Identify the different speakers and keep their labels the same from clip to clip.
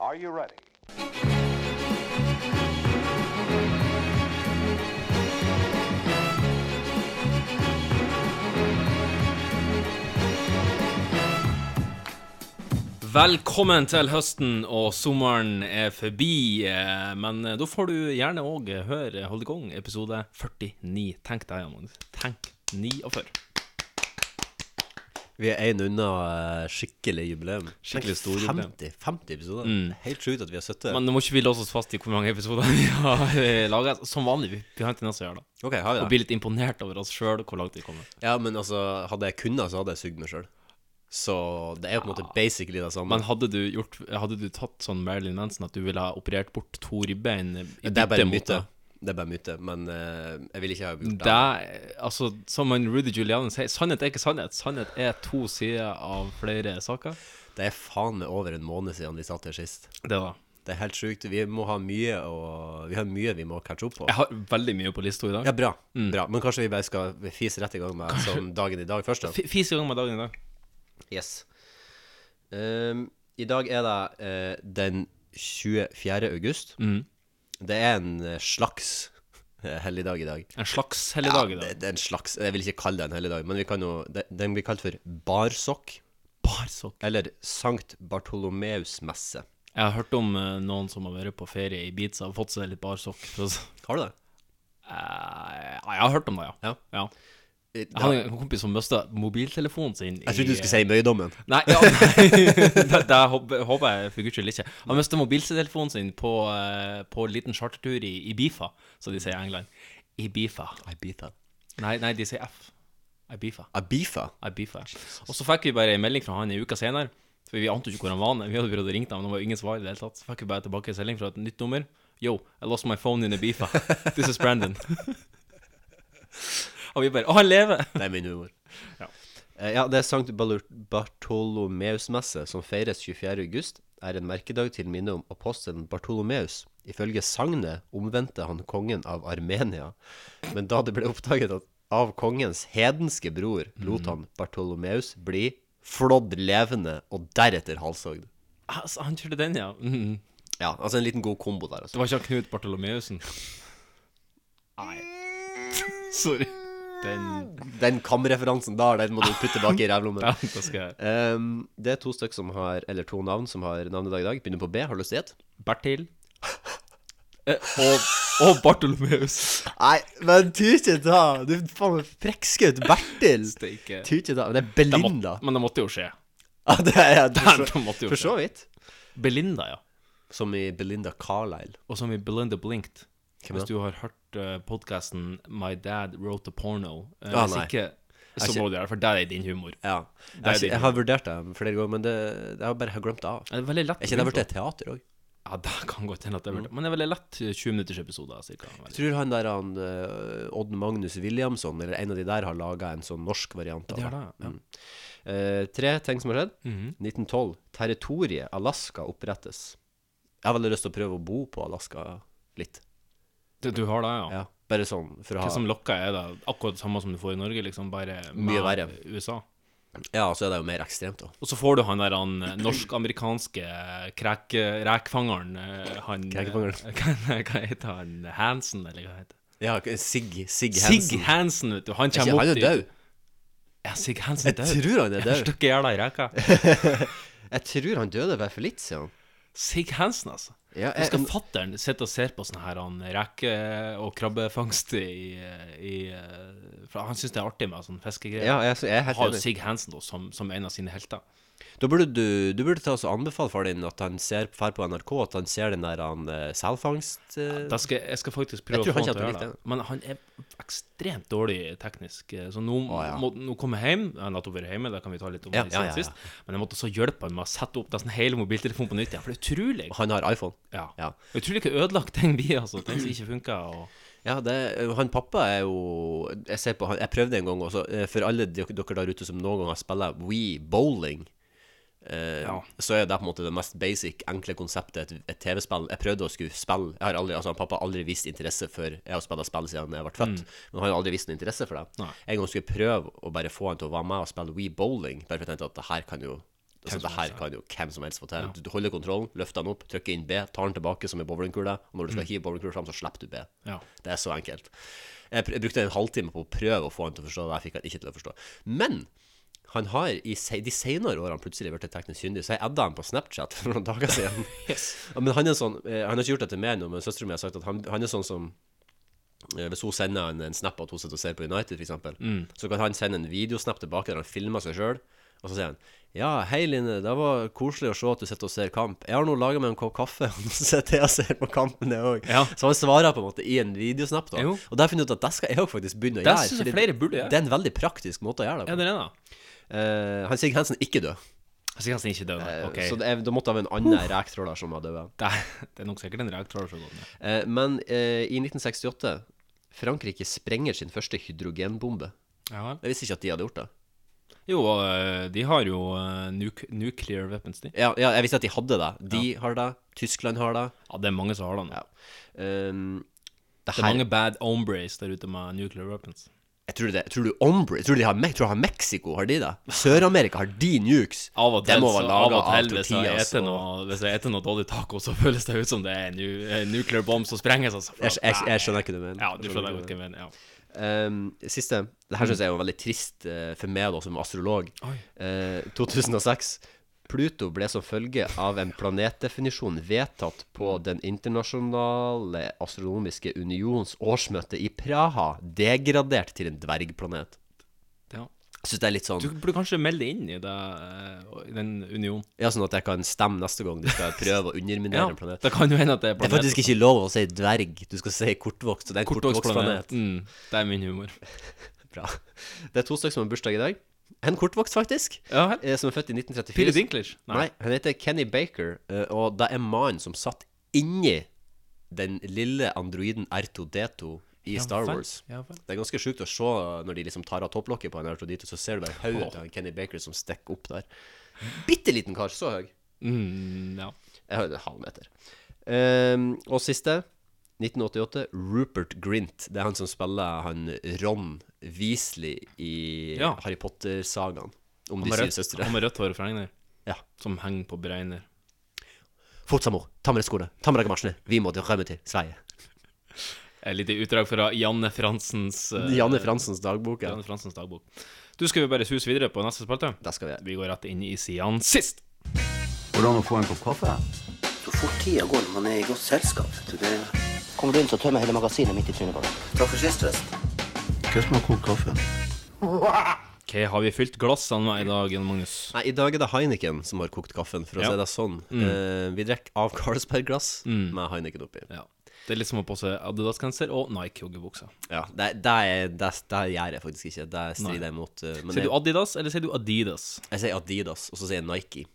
Speaker 1: Are you ready?
Speaker 2: Velkommen til høsten, og sommeren er forbi. eh, Men eh, da får du gjerne òg høre Holdegong episode 49. Tenk deg, Jan Magnus. Tenk 49.
Speaker 3: Vi er én unna eh, skikkelig Mm. jubileum.
Speaker 2: Skikkelig
Speaker 3: Tenk,
Speaker 2: stor jubileum.
Speaker 3: 50, 50 episoder. Helt sjukt at vi har 70.
Speaker 2: Men nå må ikke vi låse oss fast i hvor mange episoder vi har eh, laget. Som vanlig. vi- Vi har en tendens til å gjøre det.
Speaker 3: ok, har
Speaker 2: Og
Speaker 3: vi det?
Speaker 2: bli litt imponert over oss sjøl, hvor langt vi kommer.
Speaker 3: Ja, men altså, hadde jeg kunnet, så hadde jeg sugd meg sjøl. Så det er jo på en måte basically det samme.
Speaker 2: Men hadde du, gjort, hadde du tatt sånn Marilyn Manson at du ville ha operert bort to ribbein i
Speaker 3: det er
Speaker 2: bytte
Speaker 3: bare
Speaker 2: mot
Speaker 3: myte.
Speaker 2: det?
Speaker 3: Det er bare myte, men eh, jeg vil ikke ha gjort det.
Speaker 2: Det, altså, som han Rudy Giuliani sier, sannhet er ikke sannhet. Sannhet er to sider av flere saker.
Speaker 3: Det er faen meg over en måned siden vi satt her sist.
Speaker 2: Det da.
Speaker 3: Det er helt sjukt. Vi må ha mye å Vi har mye vi må catche opp på.
Speaker 2: Jeg har veldig mye på lista i dag.
Speaker 3: Ja, bra. bra. Men kanskje vi bare skal fise rett i gang med sånn dagen i dag først, da.
Speaker 2: F- Fis i gang med dagen i dag.
Speaker 3: Yes. Ehm, I dag er det eh, den 24. august.
Speaker 2: Mm.
Speaker 3: Det er en eh, slags eh, helligdag i dag.
Speaker 2: En slags helligdag i
Speaker 3: det,
Speaker 2: dag.
Speaker 3: det er en slags Jeg vil ikke kalle det en helligdag, men vi kan jo, det, den blir kalt for barsokk.
Speaker 2: Barsokk.
Speaker 3: Eller Sankt Bartolomeus-messe.
Speaker 2: Jeg har hørt om eh, noen som har vært på ferie i Ibiza og fått seg litt barsokk. for å s-
Speaker 3: Har du det?
Speaker 2: Eh, ja, jeg har hørt om det, ja.
Speaker 3: Ja.
Speaker 2: ja.
Speaker 3: Eh,
Speaker 2: Jeg hadde en kompis som mista mobiltelefonen sin i
Speaker 3: Jeg trodde du skulle si møydommen.
Speaker 2: Nei, ja, det, det håper håper jeg for guds skyld ikke. Han mista mobiltelefonen sin på, eh, på en liten chartertur i Ibifa, som de sier i England. Ibifa.
Speaker 3: Ibiza.
Speaker 2: Nei, nei, de sier F. Ibifa.
Speaker 3: Ibiza?
Speaker 2: Jeg beefa. Og så fikk vi bare en melding fra han en uke senere. For vi ante jo ikke hvor han var. Vi hadde prøvd å ringe ham, men det var jo ingen svar i det hele tatt. Så fikk vi bare tilbake en melding fra et nytt nummer. Yo, I lost my phone in a beefa. This is Brandon. Og vi bare Å, han lever!
Speaker 3: Det er min humor.
Speaker 2: Ja.
Speaker 3: Eh, ja, det er Sankt Balu- Bartolomeus-messe, som feires 24. august, er en merkedag til minne om apostelen Bartolomeus. Ifølge sagnet omvendte han kongen av Armenia, men da det ble oppdaget at av kongens hedenske bror
Speaker 2: Mhm.
Speaker 3: lot han Bartolomeus bli flådd levende og deretter halshogd.
Speaker 2: Altså, han kjørte den, ja. Mm.
Speaker 3: Ja, altså en liten god kombo der,
Speaker 2: Det
Speaker 3: altså.
Speaker 2: var ikke han Knut Bartholomeussen. Nei. Sorry. Den
Speaker 3: Den kamreferansen der, den må du putte bak i rævlommen.
Speaker 2: Ja, da skal jeg
Speaker 3: Ehm, det er to stykk som har, eller to navn som har navnedag i dag. Begynner på B, har du lyst til å gjette?
Speaker 2: Bertil. Eh, Og, og Bartolomeus.
Speaker 3: Nei, men tyte da! Du faen meg frekkskaut Bertil!
Speaker 2: Steike.
Speaker 3: Tyte da. Men det er
Speaker 2: Det måtte-
Speaker 3: Belinda.
Speaker 2: Men det måtte jo skje.
Speaker 3: Ja, det er jeg. For
Speaker 2: Det måtte
Speaker 3: så-
Speaker 2: jo
Speaker 3: For
Speaker 2: skje.
Speaker 3: så vidt.
Speaker 2: Belinda, ja.
Speaker 3: Som i Belinda Carlisle.
Speaker 2: Og som i Belinda Blinked.
Speaker 3: Hvem
Speaker 2: Hvis
Speaker 3: da?
Speaker 2: du har hørt uh, podkasten My Dad Wrote a Porno. eh,
Speaker 3: Ah,
Speaker 2: hvis
Speaker 3: nei.
Speaker 2: ikke, så
Speaker 3: ikke-
Speaker 2: må du gjøre det, for der er din humor.
Speaker 3: Ja.
Speaker 2: Det er
Speaker 3: Jeg,
Speaker 2: din
Speaker 3: jeg har vurdert det flere ganger, men det, jeg har bare glemt det av.
Speaker 2: Det er veldig lett.
Speaker 3: Jeg kjenner jeg har blitt et teater òg.
Speaker 2: Ja, det kan godt hende at det er veldig Men det er veldig lett eh, 20 minutters episode, cirka.
Speaker 3: Mm. Jeg tror han der han, eh, Odd Magnus Williamson, eller en av de der, har laga en sånn norsk variant av
Speaker 2: Det Mhm.
Speaker 3: det.
Speaker 2: er det, ja.
Speaker 3: Mm. Eh, tre ting som har skjedd. 1912. Territoriet Alaska opprettes. Jeg har veldig lyst til å prøve å bo på Alaska litt.
Speaker 2: Du, du har det, ja.
Speaker 3: Ja, bare sånn for å
Speaker 2: Hva
Speaker 3: ha
Speaker 2: som lokker er det? Akkurat det samme som du får i Norge, liksom, bare
Speaker 3: Mye
Speaker 2: med
Speaker 3: verre.
Speaker 2: USA.
Speaker 3: Ja, så er det jo mer ekstremt, da.
Speaker 2: Og så får du han der han eh, norsk-amerikanske kræk, rækfangeren eh, han eh,
Speaker 3: Krækfangeren.
Speaker 2: Hva, hva heter han? Hansen, eller hva heter han?
Speaker 3: Ja, Sig, Sig
Speaker 2: Sig
Speaker 3: Hansen.
Speaker 2: Hansen, vet du. Han
Speaker 3: Er
Speaker 2: kommer
Speaker 3: ikke
Speaker 2: opp
Speaker 3: han er
Speaker 2: dit.
Speaker 3: død.
Speaker 2: Ja, Sig Hansen er
Speaker 3: Jeg
Speaker 2: død.
Speaker 3: tror han er
Speaker 2: En
Speaker 3: død.
Speaker 2: stykke jævla i reka.
Speaker 3: Jeg tror han døde bare for litt siden.
Speaker 2: Sig Hansen, altså.
Speaker 3: Ja,
Speaker 2: Nå skal
Speaker 3: jeg,
Speaker 2: fattern sitte og se på sånn her han, reke- og krabbefangst i, i eh, for Han syns det er artig med sånn fiskegreier.
Speaker 3: ja, jeg, jeg er helt
Speaker 2: Har jo
Speaker 3: enig.
Speaker 2: Sig Hansen da, som, som en av sine helter.
Speaker 3: Da burde du, du burde ta oss og anbefale far din at han ser drar på NRK, at han ser den der han eh, selfangst eh,
Speaker 2: Da skal, jeg skal faktisk prøve å
Speaker 3: Jeg tror
Speaker 2: få han
Speaker 3: han
Speaker 2: til å
Speaker 3: kjente
Speaker 2: gjøre det. Men han er ekstremt dårlig teknisk. eh, Så nå,
Speaker 3: ja.
Speaker 2: må, nå kom jeg hjem. Jeg har nettopp vært hjemme, det kan vi ta litt om
Speaker 3: Ja,
Speaker 2: siden
Speaker 3: ja, ja, ja.
Speaker 2: sist. Men jeg måtte så hjelpe han med å sette opp nesten hele mobiltelefonen på nytt igjen. For det er utrolig.
Speaker 3: Han har iPhone.
Speaker 2: Ja.
Speaker 3: Ja.
Speaker 2: Utrolig hva ødelagt ting blir, altså. Ting som ikke funker. Og
Speaker 3: Ja, det, han pappa er jo Jeg ser på han, jeg prøvde en gang også eh, For alle dere, dere der ute som noen gang har spillet Wii Bowling eh,
Speaker 2: Ja.
Speaker 3: Så er det på en måte det mest basic Enkle konseptet, et, et tv-spill Jeg prøvde å skulle spille Jeg har aldri, altså han pappa har aldri vist interesse for Jeg har spillet spill siden jeg ble født Men han har aldri vist noen interesse for det
Speaker 2: Mm. Nei.
Speaker 3: En gang skulle jeg prøve å bare få han til å være med Og spille Wii Bowling Bare for jeg tenkte at det her kan jo Altså, det her kan jo hvem som helst få til. Du holder kontrollen, løfter den opp, trykker inn B, tar den tilbake som en bowlingkule, og når du
Speaker 2: Mm.
Speaker 3: skal hive bowlingkula fram, så slipper du B.
Speaker 2: Ja.
Speaker 3: Det er så enkelt. Jeg, pr jeg brukte en halvtime på å prøve å få han til å forstå det, jeg fikk han ikke til å forstå. Men han har i se de senere årene plutselig blitt teknisk kyndig, så jeg adda han på Snapchat for noen dager siden. Ja, Men han er sånn, eh, han har ikke gjort det til meg nå, men søsteren min har sagt at han, han er sånn som eh, hvis hun sender en, en snap at hun sitter og ser på United, f.eks., eksempel
Speaker 2: Mm.
Speaker 3: så kan han sende en videosnap tilbake der han filmer seg sjøl, og så sier han ja, hei Line, det var koselig å se at du sitter og ser kamp. Jeg har nå laga meg en kopp kaffe, og nå sitter jeg og ser på kampen, jeg òg.
Speaker 2: Ja.
Speaker 3: Så han svarer på en måte i en videosnap, da.
Speaker 2: Jo.
Speaker 3: Og der finner jeg ut at det skal jeg òg faktisk begynne å
Speaker 2: Det
Speaker 3: gjøre.
Speaker 2: synes jeg
Speaker 3: fordi
Speaker 2: flere burde gjøre.
Speaker 3: Det er en veldig praktisk måte å gjøre det på.
Speaker 2: Er det det, da?
Speaker 3: Eh, han Sigurd Hensen er ikke død,
Speaker 2: Jeg sier nesten ikke død, da.
Speaker 3: Eh,
Speaker 2: Ok.
Speaker 3: så det er, da måtte det være en annen ræktråler som var død.
Speaker 2: Det, det er nok sikkert en reaktor som går ned.
Speaker 3: Eh, men eh, i 1968 Frankrike sprenger sin første hydrogenbombe.
Speaker 2: Ja vel.
Speaker 3: Jeg visste ikke at de hadde gjort det.
Speaker 2: Jo, øh, de har jo øh, nuk nuclear weapons, de.
Speaker 3: Ja, ja, jeg visste at de hadde det. De har det, Tyskland har det.
Speaker 2: Ja, det er mange som har det nå.
Speaker 3: Um, det
Speaker 2: Det er
Speaker 3: her,
Speaker 2: mange bad hombres der ute med nuclear weapons.
Speaker 3: jeg tror, det, tror du Ombre Tror du de har, Me- tror du har Mexico? Har de det? Sør-Amerika har de nukes?
Speaker 2: Av og
Speaker 3: Det
Speaker 2: til,
Speaker 3: må
Speaker 2: så-
Speaker 3: være
Speaker 2: av
Speaker 3: laget
Speaker 2: og til
Speaker 3: av
Speaker 2: hvis jeg
Speaker 3: tortillas
Speaker 2: eter
Speaker 3: og-
Speaker 2: noe, hvis jeg eter noe dårlig taco, så føles det ut som det er en nu- en nuclear bomb som sprenges. Altså, for
Speaker 3: Jeg,
Speaker 2: at-
Speaker 3: jeg, jeg skjønner ikke hva du mener.
Speaker 2: Ja, du
Speaker 3: Jeg
Speaker 2: skjønner
Speaker 3: ikke
Speaker 2: godt hva jeg mener. Ja. Mm.
Speaker 3: Um, siste. Det her syns jeg er jo veldig trist eh, for meg da, som astrolog.
Speaker 2: Oi.
Speaker 3: Eh, 2006. Pluto ble som følge av en planetdefinisjon vedtatt på Den internasjonale astronomiske unions årsmøte i Praha, degradert til en dvergplanet.
Speaker 2: Ja.
Speaker 3: Jeg syns det er litt sånn
Speaker 2: Du burde kanskje melde deg inn i, det, øh, i den unionen.
Speaker 3: Ja, sånn at jeg kan stemme neste gang du skal prøve å underminere
Speaker 2: Ja,
Speaker 3: en planet.
Speaker 2: det kan jo hende at det er
Speaker 3: Det er faktisk ikke lov å si dverg, du skal si kortvokst. Så det er en kortvokstplanet.
Speaker 2: Kortvokstplanet. Mm, det er min humor.
Speaker 3: Bra. Det er to stykker som har bursdag i dag. En kortvokst, faktisk,
Speaker 2: Ja vel.
Speaker 3: eh, som er født i 1934.
Speaker 2: Peter Dinklage?
Speaker 3: Nei, han heter Kenny Baker, eh, og det er mannen som satt inni den lille androiden R2D2 i Star Wars.
Speaker 2: Ja, vel.
Speaker 3: Det er ganske sjukt å se når de liksom tar av topplokket på en R2D2, så ser du bare hodet til han Kenny Baker som stikker opp der. Bitte liten kar, så høy.
Speaker 2: Mm, ja.
Speaker 3: Jeg hører en halv meter. Ehm, og siste, 1988, Rupert Grint. Det er han som spiller han Ron Weasley i
Speaker 2: Ja.
Speaker 3: Harry Potter-sagaen. Om
Speaker 2: Han
Speaker 3: de
Speaker 2: med
Speaker 3: syv
Speaker 2: rødt,
Speaker 3: søstre.
Speaker 2: han med rødt hår fra Egner,
Speaker 3: Ja.
Speaker 2: som henger på Breiner.
Speaker 3: Fort, Samo. Ta med deg skoene. Ta med dere marsjene. Vi må rømme til Sverige.
Speaker 2: Et lite utdrag fra Janne Fransens, eh,
Speaker 3: Janne Fransens dagbok. Ja.
Speaker 2: Janne Fransens dagbok. Du skal vi bare suse videre på neste spalte.
Speaker 3: Det skal vi gjøre.
Speaker 2: Vi går rett inn i siden sist.
Speaker 1: Går det an å få en kopp kaffe?
Speaker 4: Så fort tida går når man er i godt selskap. vet du, det... Kommer du inn, så tømmer jeg hele magasinet midt i trynet på deg. Takk for sist, forresten.
Speaker 1: Hva som har kokt kaffe?
Speaker 2: Hva har vi fylt glassene med i dag, Jan Magnus?
Speaker 3: Nei, I dag er det Heineken som har kokt kaffen, for å
Speaker 2: Ja. Mm.
Speaker 3: si det sånn. Eh, vi drikker av Carlsberg-glass med Heineken oppi.
Speaker 2: Ja. Det er litt som å på seg Adidas-genser og Nike-joggebukser.
Speaker 3: Ja, det, det, er, det, det gjør jeg faktisk ikke. Det strider jeg mot. eh, Men
Speaker 2: Sier du
Speaker 3: jeg,
Speaker 2: Adidas, eller sier du Adidas?
Speaker 3: jeg sier Adidas, og så sier jeg Nike.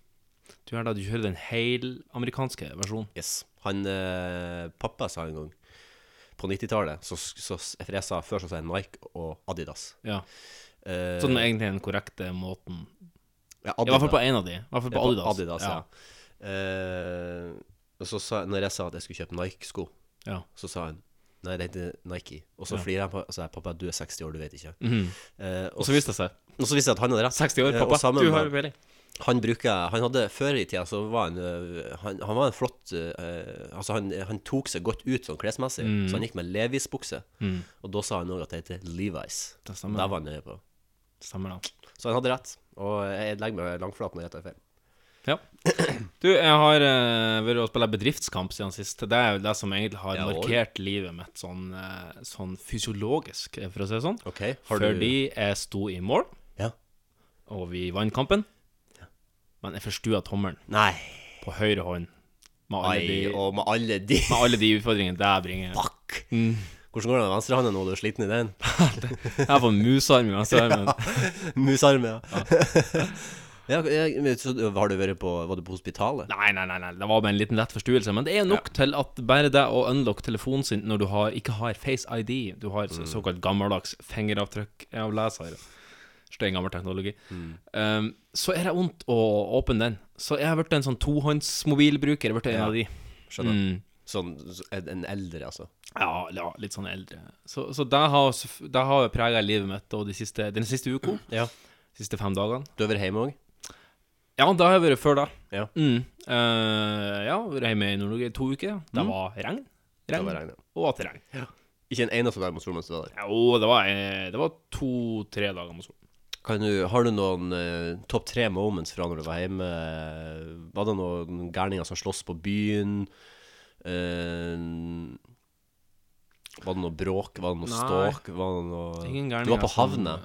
Speaker 2: Du gjør det, du kjører den heil amerikanske versjonen.
Speaker 3: Yes. Han eh, pappa sa en gang på 90-tallet så, så, For jeg sa før så sa jeg Nike og Adidas.
Speaker 2: Ja.
Speaker 3: Eh,
Speaker 2: Så den er egentlig den korrekte måten.
Speaker 3: ja,
Speaker 2: I hvert fall på en av de. I hvert fall på Adidas.
Speaker 3: Adidas ja. Eh, og så sa, når jeg sa at jeg skulle kjøpe Nike-sko,
Speaker 2: Ja.
Speaker 3: så sa han Nei, det heter Nike. Og så
Speaker 2: Ja.
Speaker 3: flirer han på og sa jeg, pappa, du er 60 år, du vet ikke. Eh, og,
Speaker 2: Og Mhm. så viste det seg.
Speaker 3: og så viste det seg at han hadde rett.
Speaker 2: 60 år,
Speaker 3: Eh, og
Speaker 2: pappa.
Speaker 3: sammen
Speaker 2: Du
Speaker 3: med-
Speaker 2: har peiling.
Speaker 3: Han bruker Han hadde Før i tida så var han øh, Han, han var en flott øh, Altså, han, han tok seg godt ut sånn klesmessig,
Speaker 2: Mm.
Speaker 3: så han gikk med Levis-bukse. Og da sa han òg at det heter Levis.
Speaker 2: Det
Speaker 3: Det
Speaker 2: stemmer.
Speaker 3: Mhm. var han nøye på.
Speaker 2: Stemmer det.
Speaker 3: Så han hadde rett. Og jeg legger meg langflat når jeg tar feil.
Speaker 2: Ja. Du, jeg har eh, vært og spilt bedriftskamp siden sist. Det er jo det som egentlig har
Speaker 3: Ja, og-
Speaker 2: markert livet mitt sånn, eh, sånn fysiologisk, eh, for å si det sånn.
Speaker 3: OK? Har du
Speaker 2: Fordi jeg sto i mål,
Speaker 3: Ja.
Speaker 2: og vi vant kampen. Men jeg forstua tommelen
Speaker 3: Nei.
Speaker 2: på høyre hånd med alle,
Speaker 3: Ai,
Speaker 2: de,
Speaker 3: og med alle de
Speaker 2: med alle de utfordringene det bringer.
Speaker 3: Fuck! Hvordan går det med venstrehånda nå? Du er sliten i den?
Speaker 2: Jeg har fått musarm i venstrearmen.
Speaker 3: Musarm, ja. ja. jeg- men så har du vært på Var du på hospitalet?
Speaker 2: Nei, nei, nei, nei, det var bare en liten lett forstuelse. Men det er nok til at bare det å unlocke telefonen sin når du har, ikke har Face ID, du har så-
Speaker 3: Mm.
Speaker 2: såkalt gammeldags fingeravtrykk av leser Steingammel teknologi.
Speaker 3: Mm.
Speaker 2: Um, så er det vondt å åpne den. Så jeg har blitt en sånn tohåndsmobilbruker. Jeg har blitt en
Speaker 3: Ja.
Speaker 2: av de. Mm.
Speaker 3: Skjønner. Sånn så- en en eldre, altså.
Speaker 2: Ja, ja, litt sånn eldre. Så, så det har, sef- det har prega livet mitt og de siste, den siste uka.
Speaker 3: Ja.
Speaker 2: De siste fem dagene.
Speaker 3: Du har vært hjemme òg?
Speaker 2: Ja, da har jeg vært før, da.
Speaker 3: Ja.
Speaker 2: Mm. Eh, ja, vært hjemme i Nord-Norge i to uker. Det var regn.
Speaker 3: Mm. Det var regn, ja.
Speaker 2: Og atter regn.
Speaker 3: Ikke en eneste dag mot sol mens du var der.
Speaker 2: Jo, det var, eh, det var to-tre dager med sol.
Speaker 3: Kan du, har du noen eh, topp tre moments fra når du var hjemme? Eh, Var det noen gærninger som sloss på byen? Eh, var det noe bråk? Var det noe
Speaker 2: Nei.
Speaker 3: ståk? Var det noe...
Speaker 2: Ingen gærninger altså.
Speaker 3: Du var på
Speaker 2: som-
Speaker 3: havne?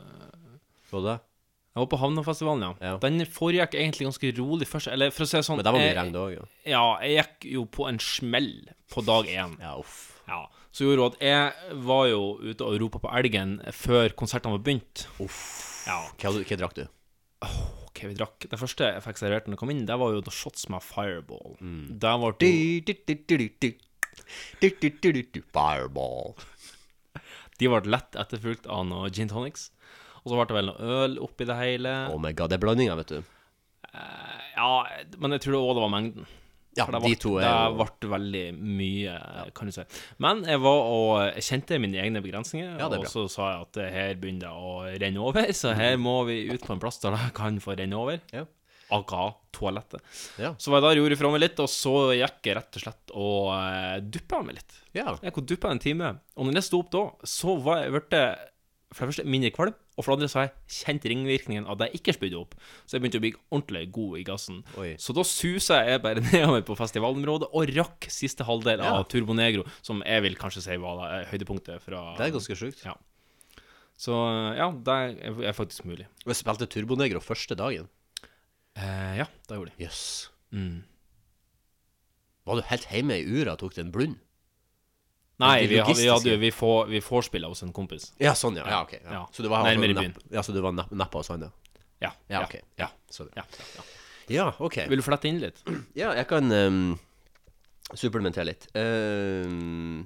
Speaker 3: Var du det?
Speaker 2: Jeg var på Havnafestivalen, ja.
Speaker 3: Ja.
Speaker 2: Den foregikk egentlig ganske rolig først. Eller for å si det sånn
Speaker 3: Men der var mye
Speaker 2: jeg-
Speaker 3: regn det òg, ja.
Speaker 2: Ja, jeg gikk jo på en smell på dag én.
Speaker 3: Ja, uff.
Speaker 2: Ja. Så gjorde hun at jeg var jo ute og ropa på elgen før konsertene var begynt.
Speaker 3: Uff.
Speaker 2: Ja.
Speaker 3: Hva, hadde- hva drakk du?
Speaker 2: Ok, vi drakk. Det første jeg fikk servert når jeg kom inn, det var jo noen shots med fireball.
Speaker 3: Mm.
Speaker 2: Der ble det jo-
Speaker 3: Fireball.
Speaker 2: De ble lett etterfulgt av noe gin tonics. Og så ble det vel noe øl oppi det hele.
Speaker 3: Oh my god, det er blandinga, vet du.
Speaker 2: Ja, men jeg tror òg det var mengden.
Speaker 3: Ja,
Speaker 2: For det
Speaker 3: de
Speaker 2: ble-
Speaker 3: to er jo
Speaker 2: Det ble veldig mye, kan du si. Men jeg var og jeg kjente mine egne begrensninger,
Speaker 3: Ja, det er
Speaker 2: og
Speaker 3: bra. Mm.
Speaker 2: så sa jeg at det her begynner det å renne over, så her må vi ut på en plass der det kan få renne over.
Speaker 3: Ja.
Speaker 2: Aga toalettet.
Speaker 3: Ja.
Speaker 2: Så var jeg der, gjorde fra meg litt, og så gikk jeg rett og slett og eh, duppa meg litt.
Speaker 3: ja.
Speaker 2: Jeg gikk og duppa en time, og når jeg sto opp da, så var jeg ble for det første mindre kvalm, og for det andre så har jeg kjent ringvirkningen av det jeg ikke spydde opp. Så jeg begynte å bli ordentlig god i gassen.
Speaker 3: Oi.
Speaker 2: Så da susa jeg bare nedover på festivalområdet og rakk siste halvdel av Turbo Negro, som jeg vil kanskje si var eh, høydepunktet fra
Speaker 3: Det er ganske sjukt.
Speaker 2: Ja. Så eh, ja, det er- er faktisk mulig.
Speaker 3: Vi spilte Turbonegro første dagen.
Speaker 2: Eh, ja, det gjorde jeg.
Speaker 3: Jøss. Yes.
Speaker 2: Mm.
Speaker 3: Var du helt hjemme i ura og tok deg en blund?
Speaker 2: Nei,
Speaker 3: Det
Speaker 2: vi, vi,
Speaker 3: logistiske.
Speaker 2: hadde, jo- vi, får, vi vorspielet hos en kompis.
Speaker 3: Ja, sånn, ja. ja, ok, ja.
Speaker 2: Ja.
Speaker 3: Så du var
Speaker 2: Nærmere
Speaker 3: napp- Ja, så du var napp, nappa og sånn, ja.
Speaker 2: Ja.
Speaker 3: Ja, ok. Ja, sorry.
Speaker 2: ja, ja.
Speaker 3: ja ok.
Speaker 2: Vil du flette inn litt?
Speaker 3: Ja, jeg kan ehm, supplementere litt. Ehm,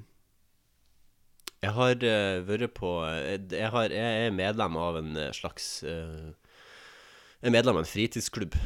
Speaker 3: jeg har eh, vært på jeg, har, jeg er medlem av en eh, slags eh, Jeg er medlem av en fritidsklubb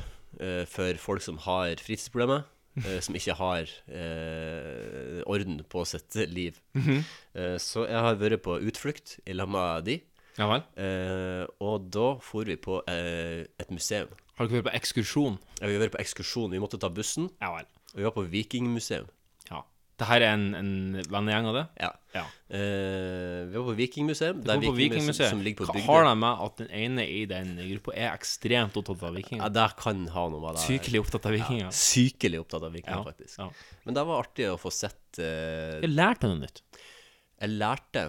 Speaker 3: eh, for folk som har fritidsproblemer. eh, som ikke har eh, orden på sitt liv. Eh, så jeg har vært på utflukt i lag med de.
Speaker 2: Ja vel?
Speaker 3: eh, og da for vi på eh, et museum.
Speaker 2: Har dere vært på ekskursjon?
Speaker 3: Ja, Vi var på ekskursjon. Vi måtte ta bussen,
Speaker 2: Ja vel.
Speaker 3: og vi var på vikingmuseum.
Speaker 2: Ja. Det her er en, en vennegjeng av det?
Speaker 3: Ja.
Speaker 2: Ja.
Speaker 3: Eh, vi var på Vikingmuseum. Det
Speaker 2: Det
Speaker 3: er
Speaker 2: på
Speaker 3: Vikingmuseum
Speaker 2: Vikingmuseet.
Speaker 3: som ligger på
Speaker 2: Hva
Speaker 3: bygda.
Speaker 2: har de med at den ene i den gruppa er ekstremt opptatt av
Speaker 3: Ja,
Speaker 2: vikinger?
Speaker 3: det kan ha noe med det
Speaker 2: Sykelig opptatt av vikinger.
Speaker 3: Sykelig opptatt av vikinger,
Speaker 2: Ja,
Speaker 3: faktisk.
Speaker 2: ja.
Speaker 3: Men det var artig å få sett eh,
Speaker 2: Jeg lærte noe nytt.
Speaker 3: Jeg lærte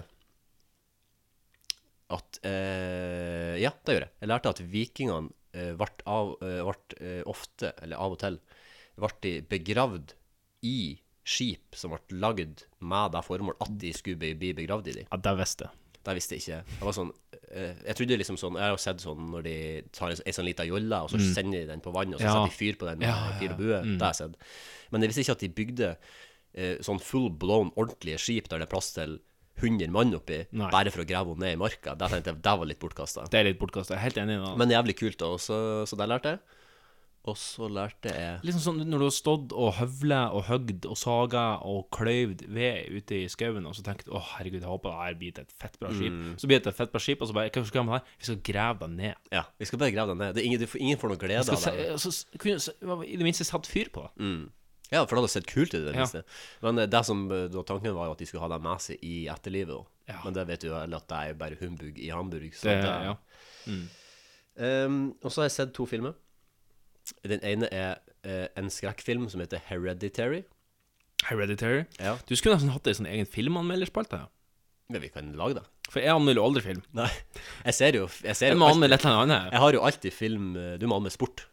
Speaker 3: at eh, Ja, det gjør jeg. Jeg lærte at vikingene eh, ble, av, eh, vart, eh, ofte, eller av og til, ble begravd i skip som ble lagd med det formål at de skulle bli- bli begravd i de.
Speaker 2: Ja, det visste jeg.
Speaker 3: Det visste jeg ikke. Jeg var sånn eh, Jeg trodde liksom sånn Jeg har jo sett sånn når de tar en, en sånn lita jolle, og så sender de den på vann, og
Speaker 2: Mm.
Speaker 3: så
Speaker 2: Ja. Mm.
Speaker 3: setter de fyr på den med pil og bue. Det har jeg sett. Men jeg visste ikke at de bygde eh, sånn full blown, ordentlige skip der det er plass til 100 mann oppi,
Speaker 2: Nei.
Speaker 3: bare for å grave henne ned i marka. Det tenkte jeg det var litt bortkasta.
Speaker 2: Det er litt bortkasta. Jeg er helt enig i det.
Speaker 3: Men jævlig kult, da. Og så, så det lærte jeg. Og så lærte jeg
Speaker 2: Liksom sånn når du har stått og høvla og høgd og saga og kløyvd ved ute i skauen, og så tenker du 'Å, herregud, jeg håper det her blir til et fett bra skip'. Så blir det til et fett bra skip, og så bare 'Hva skal vi gjøre med det her?' Vi skal grave det ned.
Speaker 3: Ja, vi skal bare grave den ned. Det er ingen, du får- ingen får noe glede
Speaker 2: Skal
Speaker 3: av
Speaker 2: se,
Speaker 3: det. Mm.
Speaker 2: så, kunne, så, I det minste satt fyr på det.
Speaker 3: Ja, for det hadde sett kult ut i
Speaker 2: Mm.
Speaker 3: det
Speaker 2: Ja.
Speaker 3: minste. Men eh, det som eh, da tanken var jo at de skulle ha det med seg i etterlivet også.
Speaker 2: Ja.
Speaker 3: Men det vet du jo alle at det er jo bare humbug i Hamburg. Så
Speaker 2: det
Speaker 3: det,
Speaker 2: ja.
Speaker 3: Ehm, og så har jeg sett to filmer. Den ene er eh, en skrekkfilm som heter Hereditary.
Speaker 2: Hereditary.
Speaker 3: Ja.
Speaker 2: Du skulle nesten hatt ei sånn egen filmanmelderspalte. ja.
Speaker 3: Men vi kan lage det.
Speaker 2: For jeg anmelder jo aldri film.
Speaker 3: Nei, jeg ser jo Jeg, ser
Speaker 2: Jeg
Speaker 3: jo
Speaker 2: må
Speaker 3: alltid,
Speaker 2: anmelde et eller annet.
Speaker 3: jeg har jo alltid film eh, Du må anmelde sport.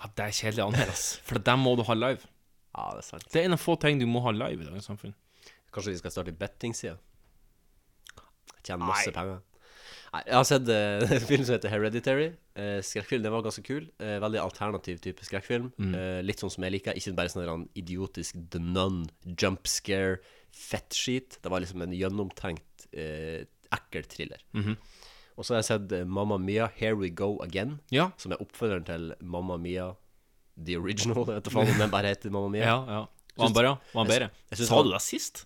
Speaker 2: Ja, det er kjedelig å anmelde, ass. For det må du ha live.
Speaker 3: Ja, det er sant.
Speaker 2: Det er en av få ting du må ha live i dagens samfunn.
Speaker 3: Kanskje vi skal starte bettingsida? Tjene
Speaker 2: Nei.
Speaker 3: masse penger. Nei, jeg har sett eh, en film som heter Hereditary. Eh, skrekkfilm. Den var ganske kul. Eh, veldig alternativ type skrekkfilm.
Speaker 2: Mm.
Speaker 3: Eh, litt sånn som jeg liker. Ikke bare sånn der en idiotisk The Nun, jump scare, fett skit. Det var liksom en gjennomtenkt, eh, ekkel thriller.
Speaker 2: Mhm.
Speaker 3: Og så har jeg sett eh, Mamma Mia, Here We Go Again,
Speaker 2: Ja.
Speaker 3: som er oppfølgeren til Mamma Mia The Original. Jeg vet da faen om den bare heter Mamma Mia.
Speaker 2: Ja, ja. Var han bare? Var han
Speaker 3: Jeg-
Speaker 2: bedre?
Speaker 3: jeg synes
Speaker 2: Sa
Speaker 3: han-
Speaker 2: du det sist?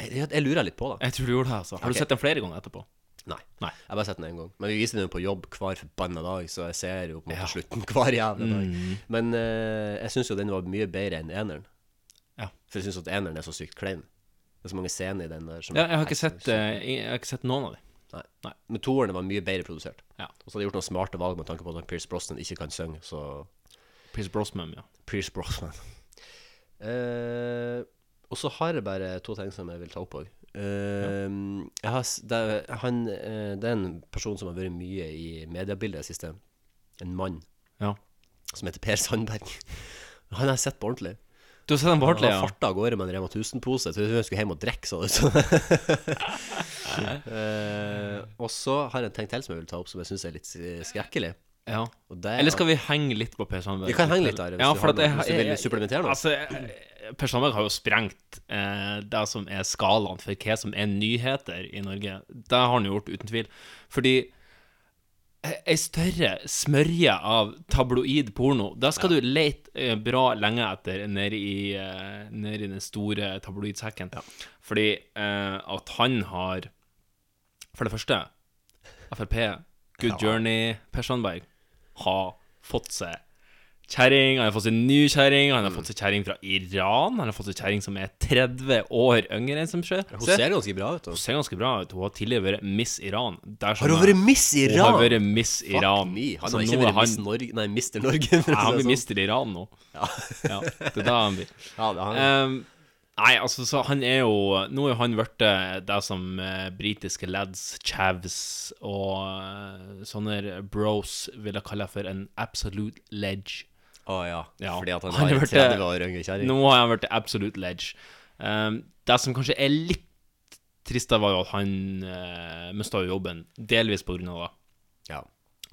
Speaker 3: Jeg, jeg lurer litt på det.
Speaker 2: Jeg tror du gjorde det, altså. Har
Speaker 3: Ok.
Speaker 2: du sett den flere ganger etterpå?
Speaker 3: Nei.
Speaker 2: Nei.
Speaker 3: Jeg har bare sett den én gang. Men vi viser den jo på jobb hver forbanna dag, så jeg ser jo på en måte slutten hver jævla dag.
Speaker 2: Mm.
Speaker 3: Men eh, jeg syns jo den var mye bedre enn eneren.
Speaker 2: Ja.
Speaker 3: For jeg syns at eneren er så sykt klein. Det er så mange scener i den der som
Speaker 2: Ja, jeg har ikke sett, eh, jeg har ikke sett noen av dem.
Speaker 3: Nei.
Speaker 2: Nei.
Speaker 3: Men toeren var mye bedre produsert.
Speaker 2: Ja.
Speaker 3: Og så hadde de gjort noen smarte valg med tanke på at Pierce Brosnan ikke kan synge, så
Speaker 2: Pierce Brosnan, ja.
Speaker 3: Pierce Brosnan. Eh, og så har jeg bare to ting som jeg vil ta opp òg. Jeg har, s- det, er- han, eh, det er en person som har vært mye i mediebildet i det siste. En mann
Speaker 2: ja.
Speaker 3: som heter Per Sandberg. Han har jeg sett på ordentlig.
Speaker 2: Du har sett den på Hartley,
Speaker 3: Han
Speaker 2: ja?
Speaker 3: har farta av gårde med en Rema 1000-pose. Trodde hun skulle hjem og drikke, sa det ut. Eh, Og så har jeg en ting til som jeg vil ta opp, som jeg syns er litt eh, skrekkelig.
Speaker 2: ja.
Speaker 3: Og det er
Speaker 2: Eller skal vi henge litt på Per Sandberg?
Speaker 3: Vi kan henge litt der, hvis
Speaker 2: ja,
Speaker 3: du
Speaker 2: for
Speaker 3: har
Speaker 2: at jeg,
Speaker 3: noe- hvis du vil supplementere noe.
Speaker 2: Altså, eh, Per Sandberg har jo sprengt eh, det som er skalaen for hva som er nyheter i Norge. Det har han jo gjort, uten tvil. Fordi eh, ei større smørje av tabloid porno, da skal du lete eh, bra lenge etter nede i, eh, nede i den store tabloidsekken. Fordi eh, at han har For det første, Frp, Good Journey, Per Sandberg, har fått seg kjerring. Han har fått seg ny kjerring.
Speaker 3: Mm.
Speaker 2: Han har fått seg kjerring fra Iran. Han har fått seg kjerring som er 30 år yngre enn som sjø.
Speaker 3: Hun ser ganske bra ut. da.
Speaker 2: Hun ser ganske bra ut. Hun har tidligere vært Miss Iran. Der som
Speaker 3: Har hun
Speaker 2: jeg-
Speaker 3: vært Miss Iran?
Speaker 2: Hun har vært Miss
Speaker 3: Fuck
Speaker 2: Iran.
Speaker 3: me. Han
Speaker 2: Så
Speaker 3: har ikke
Speaker 2: nå er
Speaker 3: vært Miss Norge Nei, Mister Norge. for å
Speaker 2: Nei, han blir
Speaker 3: si det sånn.
Speaker 2: Mister Iran nå.
Speaker 3: Ja.
Speaker 2: Ja, det er da han blir.
Speaker 3: Ja, det er han.
Speaker 2: Ehm, nei, altså, så han er jo Nå er jo han blitt eh, det som eh, britiske lads, chavs og eh, sånne bros ville kalle for en absolute ledge.
Speaker 3: Å ja.
Speaker 2: Ja.
Speaker 3: Fordi at han,
Speaker 2: Han har
Speaker 3: har en
Speaker 2: vært- eh,
Speaker 3: 30 år yngre kjerring.
Speaker 2: Nå har han blitt absolute ledge. Ehm, det som kanskje er litt trist, da, var jo at han uh, mista jobben, delvis på grunn av det.
Speaker 3: Ja.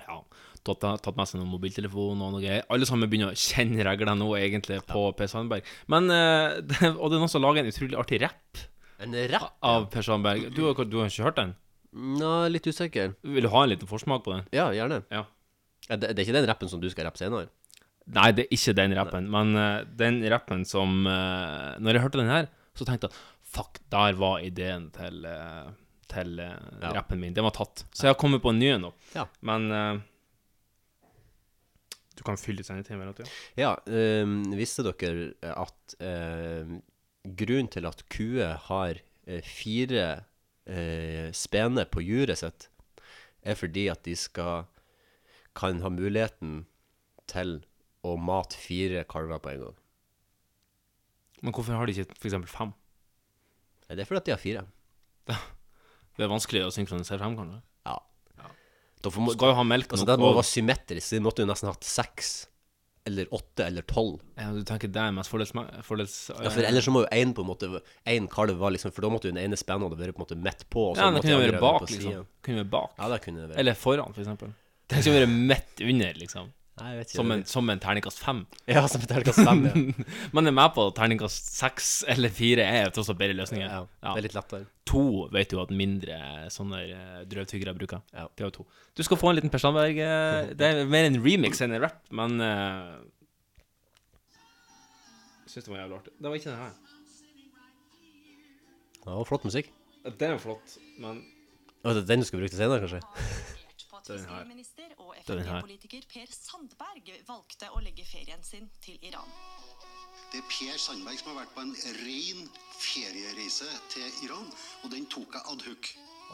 Speaker 2: Ja, tatt, tatt med seg noen mobiltelefon og noe greier. Alle sammen begynner å kjenne reglene nå, egentlig, på Per Sandberg. Men, eh, det, Og det er noen som lager en utrolig artig rapp
Speaker 3: En rapp?
Speaker 2: av Per Sandberg. Du, har- du har ikke hørt den?
Speaker 3: Nå, litt usikker.
Speaker 2: Vil du ha en liten forsmak på den?
Speaker 3: Ja, gjerne.
Speaker 2: Ja.
Speaker 3: Ja, Det, det er ikke den rappen som du skal rappe senere?
Speaker 2: Nei, det er ikke den rappen, men eh, den rappen som eh, Når jeg hørte den her, så tenkte jeg Fuck, der var ideen til, eh, til eh,
Speaker 3: Ja.
Speaker 2: rappen min. Den var tatt. Så jeg har kommet på en ny en nå.
Speaker 3: Ja.
Speaker 2: Men eh, Du kan fylle litt senere til meg, vet du.
Speaker 3: Ja, ehm, visste dere at ehm, grunnen til at kuer har eh, fire uh, spene på juret sitt, er fordi at de skal kan ha muligheten til å mate fire kalver på en gang.
Speaker 2: Men hvorfor har de ikke f.eks. fem?
Speaker 3: Nei, Det er fordi at de har fire.
Speaker 2: Det er vanskelig å synkronisere frem, kanskje.
Speaker 3: Ja. Da får,
Speaker 2: Du
Speaker 3: må,
Speaker 2: skal jo ha melk
Speaker 3: altså,
Speaker 2: nok,
Speaker 3: det må
Speaker 2: og-
Speaker 3: være symmetrisk, så de måtte jo nesten hatt seks eller åtte eller tolv.
Speaker 2: ja, Du tenker det er mest fordels... fordels
Speaker 3: Ja, for ellers så må jo én på en måte En kalv var liksom For da måtte jo den ene spena vært på en måte midt på. Og så
Speaker 2: ja, det
Speaker 3: måtte
Speaker 2: kunne
Speaker 3: de
Speaker 2: jo
Speaker 3: andre
Speaker 2: være bak,
Speaker 3: på siden.
Speaker 2: liksom. Kunne være bak.
Speaker 3: Ja, det kunne det vært.
Speaker 2: Eller foran, for eksempel. Det skal være midt under, liksom.
Speaker 3: Nei, jeg vet ikke.
Speaker 2: Som en, som en terningkast fem.
Speaker 3: Ja, som et helga stemme. Ja.
Speaker 2: Man er med på at terningkast seks eller fire er tross alt bedre løsninger.
Speaker 3: Ja,
Speaker 2: Ja.
Speaker 3: Det er litt lettere.
Speaker 2: To vet du at mindre sånne eh, drøvtyggere bruker.
Speaker 3: Ja.
Speaker 2: Det er jo to. Du skal få en liten Per Sandberg. eh, Det er mer en remix enn en rap, men uh, Syns det var jævlig artig. Det var ikke den her.
Speaker 3: Ja, og flott musikk.
Speaker 2: Det er jo flott, men
Speaker 3: Og det er den du skal bruke til senere, kanskje?
Speaker 5: irritert på at fiskeriminister og Frp-politiker Per Sandberg valgte å legge ferien sin til Iran.
Speaker 6: Det er Per Sandberg som har vært på en ren feriereise til Iran, og den tok jeg adhoc.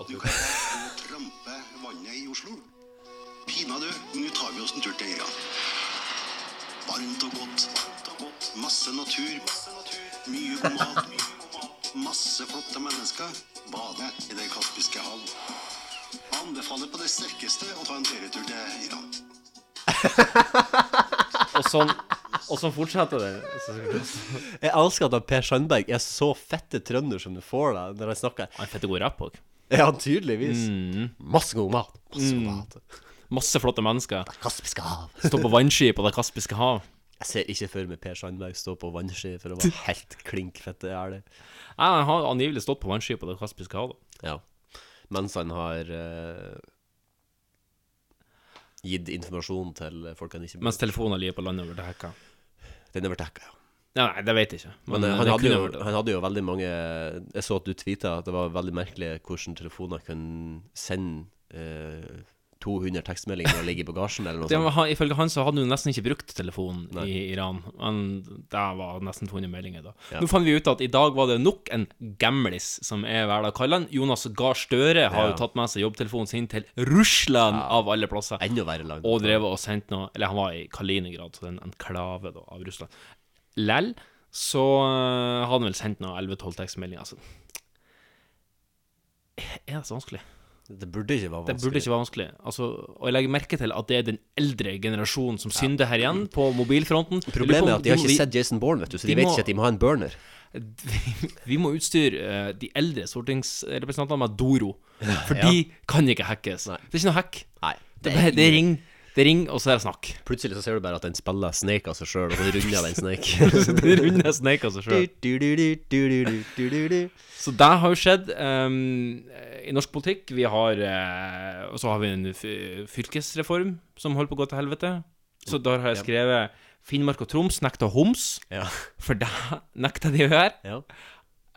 Speaker 6: Du kan bare trampe vannet i Oslo. Pinadø, nå tar vi oss en tur til Iran. Varmt og godt. varmt og godt. Masse natur. Mye god mat. Masse flotte mennesker. Bade i Det kaspiske hav. Jeg Anbefaler på det sterkeste å ta en ferietur til Iran.
Speaker 2: Og sånn, og sånn fortsetter det. Så skal vi kaste.
Speaker 3: Jeg elsker at han Per Sandberg er så fette trønder som du får da, når han snakker.
Speaker 2: Han er fette god rapp òg.
Speaker 3: Ja, tydeligvis.
Speaker 2: Mm.
Speaker 3: Masse god mat. Masse god mat.
Speaker 2: Masse flotte mennesker.
Speaker 3: Kaspisk hav.
Speaker 2: Står på vannski på Det kaspiske hav.
Speaker 3: Jeg ser ikke for meg Per Sandberg stå på vannski for å være helt klink fette ærlig.
Speaker 2: Nei, Han har angivelig stått på vannski på Det kaspiske hav. da.
Speaker 3: Ja. Mens han har eh, gitt informasjon til folk han ikke
Speaker 2: Mens telefonen ligger på landet over til hekka.
Speaker 3: Den er blitt hacka, ja.
Speaker 2: Nei, nei, det vet jeg ikke.
Speaker 3: Men, eh,
Speaker 2: eh,
Speaker 3: han,
Speaker 2: det
Speaker 3: hadde
Speaker 2: kunne
Speaker 3: jo,
Speaker 2: vært det.
Speaker 3: han hadde jo veldig mange Jeg så at du tweeta at det var veldig merkelig hvordan telefoner kunne sende eh, 200 tekstmeldinger og ligge i bagasjen eller noe
Speaker 2: Det
Speaker 3: sånt.
Speaker 2: var, ifølge han så hadde han jo nesten ikke brukt telefonen
Speaker 3: sånn. Nei.
Speaker 2: i Iran. Men det var nesten 200 meldinger da.
Speaker 3: Ja.
Speaker 2: Nå fant vi ut at i dag var det nok en gamlis, som jeg velger å kalle han. Jonas Gahr Støre har
Speaker 3: Ja.
Speaker 2: jo tatt med seg jobbtelefonen sin til Russland, av alle plasser.
Speaker 3: Enda verre langt.
Speaker 2: Og drevet og sendt noe Eller han var i Kaliningrad, så det er en enklave da, av Russland. Lell, så øh, hadde han vel sendt noe 11-12 tekstmeldinger. Altså. Er det så vanskelig?
Speaker 3: Det burde ikke være
Speaker 2: Det
Speaker 3: vanskelig.
Speaker 2: burde ikke være vanskelig. Altså, og jeg legger merke til at det er den eldre generasjonen som synder her igjen, på mobilfronten. Jeg lurer på
Speaker 3: Problemet
Speaker 2: om
Speaker 3: er at de har
Speaker 2: må-
Speaker 3: ikke sett Jason Bourne, vet du, så de,
Speaker 2: de
Speaker 3: vet
Speaker 2: må-
Speaker 3: ikke at de må ha en burner.
Speaker 2: Vi må utstyre eh, de eldre stortingsrepresentantene med Doro, for de kan ikke hackes. Det er ikke noe hack.
Speaker 3: Nei.
Speaker 2: Det, er bare- det er ring, det er ring, og så er det snakk.
Speaker 3: Plutselig så ser du bare at den spiller Snake av seg sjøl, og så runder den Snake.
Speaker 2: Så det runder sneika seg sjøl. Så det har jo skjedd ehm, i norsk politikk. Vi har eh, Og så har vi en fy- fylkesreform som holder på å gå til helvete. Så der har jeg skrevet Finnmark og Troms nekta homs,
Speaker 3: Ja.
Speaker 2: for det nekta de å gjøre.
Speaker 3: Ja.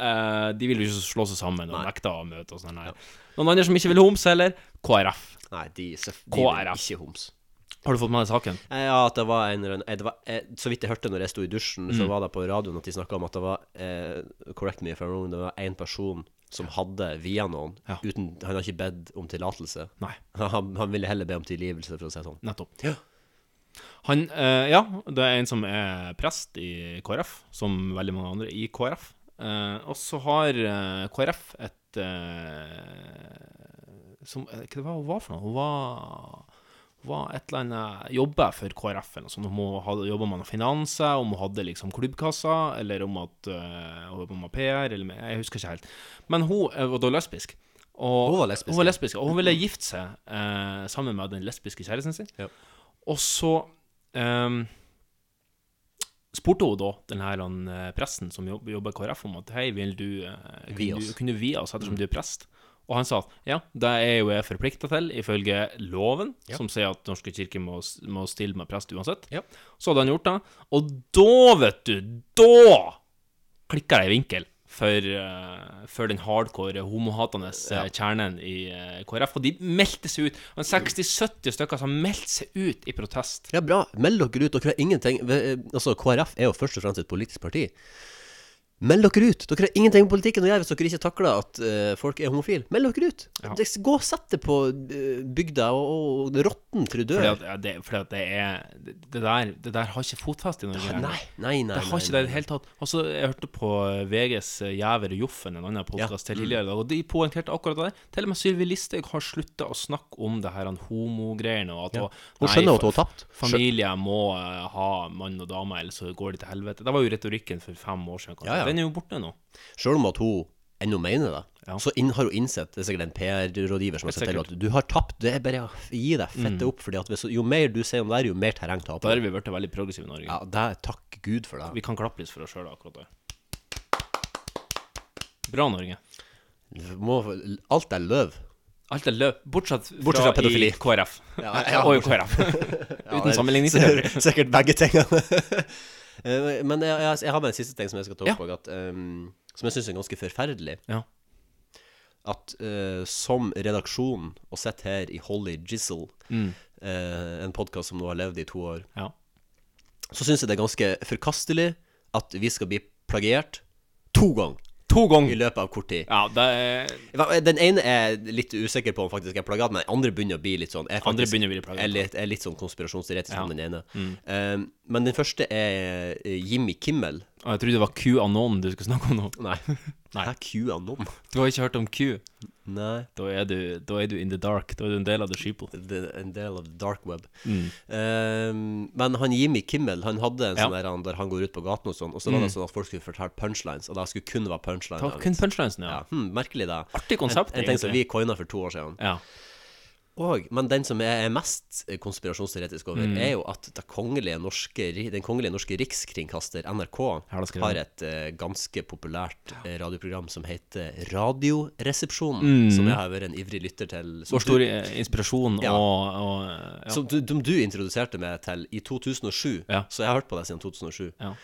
Speaker 2: Eh, de vil jo ikke slå seg sammen og nekta å møte og sånn her. Noen andre som ikke vil homs heller? KrF.
Speaker 3: Nei, de, de blir
Speaker 2: KRF.
Speaker 3: ikke homs.
Speaker 2: Har du fått med deg saken?
Speaker 3: Eh, Ja, at det var en eller annen- eh, det var, eh, Så vidt jeg hørte når jeg sto i dusjen, så var det på radioen at de snakka om at det var eh, Correct me if I'm wrong, det var én person som hadde via noen
Speaker 2: Ja.
Speaker 3: uten Han har ikke bedt om tillatelse.
Speaker 2: Nei.
Speaker 3: Han, han ville heller be om tilgivelse, for å si det sånn.
Speaker 2: Nettopp.
Speaker 3: Ja.
Speaker 2: Han, eh, ja, det er en som er prest i KrF, som veldig mange andre i KrF. Eh, og så har eh, KrF et eh, som, eh, Hva det var hun var for noe? Hun var, hun var et eller annet Jobba for KrF eller noe sånt. Hun hadde jobba med noe finanse, om hun hadde liksom klubbkassa, eller om at eh, hun jobba med PR, eller med, jeg husker ikke helt. Men hun eh, var da lesbisk. Og,
Speaker 3: Hun var lesbisk,
Speaker 2: Hun var
Speaker 3: ja.
Speaker 2: lesbisk, og hun ville gifte seg eh, sammen med den lesbiske kjæresten sin.
Speaker 3: Ja.
Speaker 2: Og så ehm, spurte hun da den her han, eh, presten som jobb- jobber i KrF om at hei, vil du eh,
Speaker 3: Vi
Speaker 2: kunne,
Speaker 3: oss. Mm.
Speaker 2: du kunne du vie oss ettersom du er prest? Og han sa at ja, det er jo jeg forplikta til ifølge loven, som sier at Norske kirke må, s- må stille med prest uansett.
Speaker 3: Ja.
Speaker 2: Så hadde han gjort det. Og da, vet du, da klikka det i vinkel for, eh, for den hardcore homohatende eh, kjernen i eh, KrF. Og de meldte seg ut. Og en 60-70 stykker som meldte seg ut i protest.
Speaker 3: Ja, bra. Meld dere ut. Dere har ingenting Ve- eh, Altså, KrF er jo først og fremst et politisk parti. Meld dere ut! Dere har ingenting med politikken å gjøre hvis dere ikke takler at eh, folk er homofile. Meld dere ut!
Speaker 2: Ja.
Speaker 3: Det- Gå og sett det på eh, bygda og, og råtten til du dør.
Speaker 2: Fordi at, ja, det, fordi at det er det, det der, det der har ikke fotfeste i Norge.
Speaker 3: Nei, Ah, nei, nei, nei
Speaker 2: Det har ikke det i det hele tatt. Altså, jeg hørte på VGs eh, Jæver og Joffen, en annen podkast
Speaker 3: Mm.
Speaker 2: til tidligere i dag, og de poengterte akkurat det. der. Til og med Sylvi Listhaug har slutta å snakke om det her han homogreiene, og at
Speaker 3: Hun skjønner at hun har tapt.
Speaker 2: Familier må eh, ha mann og dame, ellers så går de til helvete. Det var jo retorikken for fem år siden. kanskje.
Speaker 3: Ja, ja.
Speaker 2: Den er jo borte nå.
Speaker 3: Selv om at hun ennå mener det,
Speaker 2: Ja.
Speaker 3: så inn, har hun innsett Det er sikkert en PR-rådgiver som har sett til
Speaker 2: Sikkert. Mm.
Speaker 3: at du har tapt. Det er bare å gi deg fette opp. Fordi at hvis, jo mer du sier om det, her, jo mer terreng
Speaker 2: Da
Speaker 3: taper
Speaker 2: er
Speaker 3: du.
Speaker 2: vi blitt veldig progressive i Norge.
Speaker 3: Ja, det er takk Gud for det.
Speaker 2: Vi kan klappe litt for oss sjøl akkurat der. Bra, Norge.
Speaker 3: Vi Må, alt er løv.
Speaker 2: Alt er løp, bortsett fra,
Speaker 3: Bortsett fra pedofili.
Speaker 2: i KrF.
Speaker 3: Ja, ja,
Speaker 2: og i KrF. Uten sammenligning for øvrig.
Speaker 3: Sikkert, sikkert begge tingene. Eh, Men jeg, jeg, jeg har bare en siste ting som jeg skal ta opp, og at, ehm, som jeg syns er ganske forferdelig.
Speaker 2: Ja.
Speaker 3: At eh, som redaksjon, og sett her i Holly Jizzle,
Speaker 2: Mm.
Speaker 3: eh, en podkast som nå har levd i to år,
Speaker 2: ja.
Speaker 3: så syns jeg det er ganske forkastelig at vi skal bli plagiert to ganger
Speaker 2: To
Speaker 3: i
Speaker 2: ganger.
Speaker 3: løpet av kort tid.
Speaker 2: Ja, det er
Speaker 3: Hva- Den ene er jeg litt usikker på om faktisk er plagiat, men den andre begynner å bli litt sånn er
Speaker 2: Andre
Speaker 3: faktisk-
Speaker 2: begynner å bli plagiat.
Speaker 3: Er litt, er litt sånn konspirasjonsteoretisk
Speaker 2: Ja. Mm.
Speaker 3: som den ene. Um, men den første er eh, Jimmy Kimmel.
Speaker 2: Å, Jeg trodde det var QAnon du skulle snakke om nå.
Speaker 3: Nei. Nei. QAnon.
Speaker 2: Du har ikke hørt om Q.
Speaker 3: Nei.
Speaker 2: Da er du, da er du in the dark. Da er du en del av the sheeple.
Speaker 3: Det er en del av dark web. Um, men han Jimmy Kimmel Han hadde en
Speaker 2: Mm. Ja. Mm.
Speaker 3: sånn der, han, der han går ut på gaten og sånn, og så var det sånn at folk skulle fortelle punchlines, og det skulle kun være punchlines.
Speaker 2: Ta kun punchlines, ja.
Speaker 3: ja, hm, merkelig, det.
Speaker 2: Artig konsept,
Speaker 3: En, en ting som vi
Speaker 2: egentlig.
Speaker 3: coina for to år siden.
Speaker 2: Ja.
Speaker 3: Og, men den som jeg er mest konspirasjonsteoretisk over,
Speaker 2: Mm.
Speaker 3: er jo at det kongelige norske, den kongelige norske rikskringkaster, NRK,
Speaker 2: Her er det skrevet.
Speaker 3: har et eh, ganske populært eh, radioprogram som heter Radioresepsjonen, som jeg har vært en ivrig lytter til.
Speaker 2: Mm.
Speaker 3: Som
Speaker 2: Vår store eh, inspirasjon
Speaker 3: Ja.
Speaker 2: og, og eh, ja.
Speaker 3: som du, som du introduserte meg til i 2007,
Speaker 2: Ja.
Speaker 3: så jeg har hørt på det siden 2007.
Speaker 2: Ja.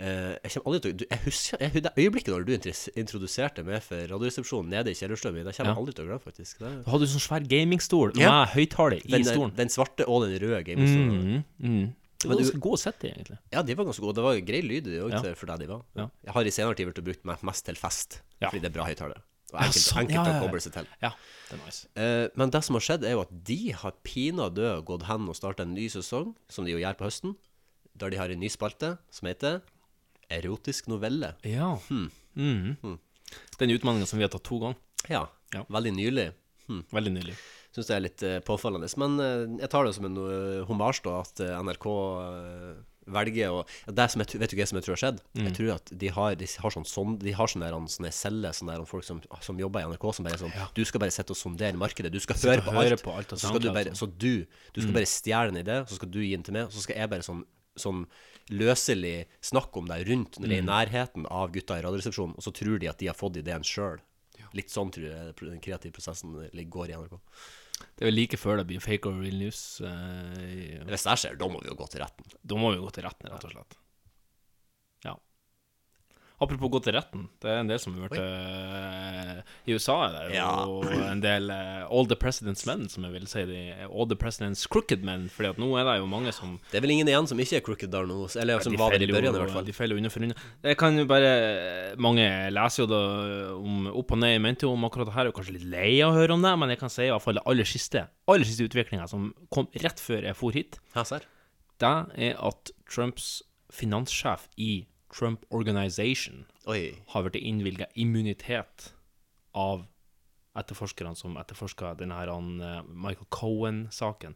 Speaker 3: eh, jeg kommer aldri til å du- Jeg husker jeg, det øyeblikket når du interes- introduserte meg for Radioresepsjonen nede i kjellerstua mi. Det kommer jeg aldri til å glemme, faktisk. Det,
Speaker 2: Du hadde jo sånn svær gamingstol
Speaker 3: Ja.
Speaker 2: med høyttaler i
Speaker 3: den, den,
Speaker 2: stolen. Mm.
Speaker 3: den svarte og den røde gamingstolen.
Speaker 2: Det var ganske god å sitte i, egentlig.
Speaker 3: Ja, de var ganske gode. Det var grei lyd i det òg,
Speaker 2: Ja.
Speaker 3: for deg de var.
Speaker 2: Ja.
Speaker 3: Jeg har i senere tid blitt brukt meg mest til fest,
Speaker 2: Ja.
Speaker 3: fordi det er bra høyttaler. Og
Speaker 2: Ja,
Speaker 3: enkelt,
Speaker 2: sånn,
Speaker 3: enkelt
Speaker 2: ja, ja,
Speaker 3: å
Speaker 2: ja.
Speaker 3: koble seg til.
Speaker 2: Ja, det er nice.
Speaker 3: Eh, men det som har skjedd, er jo at de har pinadø gått hen og starta en ny sesong, som de jo gjør på høsten, der de har en ny spalte som heter Erotisk novelle.
Speaker 2: Ja. Mhm. Den utmaninga som vi har tatt to ganger.
Speaker 3: Ja.
Speaker 2: Ja.
Speaker 3: Veldig nylig.
Speaker 2: Veldig nylig.
Speaker 3: Syns det er litt eh, påfallende. Men eh, jeg tar det som en eh, hommage, da, at eh, NRK eh, velger å det som jeg, tr- Vet du hva som jeg tror har skjedd?
Speaker 2: Mm.
Speaker 3: Jeg tror at de har, de har sånn, sånn De har sånne, der, sånne celler, sånne sånn der, folk som, som jobber i NRK, som bare er sånn Du skal bare sitte og sondere markedet. Du skal høre
Speaker 2: og sånn. Mm.
Speaker 3: på
Speaker 2: høre
Speaker 3: alt.
Speaker 2: på alt av
Speaker 3: så skal du
Speaker 2: SoundCloud,
Speaker 3: bare, så du, du skal bare stjele en idé, så skal du gi den til meg, så skal jeg bare sånn Sånn løselig snakke om deg rundt når
Speaker 2: Mm.
Speaker 3: det er i nærheten av gutta i Radioresepsjonen, og så tror de at de har fått ideen sjøl. Litt sånn tror jeg den kreative prosessen eh, går i NRK.
Speaker 2: Det er vel like før det blir fake or real news. eh,
Speaker 3: Hvis det skjer, da må vi jo gå til retten.
Speaker 2: da må vi jo gå til retten, rett og slett. Ja. Apropos gå til retten, det er en del som har vært eh, I USA er det jo en del eh, All the President's Men, som jeg vil si. De, all the President's Crooked Men, Fordi at nå er det jo mange som
Speaker 3: Det er vel ingen igjen som ikke er crooked der nå, eller som
Speaker 2: de
Speaker 3: var det i
Speaker 2: feiler
Speaker 3: børjan i
Speaker 2: jo-
Speaker 3: hvert fall.
Speaker 2: De feiler jo under for under. Jeg kan jo bare Mange leser jo da om opp og ned i mente om akkurat det her, og kanskje litt lei av å høre om det, men jeg kan si i hvert fall det aller siste, aller siste utviklinga som kom rett før jeg for hit,
Speaker 3: Ja, serr.
Speaker 2: det er at Trumps finanssjef i Trump Organization
Speaker 3: Oi.
Speaker 2: har blitt innvilga immunitet av etterforskerne som etterforska denne her, han, eh, Michael Cohen-saken.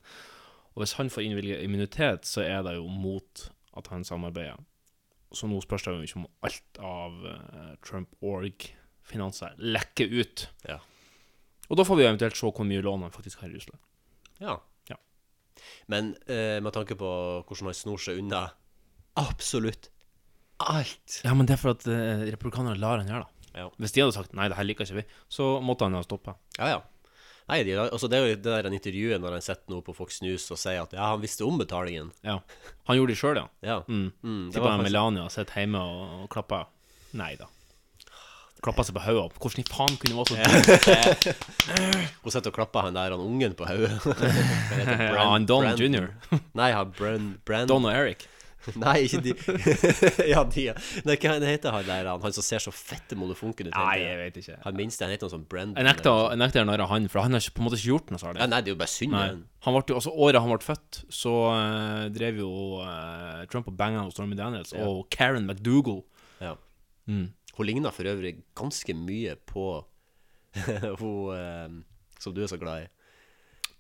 Speaker 2: Og hvis han får innvilga immunitet, så er det jo mot at han samarbeider. Så nå spørs det jo ikke om alt av eh, Trump Org-finanser lekker ut.
Speaker 3: Ja.
Speaker 2: Og da får vi jo eventuelt se hvor mye lån han faktisk har i Russland.
Speaker 3: Ja.
Speaker 2: Ja.
Speaker 3: Men eh, med tanke på hvordan han snor seg unna absolutt alt
Speaker 2: Ja, men det er for at eh, republikanerne lar han gjøre det.
Speaker 3: Ja.
Speaker 2: Hvis de hadde sagt nei, det her liker ikke vi, så måtte han ha stoppa.
Speaker 3: Ja, ja. Nei, de, altså det er jo det der en intervjuet når han sitter nå på Fox News og sier at ja, han visste om betalingen.
Speaker 2: Ja. Han gjorde det sjøl, ja.
Speaker 3: Ja.
Speaker 2: Mm.
Speaker 3: Mm, det
Speaker 2: Tipper
Speaker 3: var faktisk-
Speaker 2: Melania sitter hjemme og, og klapper Nei da. Klapper seg på hodet. Hvordan i faen kunne hun være så dum?
Speaker 3: Hun sitter og klapper han der han ungen på hodet.
Speaker 2: Ja, han Don Jr.
Speaker 3: Nei, han Bran... Bran...
Speaker 2: Don og Eric.
Speaker 3: Nei, ikke de Ja, de ja. Nei, hva han heter han der, han, han som ser så fette monofonken ut?
Speaker 2: Nei,
Speaker 3: hele
Speaker 2: jeg
Speaker 3: tiden?
Speaker 2: vet ikke.
Speaker 3: Han minste, han heter noe sånn Brendan.
Speaker 2: Jeg nekter å- jeg nekter å narre han, for han har ikke, på en måte ikke gjort noe
Speaker 3: Ja,
Speaker 2: særlig.
Speaker 3: nei, det er jo bare synd.
Speaker 2: Nei.
Speaker 3: men-
Speaker 2: Han ble jo, altså Året han ble født, så eh, drev jo eh, Trump og banga hos Stormy Daniels og Karen McDougal.
Speaker 3: Ja. Hun ligner for øvrig ganske mye på hun eh, som du er så glad i.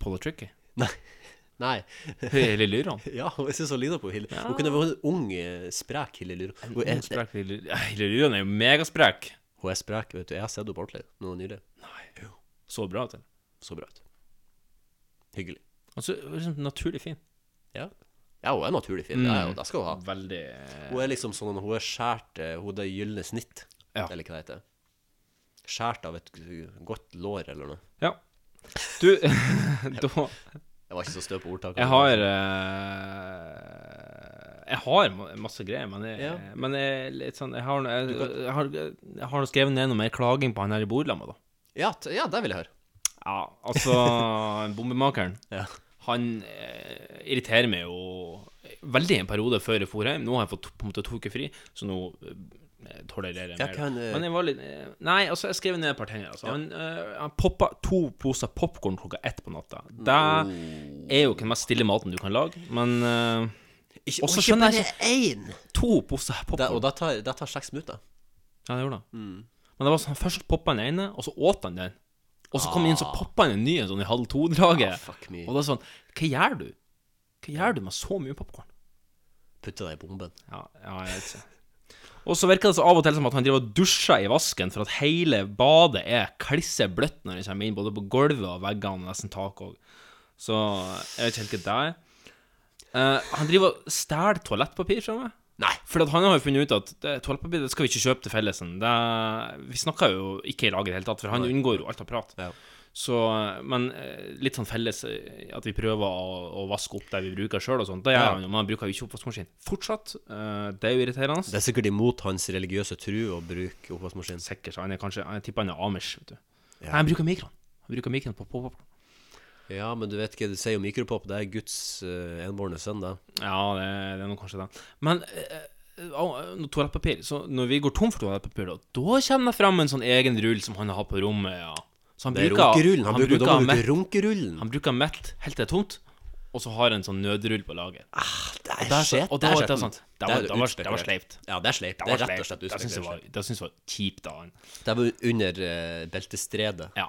Speaker 2: Politricky.
Speaker 3: Nei. Nei.
Speaker 2: Lille Lyran.
Speaker 3: Ja, jeg syns hun ligner på Hilde. Hun kunne vært en ung, eh, sprek Hilde Lyra. Hun, er-
Speaker 2: Sprek Lille Lille Lyran er jo megasprek.
Speaker 3: hun er sprek, vet du. Jeg har sett henne på ordentlig nå nylig.
Speaker 2: Så bra til.
Speaker 3: Så bra ut. Hyggelig.
Speaker 2: Altså, liksom naturlig fin.
Speaker 3: Ja. ja, hun er naturlig
Speaker 2: Mm.
Speaker 3: fin. Det, er, hun. det skal hun ha.
Speaker 2: Veldig eh,
Speaker 3: Hun er liksom sånn Hun er skjært eh, Hun har det gylne snitt
Speaker 2: Ja.
Speaker 3: Eller hva det heter Skjært av et g- godt lår eller noe
Speaker 2: Ja. Du, da
Speaker 3: Jeg var ikke så støv på ordtaket
Speaker 2: Jeg har eh, Jeg har ma- masse greier, men jeg,
Speaker 3: Ja.
Speaker 2: men jeg, er litt sånn, jeg, har, jeg, jeg, har, jeg har skrevet ned noe mer klaging på han her i bordlammet, da.
Speaker 3: ja, t- ja, det vil jeg høre
Speaker 2: Ja, altså Bombemakeren.
Speaker 3: Ja.
Speaker 2: Han eh, irriterer meg jo veldig en periode før jeg for hjem. Nå har jeg fått på en måte to uker fri, så nå eh, tolererer jeg
Speaker 3: Ja,
Speaker 2: mer.
Speaker 3: kan, eh,
Speaker 2: Men jeg var litt eh, Nei, altså, jeg skrev ned et par ting. her, Altså. Han, eh, han poppa to poser popkorn klokka ett på natta. Det er jo ikke den mest stille maten du kan lage, men eh,
Speaker 3: ikke,
Speaker 2: Og så skjønner jeg
Speaker 3: ikke bare en
Speaker 2: to poser
Speaker 3: det, Og
Speaker 2: popkorn.
Speaker 3: det tar, det tar seks minutter
Speaker 2: Ja, det gjorde det.
Speaker 3: Mm.
Speaker 2: Men det var sånn, først poppa han ene, og så åt han den. Og så kom han inn, så poppa han en ny en sånn i halv
Speaker 3: Ah,
Speaker 2: to-draget.
Speaker 3: fuck me.
Speaker 2: og det er sånn Hva gjør du? Hva gjør du med så mye popkorn?
Speaker 3: Putte deg i bomben
Speaker 2: Ja, ja, jeg vet ikke. Og så virker det så av og til som at han driver og dusjer i vasken for at hele badet er klisse bløtt når han kommer inn, både på gulvet og veggene og nesten taket òg. Så jeg vet ikke helt hva det er. Eh, han driver og stjeler toalettpapir fra meg.
Speaker 3: Nei.
Speaker 2: For han har jo funnet ut at det, toalettpapir det skal vi ikke kjøpe til fellesen. Det, vi snakker jo ikke i lag i det hele tatt, for han unngår jo alt av prat.
Speaker 3: Ja.
Speaker 2: Så, men eh, litt sånn felles eh, at vi prøver å, å vaske opp det vi bruker sjøl og sånt. Det gjør
Speaker 3: Ja.
Speaker 2: man jo, man bruker jo ikke oppvaskmaskin fortsatt. Eh, det er jo irriterende.
Speaker 3: Det er sikkert imot hans religiøse tru å bruke oppvaskmaskin.
Speaker 2: Sikkert. så Han er kanskje Jeg tipper han er amish, vet du. Nei, han bruker mikroen. Han bruker mikroen på pop-up.
Speaker 3: Ja, men du vet hva du sier om mikropop. Det er Guds eh, enbårne sønn, det.
Speaker 2: Ja, det, det er nå kanskje det. Men eh, eh, noe toalettpapir Så når vi går tom for toalettpapir, da, da kommer det fram en sånn egen rull som han har på rommet. Ja. Så han
Speaker 3: Det er
Speaker 2: bruker
Speaker 3: runkerullen. Han, bruker, da må du
Speaker 2: mett,
Speaker 3: bruke runkerullen.
Speaker 2: han bruker mett helt til det er tomt, og så har han en sånn nødrull på lager.
Speaker 3: Det
Speaker 2: Og der,
Speaker 3: skjedd,
Speaker 2: og da,
Speaker 3: skjedd.
Speaker 2: det, sånn, det, var,
Speaker 3: Det er
Speaker 2: det, var, det var
Speaker 3: utspekulert.
Speaker 2: sleipt.
Speaker 3: Ja, det er sleipt.
Speaker 2: Det
Speaker 3: Det
Speaker 2: var
Speaker 3: er rett og
Speaker 2: sleipt.
Speaker 3: slett
Speaker 2: Det syns jeg var,
Speaker 3: utspekulert.
Speaker 2: det synes jeg var kjipt av han.
Speaker 3: Det var under eh, beltestredet.
Speaker 2: Ja.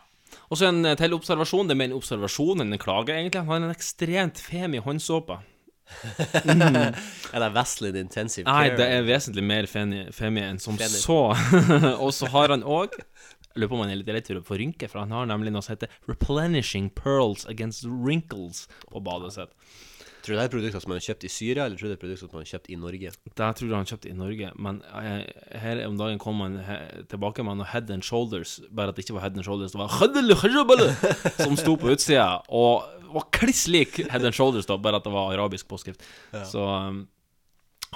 Speaker 2: Og så en eh, til observasjon. Det er mer en observasjon enn en klage, egentlig. Han har en ekstremt femi håndsåpe.
Speaker 3: Ja, det er Vaseline Intensive
Speaker 2: Nei,
Speaker 3: Care.
Speaker 2: det er vesentlig mer femi, femi enn som
Speaker 3: Femi.
Speaker 2: så. og så har han òg Lurer på om han er litt redd for å få rynker, for han har nemlig noe som heter 'Replenishing pearls against wrinkles' på badet sitt.
Speaker 3: Tror du det er produkter som man har kjøpt i Syria, eller tror du det er produkter som man har kjøpt i Norge?
Speaker 2: Det her tror jeg han kjøpte i Norge, men eh, her om dagen kom han he- tilbake med noe Head and Shoulders, bare at det ikke var Head and Shoulders, det var Khadl Khajabal, som sto på utsida, og var kliss lik Head and Shoulders, da, bare at det var arabisk påskrift. Så um,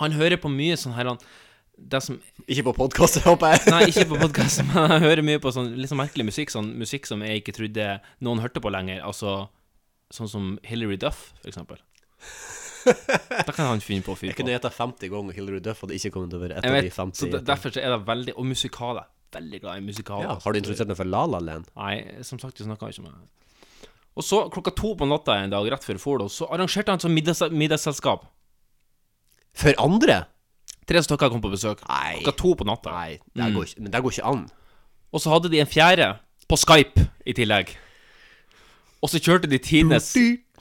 Speaker 2: han hører på mye sånn her han det som,
Speaker 3: Ikke på podkast, håper jeg.
Speaker 2: Nei, ikke på podkast, men han hører mye på sånn litt sånn merkelig musikk, sånn musikk som jeg ikke trodde noen hørte på lenger, altså sånn som Hilary Duff, for eksempel. Da kan han finne på å fyre
Speaker 3: Jeg
Speaker 2: på.
Speaker 3: kunne gjetta 50 ganger Hilary Duff, og det ikke kommet over et
Speaker 2: Jeg
Speaker 3: av de
Speaker 2: vet, så
Speaker 3: 50.
Speaker 2: de- derfor så er det veldig Og musikaler. Veldig glad i musikaler. altså.
Speaker 3: ja, har du introdusert meg for La La Land?
Speaker 2: Nei, som sagt, jeg snakka ikke med henne. Og så, klokka to på natta en dag, rett før Fordo, så arrangerte han sånn middags, middagsselskap.
Speaker 3: For andre?
Speaker 2: Tre stykker kom på besøk.
Speaker 3: Nei.
Speaker 2: Klokka to på natta.
Speaker 3: Nei, det
Speaker 2: Mm.
Speaker 3: her går ikke, men det her går ikke an.
Speaker 2: Og så hadde de en fjerde på Skype i tillegg. Og så kjørte de tidenes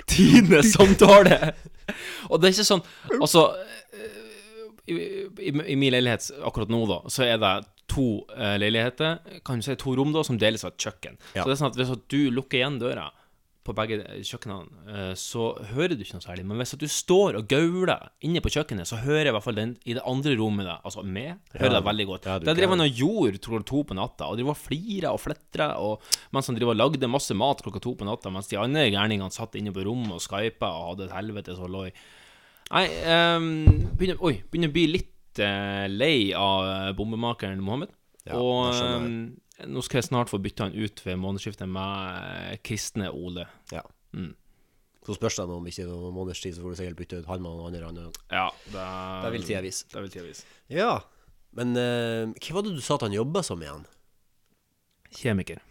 Speaker 2: Tidenes samtale. Og det er ikke sånn Altså eh, i, i, I min leilighet akkurat nå, da, så er det to eh, leiligheter, kan du si to rom, da, som deles av et kjøkken.
Speaker 3: Ja.
Speaker 2: Så det er sånn at hvis at du lukker igjen døra på begge eh, kjøkkenene, eh, så hører du ikke noe særlig. Men hvis at du står og gauler inne på kjøkkenet, så hører i hvert fall den i det andre rommet deg, altså meg, hører deg veldig godt.
Speaker 3: Ja, du
Speaker 2: Der drev
Speaker 3: kan.
Speaker 2: han og gjorde klokka to på natta, og drev og flira og fletra, og mens han drev og lagde masse mat klokka to på natta, mens de andre gærningene satt inne på rommet og skypa og hadde et helvete så lå i. Nei, ehm, begynner, oi, begynner å bli litt eh, lei av eh, bombemakeren Mohammed.
Speaker 3: Ja,
Speaker 2: og
Speaker 3: det skjønner
Speaker 2: ehm, nå skal jeg snart få bytte han ut ved månedsskiftet med eh, kristne Ole.
Speaker 3: Ja.
Speaker 2: Mm.
Speaker 3: Så spørs det nå om ikke noen måneders tid, så får du sikkert bytte ut han med noen andre. andre.
Speaker 2: Ja,
Speaker 3: Det
Speaker 2: Um,
Speaker 3: vil tida vise.
Speaker 2: Det vil tida vise.
Speaker 3: Ja. Men eh, hva var det du sa at han jobba som igjen?
Speaker 2: Kjemiker.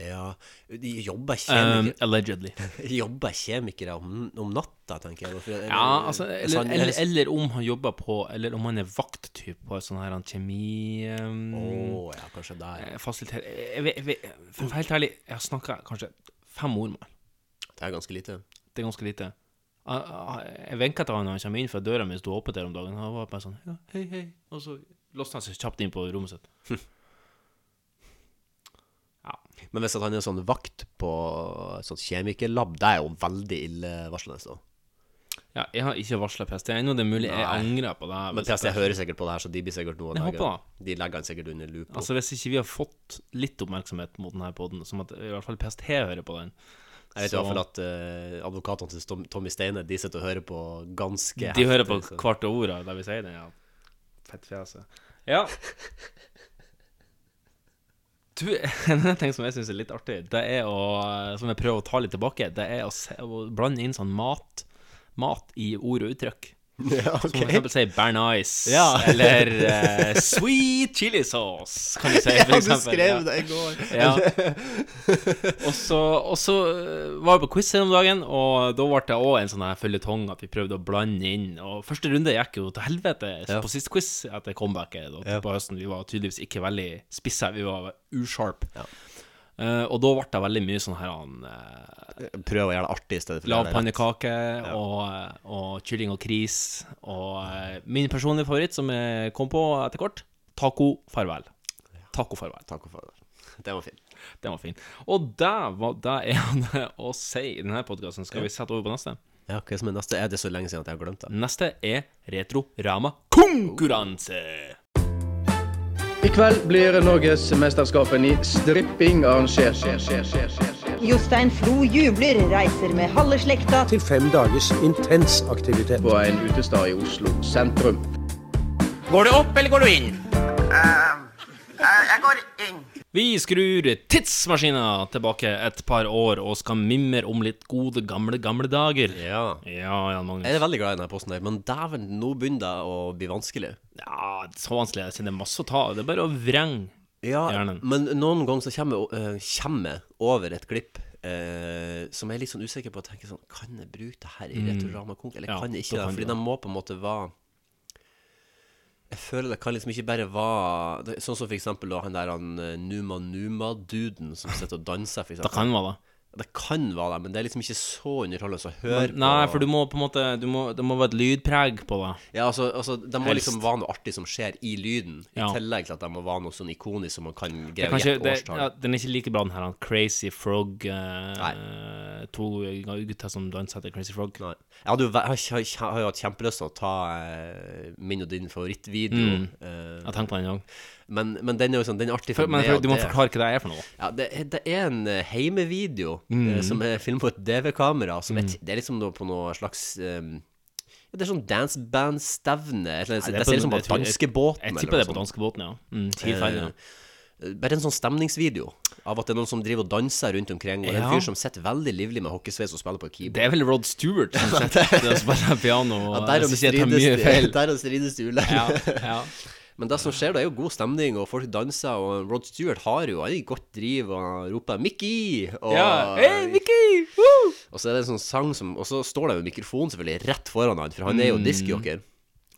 Speaker 3: Ja, de jobber
Speaker 2: Ehm,
Speaker 3: kjemikere,
Speaker 2: allegedly.
Speaker 3: jobber kjemikere om, om natta, tenker jeg. da, for-
Speaker 2: Ja, altså,
Speaker 3: Hvis
Speaker 2: eller,
Speaker 3: han-
Speaker 2: eller, eller om han jobber på Eller om han er vakttyp på et sånn her han kjemi... ehm,
Speaker 3: Å ja, kanskje der.
Speaker 2: eh, Fasiliter... Jeg vet, jeg vet, for å være helt ærlig, jeg har snakka kanskje fem ord med han.
Speaker 3: Det er ganske lite.
Speaker 2: Det er ganske lite. Jeg, jeg vinka til han når han kommer inn, for døra mi sto åpen der om dagen. Han var bare sånn ja, hei, hei. Og så låste han seg kjapt inn på rommet sitt.
Speaker 3: Men hvis at han er sånn vakt på et sånt kjemikerlab, det er jo veldig illevarslende. Så.
Speaker 2: Ja, jeg har ikke varsla PST ennå. Det er mulig jeg
Speaker 3: Nei.
Speaker 2: angrer på det.
Speaker 3: Men PST hører sikkert på det her, så de blir sikkert noe å
Speaker 2: Jeg
Speaker 3: legge-
Speaker 2: håper
Speaker 3: De legger han sikkert under loop.
Speaker 2: Altså, hvis ikke vi har fått litt oppmerksomhet mot denne poden, som at i hvert fall PST hører på den
Speaker 3: jeg vet i
Speaker 2: så-
Speaker 3: hvert fall at eh, advokatene til Tom, Tommy Steine De sitter og hører på ganske
Speaker 2: De hører på
Speaker 3: heftig, så-
Speaker 2: hvert ord av det vi sier. Den, ja. Fettfjeset. Ja. Du, en annen ting som jeg syns er litt artig, det er å Som jeg prøver å ta litt tilbake, det er å, se, å blande inn sånn mat Mat i ord og uttrykk.
Speaker 3: ja,
Speaker 2: Som for
Speaker 3: ok.
Speaker 2: eksempel si 'bern ice',
Speaker 3: Ja.
Speaker 2: eller eh, 'sweet chili sauce', kan du si.
Speaker 3: Ja,
Speaker 2: For
Speaker 3: du
Speaker 2: eksempel.
Speaker 3: skrev det i går.
Speaker 2: Ja. Og så, og så eh, var jeg på quiz her om dagen, og da ble det òg en sånn her føljetong at vi prøvde å blande inn. Og første runde gikk jo til helvete
Speaker 3: Ja.
Speaker 2: på sist quiz etter comebacket da,
Speaker 3: Ja.
Speaker 2: på høsten. Vi var tydeligvis ikke veldig spisse, vi var usharp.
Speaker 3: Ja.
Speaker 2: Eh, og da ble det veldig mye sånn her han eh,
Speaker 3: Prøv å gjøre det artig i stedet for
Speaker 2: Lav
Speaker 3: det der.
Speaker 2: pannekake og, eh, og kylling og kris. Og eh, min personlige favoritt, som jeg kom på etter hvert, taco farvel. Taco farvel.
Speaker 3: Takk for det. Det var fint.
Speaker 2: Den var fin. Og det var det jeg hadde å si i denne podkasten. Skal vi sette over på neste?
Speaker 3: Ja, hva som er neste? Er det så lenge siden at jeg har glemt det?
Speaker 2: Neste er Retrorama konkurranse.
Speaker 7: I kveld blir Norgesmesterskapet i stripping arrangert.
Speaker 8: Jostein Flo jubler, reiser med halve slekta
Speaker 9: til fem dagers intens aktivitet.
Speaker 7: På en utestad i Oslo sentrum.
Speaker 10: Går du opp, eller går du inn?
Speaker 4: Jeg går inn.
Speaker 2: Vi skrur tidsmaskina tilbake et par år og skal mimre om litt gode, gamle, gamle dager.
Speaker 3: Ja.
Speaker 2: Ja, Jan Magnus.
Speaker 3: Jeg er veldig glad i denne posten, her, men dæven, nå begynner det å bli vanskelig.
Speaker 2: Ja, så vanskelig er det ikke. Det er masse å ta av. Det er bare å vrenge.
Speaker 3: Ja,
Speaker 2: Gjerne.
Speaker 3: men noen ganger så kommer jeg eh, kommer jeg over et klipp eh, som jeg er litt sånn usikker på. Jeg tenker sånn Kan jeg bruke det her i Retorama Konk, eller
Speaker 2: Mm. Ja,
Speaker 3: kan jeg
Speaker 2: da
Speaker 3: ikke
Speaker 2: kan
Speaker 3: det?
Speaker 2: du
Speaker 3: Fordi
Speaker 2: det.
Speaker 3: de må på en måte være Jeg føler det kan liksom ikke bare være det- Sånn som for eksempel da, han der han eh, Numa Numa-duden som sitter og danser, for
Speaker 2: Da
Speaker 3: eksempel.
Speaker 2: kan man det.
Speaker 3: Det kan være det, men det er liksom ikke så underholdende å høre på.
Speaker 2: Nei, for du må på en måte du må, Det må være et lydpreg på det.
Speaker 3: Ja, altså, altså Det må
Speaker 2: Helst.
Speaker 3: liksom være noe artig som skjer i lyden, i
Speaker 2: Ja.
Speaker 3: tillegg til at det må være noe sånn ikonisk som man kan
Speaker 2: det, er
Speaker 3: greie å
Speaker 2: kanskje,
Speaker 3: gjette
Speaker 2: det
Speaker 3: årstall.
Speaker 2: ja, Den er ikke like bra, den her han Crazy Frog. eh,
Speaker 3: Nei.
Speaker 2: to gutter som danser etter Crazy Frog.
Speaker 3: Nei. Jeg, hadde, jo ve- har, har, har jo hatt kjempelyst til å ta eh, min og din favorittvideo, eh,
Speaker 2: Jeg tenkte på den en gang.
Speaker 3: men, men den er jo sånn Den er artig
Speaker 2: Mm. For,
Speaker 3: for,
Speaker 2: men
Speaker 3: meg.
Speaker 2: for,
Speaker 3: at
Speaker 2: du må
Speaker 3: det-
Speaker 2: forklare hva det er for noe.
Speaker 3: ja, det, er- det er en eh, heimevideo
Speaker 2: Mm.
Speaker 3: eh, som er filmet på et DV-kamera. som er t- Det er liksom noe på noe slags eh, ja, Det er sånn danceband-stevne. et eller annet.
Speaker 2: Nei,
Speaker 3: Det
Speaker 2: på-
Speaker 3: ser ut som på
Speaker 2: jeg tror- jeg-
Speaker 3: danskebåten.
Speaker 2: Jeg
Speaker 3: eller
Speaker 2: tipper
Speaker 3: noe
Speaker 2: det er på
Speaker 3: sånt.
Speaker 2: danskebåten, ja. Mm,
Speaker 3: Eh,
Speaker 2: Tidferdig.
Speaker 3: Bare en sånn stemningsvideo av at det er noen som driver og danser rundt omkring. Og det er
Speaker 2: Ja.
Speaker 3: en fyr som sitter veldig livlig med hockeysveis og spiller på
Speaker 2: Det
Speaker 3: et keyboard.
Speaker 2: er vel Rod Stewart som sitter og spiller piano. Og,
Speaker 3: Ja, der og
Speaker 2: hvis
Speaker 3: det
Speaker 2: ikke jeg tar
Speaker 3: strides
Speaker 2: mye
Speaker 3: det-
Speaker 2: feil.
Speaker 3: der og det strides det ulike.
Speaker 2: Ja, ja.
Speaker 3: Men det som skjer, det er jo god stemning, og folk danser, og Rod Stewart har jo han er i godt driv og han roper 'Mickey!' Og,
Speaker 2: ja. Hei, Mickey! Woo!
Speaker 3: og så er det en sånn sang som Og så står det jo en mikrofon selvfølgelig rett foran han, for han er jo diskjoker.
Speaker 2: Mm.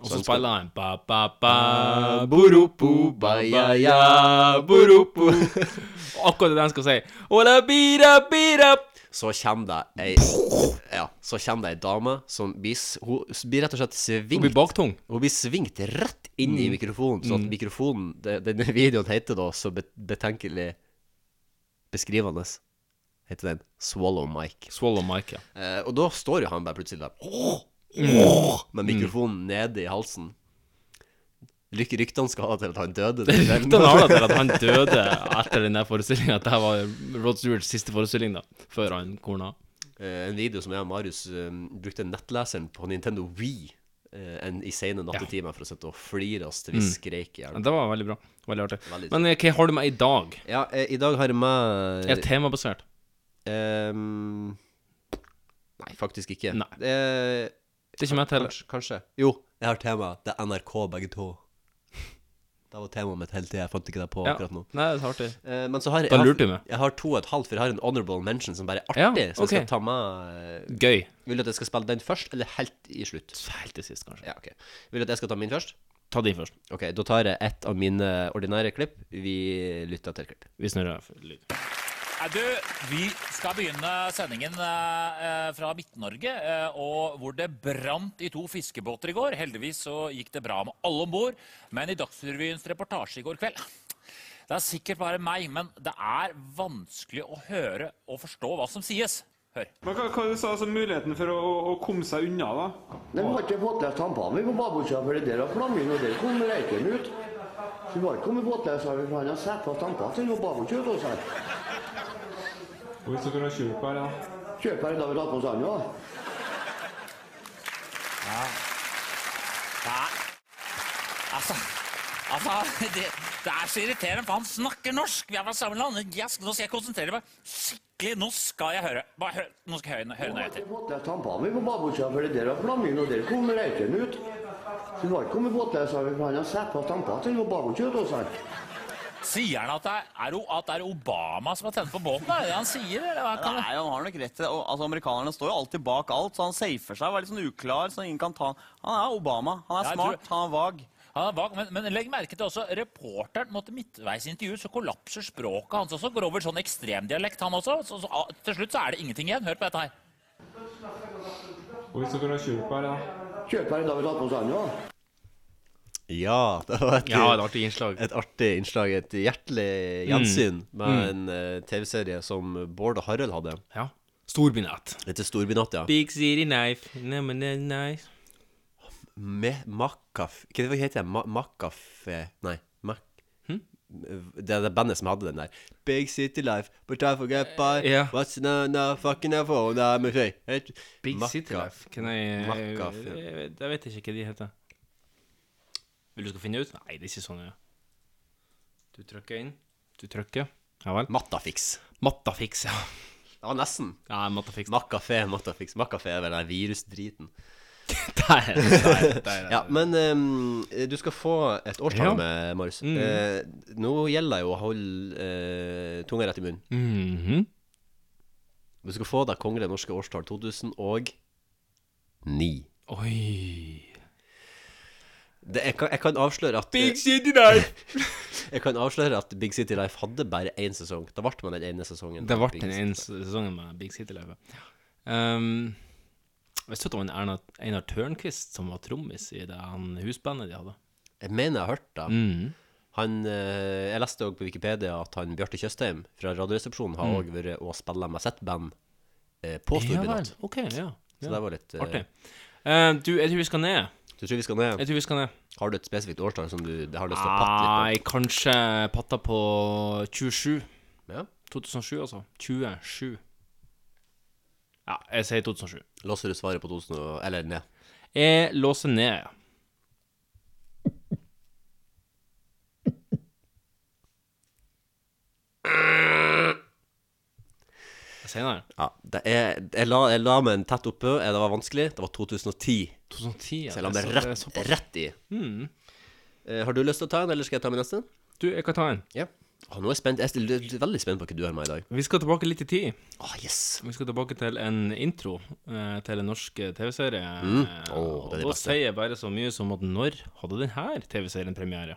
Speaker 2: Og så spiller han ba, ba, Sånn ba,
Speaker 3: Burupu, ba, ja, ja, burupu.
Speaker 2: Og akkurat det han skal si. Ola, bira, bira.
Speaker 3: Så kommer det ei Ja, så kommer det ei dame som blir, s- hun blir rett og slett
Speaker 2: Og blir Mm.
Speaker 3: svingt
Speaker 2: baktung.
Speaker 3: Hun blir svingt rett inn i mikrofonen, så at mikrofonen det, Denne videoen heter da så bet- betenkelig beskrivende Heter den 'Swallow Mic'.
Speaker 2: Swallow Mike, ja.
Speaker 3: Eh, og da står jo han bare plutselig der åh,
Speaker 2: Mm.
Speaker 3: åh, med mikrofonen nede i halsen. Ryk, ryktene skal ha det til at han døde. den kvelden.
Speaker 2: Ryktene har det til at han døde etter den der forestillinga. Det her var Rod Stewarts siste forestilling, da. Før han korna.
Speaker 3: Eh, en video som jeg og Marius eh, brukte nettleseren på Nintendo Wii eh, en, i sene nattetimer for å sitte og flire oss til vi skrek i
Speaker 2: Mm. Ja,
Speaker 3: hjel.
Speaker 2: Det var veldig bra. Veldig artig.
Speaker 3: Veldig
Speaker 2: Men eh, hva har du med i dag?
Speaker 3: Ja, eh, i dag har jeg med
Speaker 2: Er det temabasert?
Speaker 3: Ehm, Nei, faktisk ikke.
Speaker 2: Nei.
Speaker 3: Eh,
Speaker 2: Det er ikke meg til.
Speaker 3: kanskje, kanskje. Jo, jeg har tema. Det er NRK, begge to. Det var temaet mitt hele tida. Jeg fant ikke det på
Speaker 2: Ja.
Speaker 3: akkurat nå.
Speaker 2: Nei, det er artig.
Speaker 3: Eh, men så har jeg,
Speaker 2: Da
Speaker 3: jeg,
Speaker 2: lurte du
Speaker 3: har,
Speaker 2: meg.
Speaker 3: jeg har to og et halvt, for jeg har en honorable mention som bare er
Speaker 2: Ja,
Speaker 3: artig. Så jeg
Speaker 2: ok.
Speaker 3: skal ta med eh,
Speaker 2: Gøy.
Speaker 3: Vil du at jeg skal spille den først, eller helt i slutt?
Speaker 2: Helt til sist, kanskje.
Speaker 3: Ja, ok Vil du at jeg skal ta min først?
Speaker 2: Ta din først.
Speaker 3: Ok, da tar jeg ett av mine ordinære klipp. Vi lytter til klipp.
Speaker 2: Vi snurrer for lyd.
Speaker 11: Nei, Du, vi skal begynne sendingen eh, eh, fra Midt-Norge, eh, og hvor det brant i to fiskebåter i går. Heldigvis så gikk det bra med alle om bord, men i Dagsrevyens reportasje i går kveld Det er sikkert bare meg, men det er vanskelig å høre og forstå hva som sies. Hør.
Speaker 12: Men hva, hva du sa altså, muligheten for å, å, å komme seg unna, da?
Speaker 4: De har ikke båtlest tampene vi på babusja, for det der har flammen, og der kom røyken ut. Så vi har ikke kommet båtlest, for han har satt fast tampene sine på babusja ute hos her.
Speaker 12: Hvis dere har kjørt her, da?
Speaker 4: Kjøper da vi tatt på oss han, ja.
Speaker 11: Nei. Altså, altså det, det er så irriterende, for han snakker norsk. Vi er fra samme land. Jeg, skal- nå skal jeg konsentrere meg skikkelig. Nå skal jeg høre. Bare hør, nå skal jeg høre, høre nøye til.
Speaker 4: Båtlest tampene vi på babusja, for det der har flammen, og der kom røyken ut. Så vi har ikke kommet båtlest, for han har satt fast tampene sine på babusja ute hos her.
Speaker 11: Sier han at det er, er, o- at det er Obama som har tent på båten? Er det det han sier? Eller hva kan det?
Speaker 10: Nei, han har nok rett til det. Og, altså, Amerikanerne står jo alltid bak alt, så han safer seg. Var litt sånn uklar, så ingen kan ta Han er Obama. Han
Speaker 11: Ja,
Speaker 10: er
Speaker 11: jeg
Speaker 10: smart,
Speaker 11: tror-
Speaker 10: han er vag.
Speaker 11: Han er bak, men, men legg merke til også, reporteren måtte midtveis intervjue, så kollapser språket hans også. Går over sånn ekstremdialekt, han også. Så, så, ah, til slutt så er det ingenting igjen. Hør på dette her.
Speaker 12: Og hvis dere har kjørt her, da?
Speaker 4: Kjøper da vi tatt på oss han, ja.
Speaker 3: Ja, det var et,
Speaker 2: Ja, et artig innslag.
Speaker 3: et artig innslag. Et hjertelig gjensyn med en eh, TV-serie som Bård og Harald hadde.
Speaker 2: Ja. Storbynett.
Speaker 3: Etter Storbynatt, ja.
Speaker 2: Big city knife. Neimen, det er nice. Hm?
Speaker 3: Med Makaf... Hva heter det? Ma Makafe... Nei. eh, Mak... Det er det bandet som hadde den der Big City Life, but I forget by
Speaker 2: Eh, Ja.
Speaker 3: What's na na fucking I for na me say Et-
Speaker 2: Big
Speaker 3: Makka.
Speaker 2: City Life. Kan jeg
Speaker 3: Makka,
Speaker 2: jeg,
Speaker 3: ja.
Speaker 2: eh, jeg, jeg vet ikke hva de heter. Vil du skal finne ut? Nei, det er ikke sånn. Ja. Du trykker inn. Du trykker. Ja vel.
Speaker 3: Mattafix.
Speaker 2: Mattafix, ja.
Speaker 3: Det var nesten.
Speaker 2: Nei, Mattafix.
Speaker 3: Makkafe, Mattafix. Makkafe er vel den virusdriten.
Speaker 2: Der, der, der.
Speaker 3: Ja, men ehm, du skal få et
Speaker 2: Ja.
Speaker 3: årstall med, Marius.
Speaker 2: Mm.
Speaker 3: Eh, nå gjelder det jo å holde eh, tunga rett i munnen.
Speaker 2: Mhm.
Speaker 3: Du skal få deg Kongelig norske årstall 2009.
Speaker 2: Oi.
Speaker 3: Det, jeg, kan, jeg kan avsløre at
Speaker 2: Big City Life!
Speaker 3: Jeg kan avsløre at Big City Life hadde bare én sesong. Da ble man den ene sesongen.
Speaker 2: Det ble
Speaker 3: Big
Speaker 2: den
Speaker 3: City.
Speaker 2: ene sesongen med Big City Live. Um, visste du at det var en Erna, Einar Tørnquist som var trommis i det han husbandet de hadde?
Speaker 3: Jeg mener jeg har hørt det.
Speaker 2: Mhm.
Speaker 3: Han, eh, jeg leste også på Wikipedia at han Bjarte Tjøstheim fra Radioresepsjonen har
Speaker 2: Mm.
Speaker 3: òg vært og spilla med sitt band eh, på
Speaker 2: Ja vel,
Speaker 3: Storbynatt.
Speaker 2: ok, ja.
Speaker 3: Så
Speaker 2: ja.
Speaker 3: det var litt eh,
Speaker 2: Artig. Eh, du, jeg tror vi skal ned.
Speaker 3: Du tror vi skal ned?
Speaker 2: Jeg tror vi skal ned.
Speaker 3: Har du et spesifikt årstall som du har lyst til å patte
Speaker 2: Nei,
Speaker 3: litt
Speaker 2: kanskje patta på 27.
Speaker 3: Ja.
Speaker 2: 2007, altså. 27. Ja, jeg sier 2007.
Speaker 3: på? Låser du svaret på 2000 og, eller ned?
Speaker 2: Jeg låser ned. Jeg sier nei.
Speaker 3: Ja, det er, jeg, la, jeg la meg en tett oppå. eh, Det var vanskelig. Det var 2010.
Speaker 2: 2010, ja.
Speaker 3: Så jeg la
Speaker 2: Det er
Speaker 3: meg
Speaker 2: så- det er
Speaker 3: rett,
Speaker 2: såpass.
Speaker 3: rett i. Hmm.
Speaker 2: Mm.
Speaker 3: Eh, har du lyst til å ta en, eller skal jeg ta min neste?
Speaker 2: Du, jeg kan ta en.
Speaker 3: Ja. Å, nå er jeg spent. Jeg er litt- veldig spent på hva du har med i dag.
Speaker 2: Vi skal tilbake litt i tid.
Speaker 3: Ah, yes.
Speaker 2: Vi skal tilbake til en intro eh, til en norsk TV-serie.
Speaker 3: Mm.
Speaker 2: Eh,
Speaker 3: Åh, det er det
Speaker 2: og da
Speaker 3: beste.
Speaker 2: sier jeg bare så mye som at når hadde denne TV-serien premiere?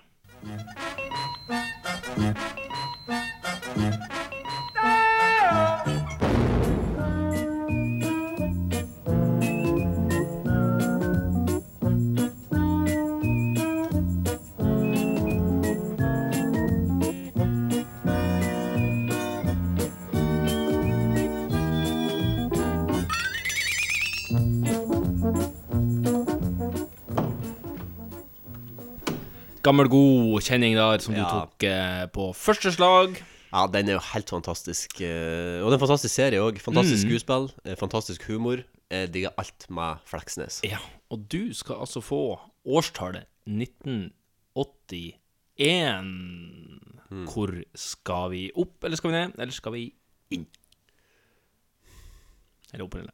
Speaker 2: Gammel god kjenning der som du
Speaker 3: Ja.
Speaker 2: tok eh, på første slag.
Speaker 3: Ja, den er jo helt fantastisk. eh, Og det er en fantastisk serie òg. Fantastisk
Speaker 2: Mm.
Speaker 3: skuespill, eh, fantastisk humor. Jeg digger alt med Fleksnes.
Speaker 2: Ja, og du skal altså få årstallet 1981.
Speaker 3: Hmm.
Speaker 2: Hvor skal vi opp, eller skal vi ned, eller skal vi inn? Eller opp eller ned?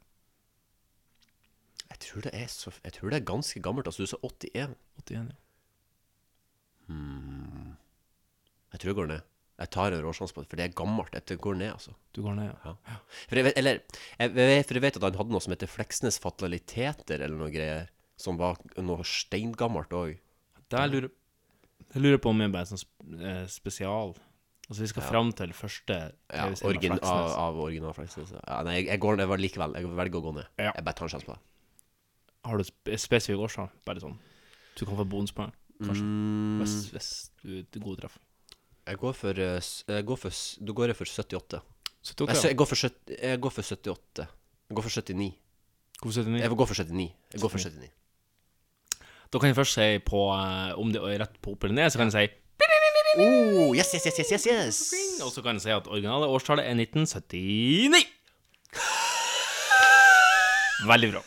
Speaker 3: Jeg tror det er, så, jeg tror det er ganske gammelt. Altså, du sa 81.
Speaker 2: 81, ja.
Speaker 3: Jeg tror jeg går ned. Jeg tar en råsjanse på det, for det er gammelt. Jeg tror jeg går ned, altså.
Speaker 2: Du går ned, ja.
Speaker 3: Ja. For, jeg vet, eller, jeg, vet- for jeg vet at han hadde noe som heter Fleksnes fataliteter, eller noe greier. Som var noe steingammelt òg.
Speaker 2: Der lurer jeg lurer på om jeg bare er sånn sp- eh, spesial. Altså, vi skal fram til første
Speaker 3: Ja,
Speaker 2: TV-serien av
Speaker 3: origin, ah, av,
Speaker 2: Flaksnes.
Speaker 3: av original Fleksnes. Ja, nei, jeg, jeg går ned likevel. Jeg velger å gå ned.
Speaker 2: Ja.
Speaker 3: Jeg bare tar en sjanse på det. ah.
Speaker 2: Har du et sp- spesifikk årstall? Bare sånn. Du kan få bonuspoeng, kanskje.
Speaker 3: Mm.
Speaker 2: Hvis, hvis du, du gode treff.
Speaker 3: Jeg går for, eh, s- jeg går for s- Da går jeg for 78.
Speaker 2: Så
Speaker 3: Nei,
Speaker 2: tok
Speaker 3: så
Speaker 2: jeg.
Speaker 3: jeg, går for, sytt- jeg går for 78. Jeg går for 79.
Speaker 2: Hvorfor 79?
Speaker 3: Jeg går for 79. Jeg går for 79.
Speaker 2: Da kan jeg først si på eh, om det er rett på opp eller ned, så kan jeg si
Speaker 3: Oh, yes, yes, yes, yes, yes, yes.
Speaker 2: Og så kan jeg si at originale årstallet er 1979. Veldig bra.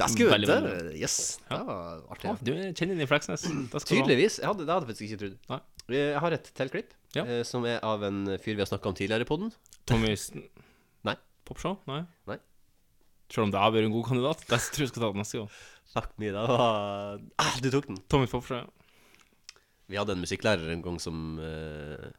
Speaker 3: Der skulle
Speaker 2: Veldig,
Speaker 3: vi
Speaker 2: veldig
Speaker 3: vite. Yes. Det var
Speaker 2: Ja,
Speaker 3: artig.
Speaker 2: du kjenner din Fleksnes. Det skal du ha.
Speaker 3: Tydeligvis. Jeg hadde, det hadde jeg faktisk ikke
Speaker 2: Nei.
Speaker 3: trodd. Jeg har et til klipp,
Speaker 2: Ja.
Speaker 3: eh, som er av en fyr vi har snakka om tidligere i poden.
Speaker 2: Tommy Sn-
Speaker 3: Nei.
Speaker 2: Popshow? Nei.
Speaker 3: Nei.
Speaker 2: Tror du om det er en god kandidat? Det tror jeg skal ta den neste gang.
Speaker 3: Takk mye, det var ah, Du tok den.
Speaker 2: Tommy Popshow.
Speaker 3: Vi hadde en musikklærer en gang som eh,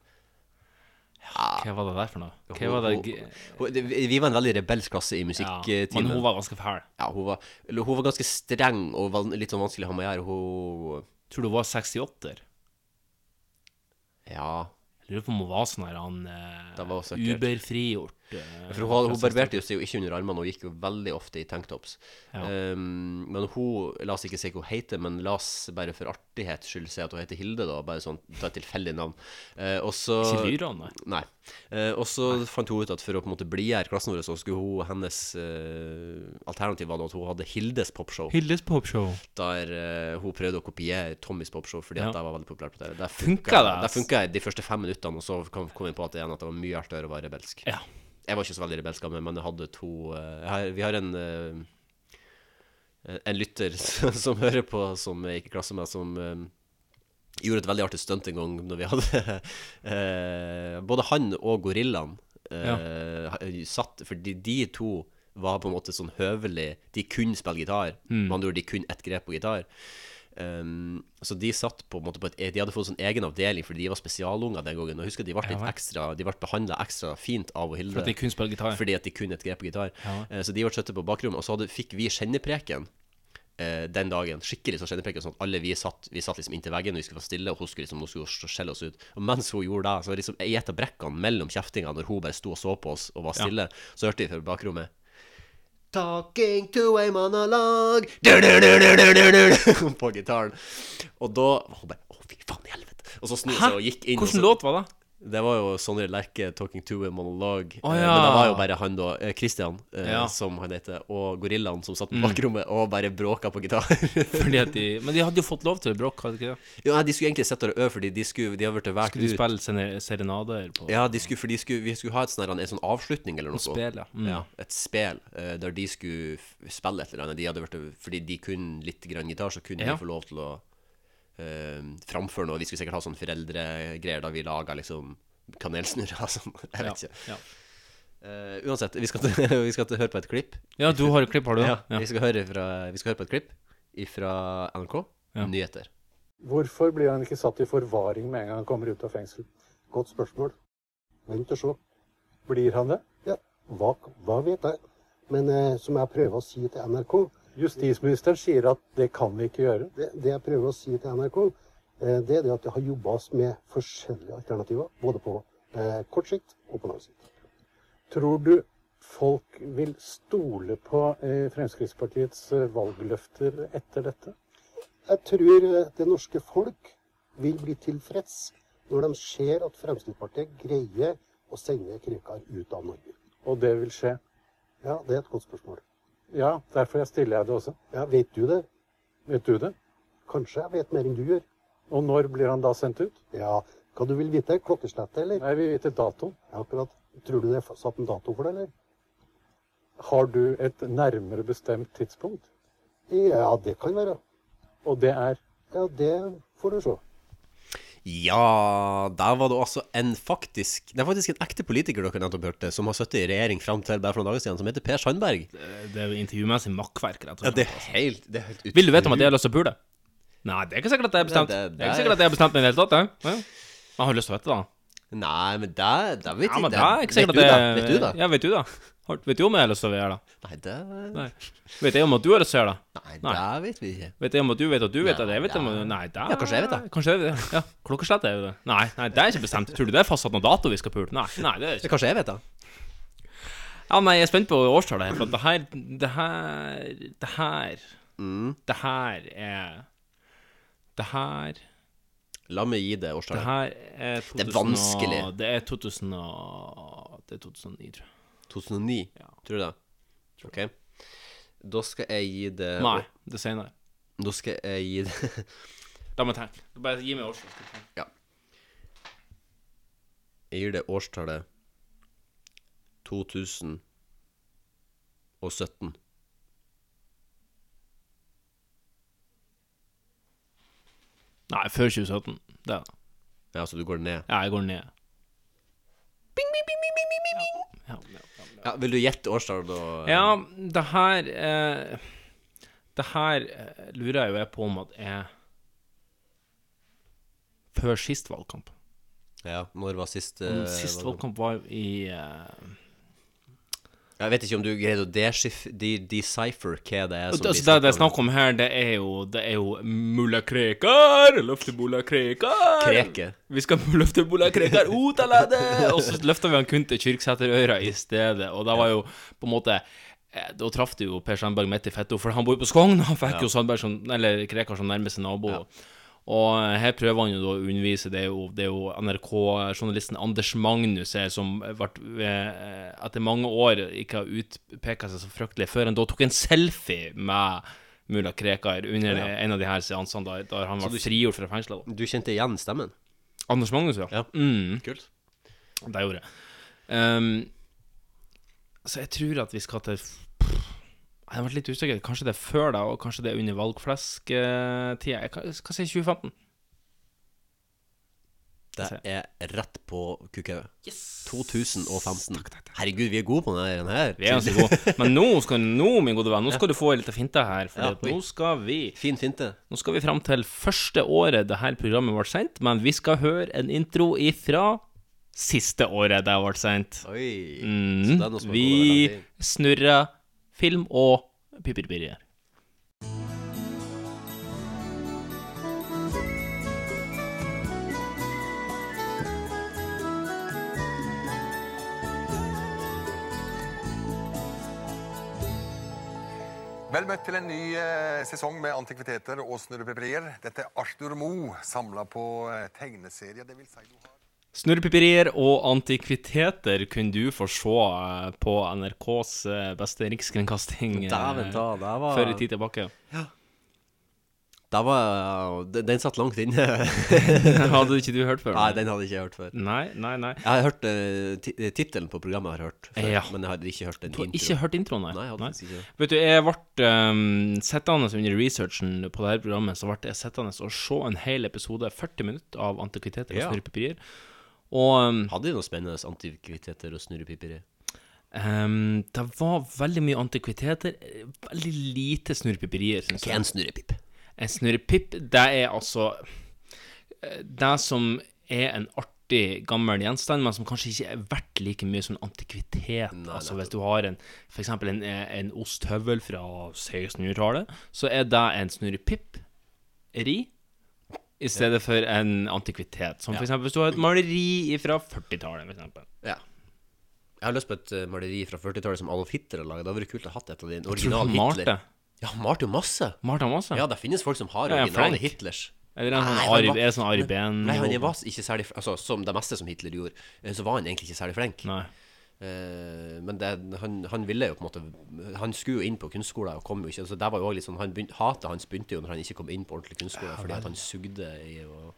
Speaker 2: Hva var det der for noe? Hva
Speaker 3: hun-
Speaker 2: var det
Speaker 3: hun-
Speaker 2: g-
Speaker 3: hun- det- Vi vi var en veldig rebelsk klasse i
Speaker 2: ja. Men
Speaker 3: musikktimen.
Speaker 2: hun var ganske fæl.
Speaker 3: Ja, hun var, eller, hun var ganske streng og van, litt sånn vanskelig å ha med å gjøre. Hun
Speaker 2: Tror du hun var 68-er?
Speaker 3: Ja.
Speaker 2: Lurer på om hun var sånn her han eh,
Speaker 3: Det var hun sikkert.
Speaker 2: Uber-frigjort. eh,
Speaker 3: Ja, For hun, hadde- hun barberte jo seg jo ikke under armene, hun gikk jo veldig ofte i tanktops.
Speaker 2: Ja.
Speaker 3: Um, men hun, la oss ikke si hva hun heter, men la oss bare for artighets skyld si at hun heter Hilde, da. Bare sånn, ta et tilfeldig navn. Eh, og så
Speaker 2: Ikke Lyra, nei.
Speaker 3: Nei. Eh, og så fant hun ut at for å på en måte blidgjøre klassen vår, så skulle hun hennes eh, alternativ var da at hun hadde Hildes popshow.
Speaker 2: Hildes popshow.
Speaker 3: Der eh, hun prøvde å kopiere Tommys popshow, fordi
Speaker 2: Ja.
Speaker 3: at det var veldig populært på TV. Der
Speaker 2: Funka
Speaker 3: funka
Speaker 2: det,
Speaker 3: der
Speaker 2: ass?
Speaker 3: funka jeg de første fem minuttene, og så kom kom jeg på at, igjen, at det var mye artigere å være rebelsk. Jeg var ikke så veldig rebelsk, av meg, men jeg hadde to eh, jeg har, Vi har en eh, en lytter som hører på, som jeg gikk i klasse med, som eh, gjorde et veldig artig stunt en gang når vi hadde eh, Både han og gorillaen eh, ha- satt Fordi de to var på en måte sånn høvelig De kunne spille gitar.
Speaker 2: Mm.
Speaker 3: Med andre ord, de kunne ett grep på gitar. Um, så de satt på en måte på et, De hadde fått sånn egen avdeling fordi de var spesialunger den gangen. Og jeg husker de ble,
Speaker 2: Ja
Speaker 3: litt
Speaker 2: vel.
Speaker 3: ekstra, de ble behandla ekstra fint av og Hilde.
Speaker 2: For at de kunne spille gitar.
Speaker 3: Fordi at de kunne et grep på gitar.
Speaker 2: Ja.
Speaker 3: Eh, Så de ble satt på bakrommet, og så hadde, fikk vi kjennepreken eh, den dagen. Skikkelig sånn kjennepreken, sånn at alle vi satt, vi satt liksom inntil veggen, og vi skulle være stille, og hun skulle liksom, hun skulle skjelle oss ut. Og mens hun gjorde det, så var det liksom i et av brekkene mellom kjeftinga, når hun bare sto og så på oss og var
Speaker 13: Ja.
Speaker 3: stille, så hørte vi fra bakrommet Talking to a monologue Du-du-du-du-du-du-du På gitaren. Og da Hun bare Å, fy faen i helvete. Og så snudde hun seg og gikk inn. og
Speaker 2: Hvordan
Speaker 3: så-
Speaker 2: låt var det?
Speaker 3: det var jo Sondre Lerche, 'Talking to a Monologue'.
Speaker 2: Å,
Speaker 3: Eh,
Speaker 2: ja.
Speaker 3: Men det var jo bare han, da. eh, Christian, eh,
Speaker 2: Ja.
Speaker 3: som han heter. Og gorillaen som satt på
Speaker 2: Mm.
Speaker 3: bakrommet og bare bråka på gitar.
Speaker 2: Fordi at de, men de hadde jo fått lov til å bråke, hadde de ikke det?
Speaker 3: ja, nei, de skulle egentlig sitte der og øve, fordi de, skulle, de har vært valgt
Speaker 2: Skulle de
Speaker 3: ut.
Speaker 2: spille sene- serenader på
Speaker 3: Ja, de skulle, for de skulle, vi skulle ha et sånn her- en sånn avslutning eller
Speaker 2: Et
Speaker 3: noe.
Speaker 2: spel, ja. Mm.
Speaker 3: ja et spel eh, der de skulle f- spille et eller annet. De hadde vært, fordi de kunne litt grann gitar, så kunne
Speaker 2: Ja.
Speaker 3: de få lov til å eh, framføre noe. Vi skulle sikkert ha sånn foreldregreier da vi laga liksom kanelsnurrer og sånn. Jeg vet ikke. Eh, uansett, vi skal, til, vi skal til høre på et klipp.
Speaker 2: Ja, du har et klipp, har du det?
Speaker 3: Ja,
Speaker 2: Ja.
Speaker 3: Vi, skal høre fra, vi skal høre på et klipp fra NRK Nyheter.
Speaker 14: Hvorfor blir han ikke satt i forvaring med en gang han kommer ut av fengsel? Godt spørsmål. Vent og se. Blir han det? Ja. Hva, hva vet jeg? Men eh, som jeg prøver å si til NRK Justisministeren sier at det kan vi ikke gjøre. Det, det jeg prøver å si til NRK, eh, det er det at det har jobba med forskjellige alternativer. Både på eh, kort sikt og på lang sikt. Tror du folk vil stole på eh, Fremskrittspartiets eh, valgløfter etter dette? Jeg tror det norske folk vil bli tilfreds når de ser at Fremskrittspartiet greier å sende Krekar ut av Norge. Og det vil skje? Ja, det er et godt spørsmål. Ja, derfor stiller jeg det også. Ja, Vet du det? Vet du det? Kanskje jeg vet mer enn du gjør. Og når blir han da sendt ut? Ja, Hva du vil vite? Klokkeslettet, eller? Nei, vi vil vite datoen. Ja, akkurat. Tror du det er satt en dato for det, eller? Har du et nærmere bestemt tidspunkt? Ja, det kan være. Og det er? Ja, det får du se.
Speaker 3: Ja, der var det også en faktisk Det er faktisk en ekte politiker dere nettopp hørte, som har sittet i regjering fram til bare for noen dager siden, som heter Per Sandberg.
Speaker 2: Det er jo intervjumessig makkverk, rett og
Speaker 3: Ja,
Speaker 2: slett.
Speaker 3: det er helt, det er helt
Speaker 2: Vil du vite om at jeg har lyst til å pule? Nei, det er ikke sikkert at jeg har bestemt.
Speaker 3: Nei,
Speaker 2: Det, er
Speaker 3: det-
Speaker 2: ikke
Speaker 3: det-
Speaker 2: sikkert at jeg har bestemt meg i det hele tatt, jeg. Ja. Jeg har lyst til å vite det, da.
Speaker 3: Nei, men det, det vet
Speaker 2: Ja,
Speaker 3: jeg
Speaker 2: men det
Speaker 3: det-
Speaker 2: er ikke sikkert at
Speaker 3: vet, du det?
Speaker 2: jeg-
Speaker 3: vet du det?
Speaker 2: Ja, vet du da? Har- Vet du om jeg har lyst til å gjøre det?
Speaker 3: Nei, det
Speaker 2: Nei. Vet jeg om at du har lyst til å gjøre det?
Speaker 3: Nei, det vet vi ikke.
Speaker 2: Vet jeg om at du vet at du vet at jeg vet det? men- Nei, det
Speaker 3: Ja, kanskje jeg vet det.
Speaker 2: Kanskje jeg vet det. Ja, klokkeslett er jo det. Nei, nei, det er ikke bestemt. Tror du det er fastsatt noen dato vi skal pule? Nei, nei, det er det ikke.
Speaker 3: Kanskje jeg vet det.
Speaker 2: Ja, nei, jeg er spent på årstallet her, for at det her Det her Det her,
Speaker 3: Mm.
Speaker 2: det her er Det her
Speaker 3: La meg gi det
Speaker 2: Det
Speaker 3: årstallet.
Speaker 2: her er 2000
Speaker 3: Det er vanskelig.
Speaker 2: og- Det er 2000 og Det er 2009, tror jeg.
Speaker 3: 2009, tror du det? Ok. Da skal jeg gi det
Speaker 2: Nei, det er senere.
Speaker 3: Da skal jeg gi det
Speaker 2: La meg tenke. Bare gi meg årstallet. skal jeg tenke.
Speaker 3: Ja. Jeg gir det årstallet 2017.
Speaker 2: Nei, før 2017. Det er det.
Speaker 3: Ja, så du går ned?
Speaker 2: Ja, jeg går ned.
Speaker 3: Ja, vil du gjette årstallet da?
Speaker 2: Ja, det her eh, Det her eh, lurer jeg jo jeg på om at er før sist valgkamp. Mm, Eh,
Speaker 3: Ja, når var sist
Speaker 2: Om sist valgkamp var i eh,
Speaker 3: Jeg vet ikke om du greide å deskif- de- decipher hva det er
Speaker 2: Og det-
Speaker 3: som blir
Speaker 2: Altså, det det er snakk
Speaker 3: snakket om.
Speaker 2: om her, det er jo, det er jo mulla Krekar! Løfte mulla Krekar!
Speaker 3: Kreke.
Speaker 2: Vi skal løfte mulla Krekar ut av landet! Og så løfta vi han kun til Kyrksæterøra i stedet, og da var jo på en måte eh, da traff du jo Per Sandberg midt i fetto, for han bor jo på Skogn. Han fikk
Speaker 3: Ja.
Speaker 2: jo Sandberg som, eller Krekar som nærmeste nabo. Og eh, her prøver han jo da å undervise. Det er jo, det er jo NRK-journalisten Anders Magnus her som ble, eh, etter mange år ikke har utpeka seg så fryktelig, før han da tok en selfie med mulla Krekar under
Speaker 3: Ja.
Speaker 2: en av de her seansene da, da han
Speaker 3: Så
Speaker 2: var
Speaker 3: du-
Speaker 2: frigjort fra fengselet.
Speaker 3: Du kjente igjen stemmen?
Speaker 2: Anders Magnus, ja. Mm.
Speaker 3: Kult.
Speaker 2: Det gjorde jeg. Ehm, så jeg tror at vi skal til Jeg har vært litt usikker. Kanskje det er før da, og kanskje det er under valgflesktida. Jeg kan- Hva sier 2015?
Speaker 3: Det er rett på kukauet. 2015. Herregud, vi er gode på denne her.
Speaker 2: Vi er ganske gode. Men nå skal, nå, min gode venn, nå skal du få en liten finte her. For
Speaker 3: Ja,
Speaker 2: at
Speaker 3: oi.
Speaker 2: nå skal vi
Speaker 3: Fin finte.
Speaker 2: Nå skal vi fram til første året det her programmet ble sendt, men vi skal høre en intro ifra siste året det ble sendt.
Speaker 3: Oi.
Speaker 2: Mm.
Speaker 3: Så det er noe som har gått over
Speaker 2: vi
Speaker 3: lang tid.
Speaker 2: snurrer film og pipirpirrier.
Speaker 13: Vel møtt til en ny eh, sesong med antikviteter og snurrepipperier. Dette er Arthur Moe samla på eh, tegneserier. Det vil si du har
Speaker 2: Snurrepiperier og antikviteter kunne du få se eh, på NRKs eh, beste rikskringkasting eh,
Speaker 3: Dæven ta, det var-
Speaker 2: før i tid tilbake.
Speaker 3: Da var, den, den satt langt inne.
Speaker 2: hadde ikke du hørt før?
Speaker 3: Nei, den hadde ikke jeg hørt før.
Speaker 2: Nei, nei, nei.
Speaker 3: Jeg har hørt eh, ti- eh, tittelen på programmet, har jeg hørt før,
Speaker 2: Ja.
Speaker 3: men jeg hadde ikke hørt den
Speaker 2: Du har
Speaker 3: introen.
Speaker 2: ikke hørt introen, nei?
Speaker 3: Nei, jeg hadde
Speaker 2: Nei.
Speaker 3: faktisk ikke det.
Speaker 2: Vet du, jeg ble um, sittende under researchen på dette programmet, så ble jeg sittende og se en hel episode, 40 minutter, av Antikviteter og
Speaker 3: Ja.
Speaker 2: snurrepiperier. Og um,
Speaker 3: Hadde de noen spennende antikviteter og snurrepiper i?
Speaker 2: um, det var veldig mye antikviteter, eh, veldig lite snurrepiperier, syns jeg.
Speaker 3: Hva er en snurrepipp?
Speaker 2: En snurrepipp, det er altså eh, det som er en artig gammel gjenstand, men som kanskje ikke er verdt like mye som en antikvitet. altså Hvis du har en, for eksempel en, eh, en osthøvel fra 1600-tallet, så er det en snurrepipp-ri i stedet for en antikvitet. Som for eksempel hvis du har et maleri fra 40-tallet, for eksempel.
Speaker 3: Ja. Jeg har lyst på et eh, maleri fra 40-tallet som Adolf Hitler har laget. Det hadde vært kult å ha hatt et av de
Speaker 2: tror du
Speaker 3: originale
Speaker 2: han malte?
Speaker 3: Hitler. Ja, han malte jo masse.
Speaker 2: Malte han masse?
Speaker 3: Ja, Mm, det finnes folk som har
Speaker 2: Ja, ja,
Speaker 3: originale
Speaker 2: Frank.
Speaker 3: Hitlers.
Speaker 2: Eller en sånn
Speaker 3: Nei, han
Speaker 2: Ari-
Speaker 3: var-
Speaker 2: er det sånn Ari Behn-
Speaker 3: Nei, han var ikke særlig Altså, som det meste som Hitler gjorde, eh, så var han egentlig ikke særlig flink.
Speaker 2: Nei.
Speaker 3: Eh, men det, han, han ville jo på en måte Han skulle jo inn på kunstskolen og kom jo ikke. Så det var jo også litt sånn han begyn- Hatet hans begynte jo når han ikke kom inn på ordentlig kunstskole, fordi at han sugde i å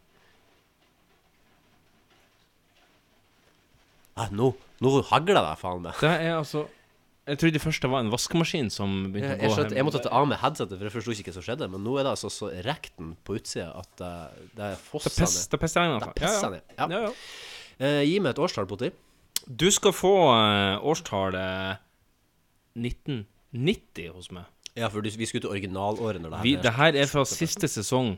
Speaker 3: ah, Nå, nå hagler det faen meg.
Speaker 2: Det er altså Jeg trodde først det var en vaskemaskin som begynte
Speaker 3: Jeg,
Speaker 2: å
Speaker 3: jeg,
Speaker 2: gå
Speaker 3: skjønte, jeg måtte ta av meg headsetet, for jeg forsto ikke hva som skjedde. Men nå er det altså så rekten på utsida at det, det er fossene
Speaker 2: pess- det pisser ned, altså.
Speaker 3: Det
Speaker 2: Ja,
Speaker 3: pisser
Speaker 2: ja.
Speaker 3: ned, ja. Eh, gi meg et årstall, Potti.
Speaker 2: Du skal få eh, årstallet 1990 hos meg.
Speaker 3: Ja, for du, vi skulle til originalåret når det her
Speaker 2: Vi,
Speaker 3: ble-
Speaker 2: det her er fra siste sesong.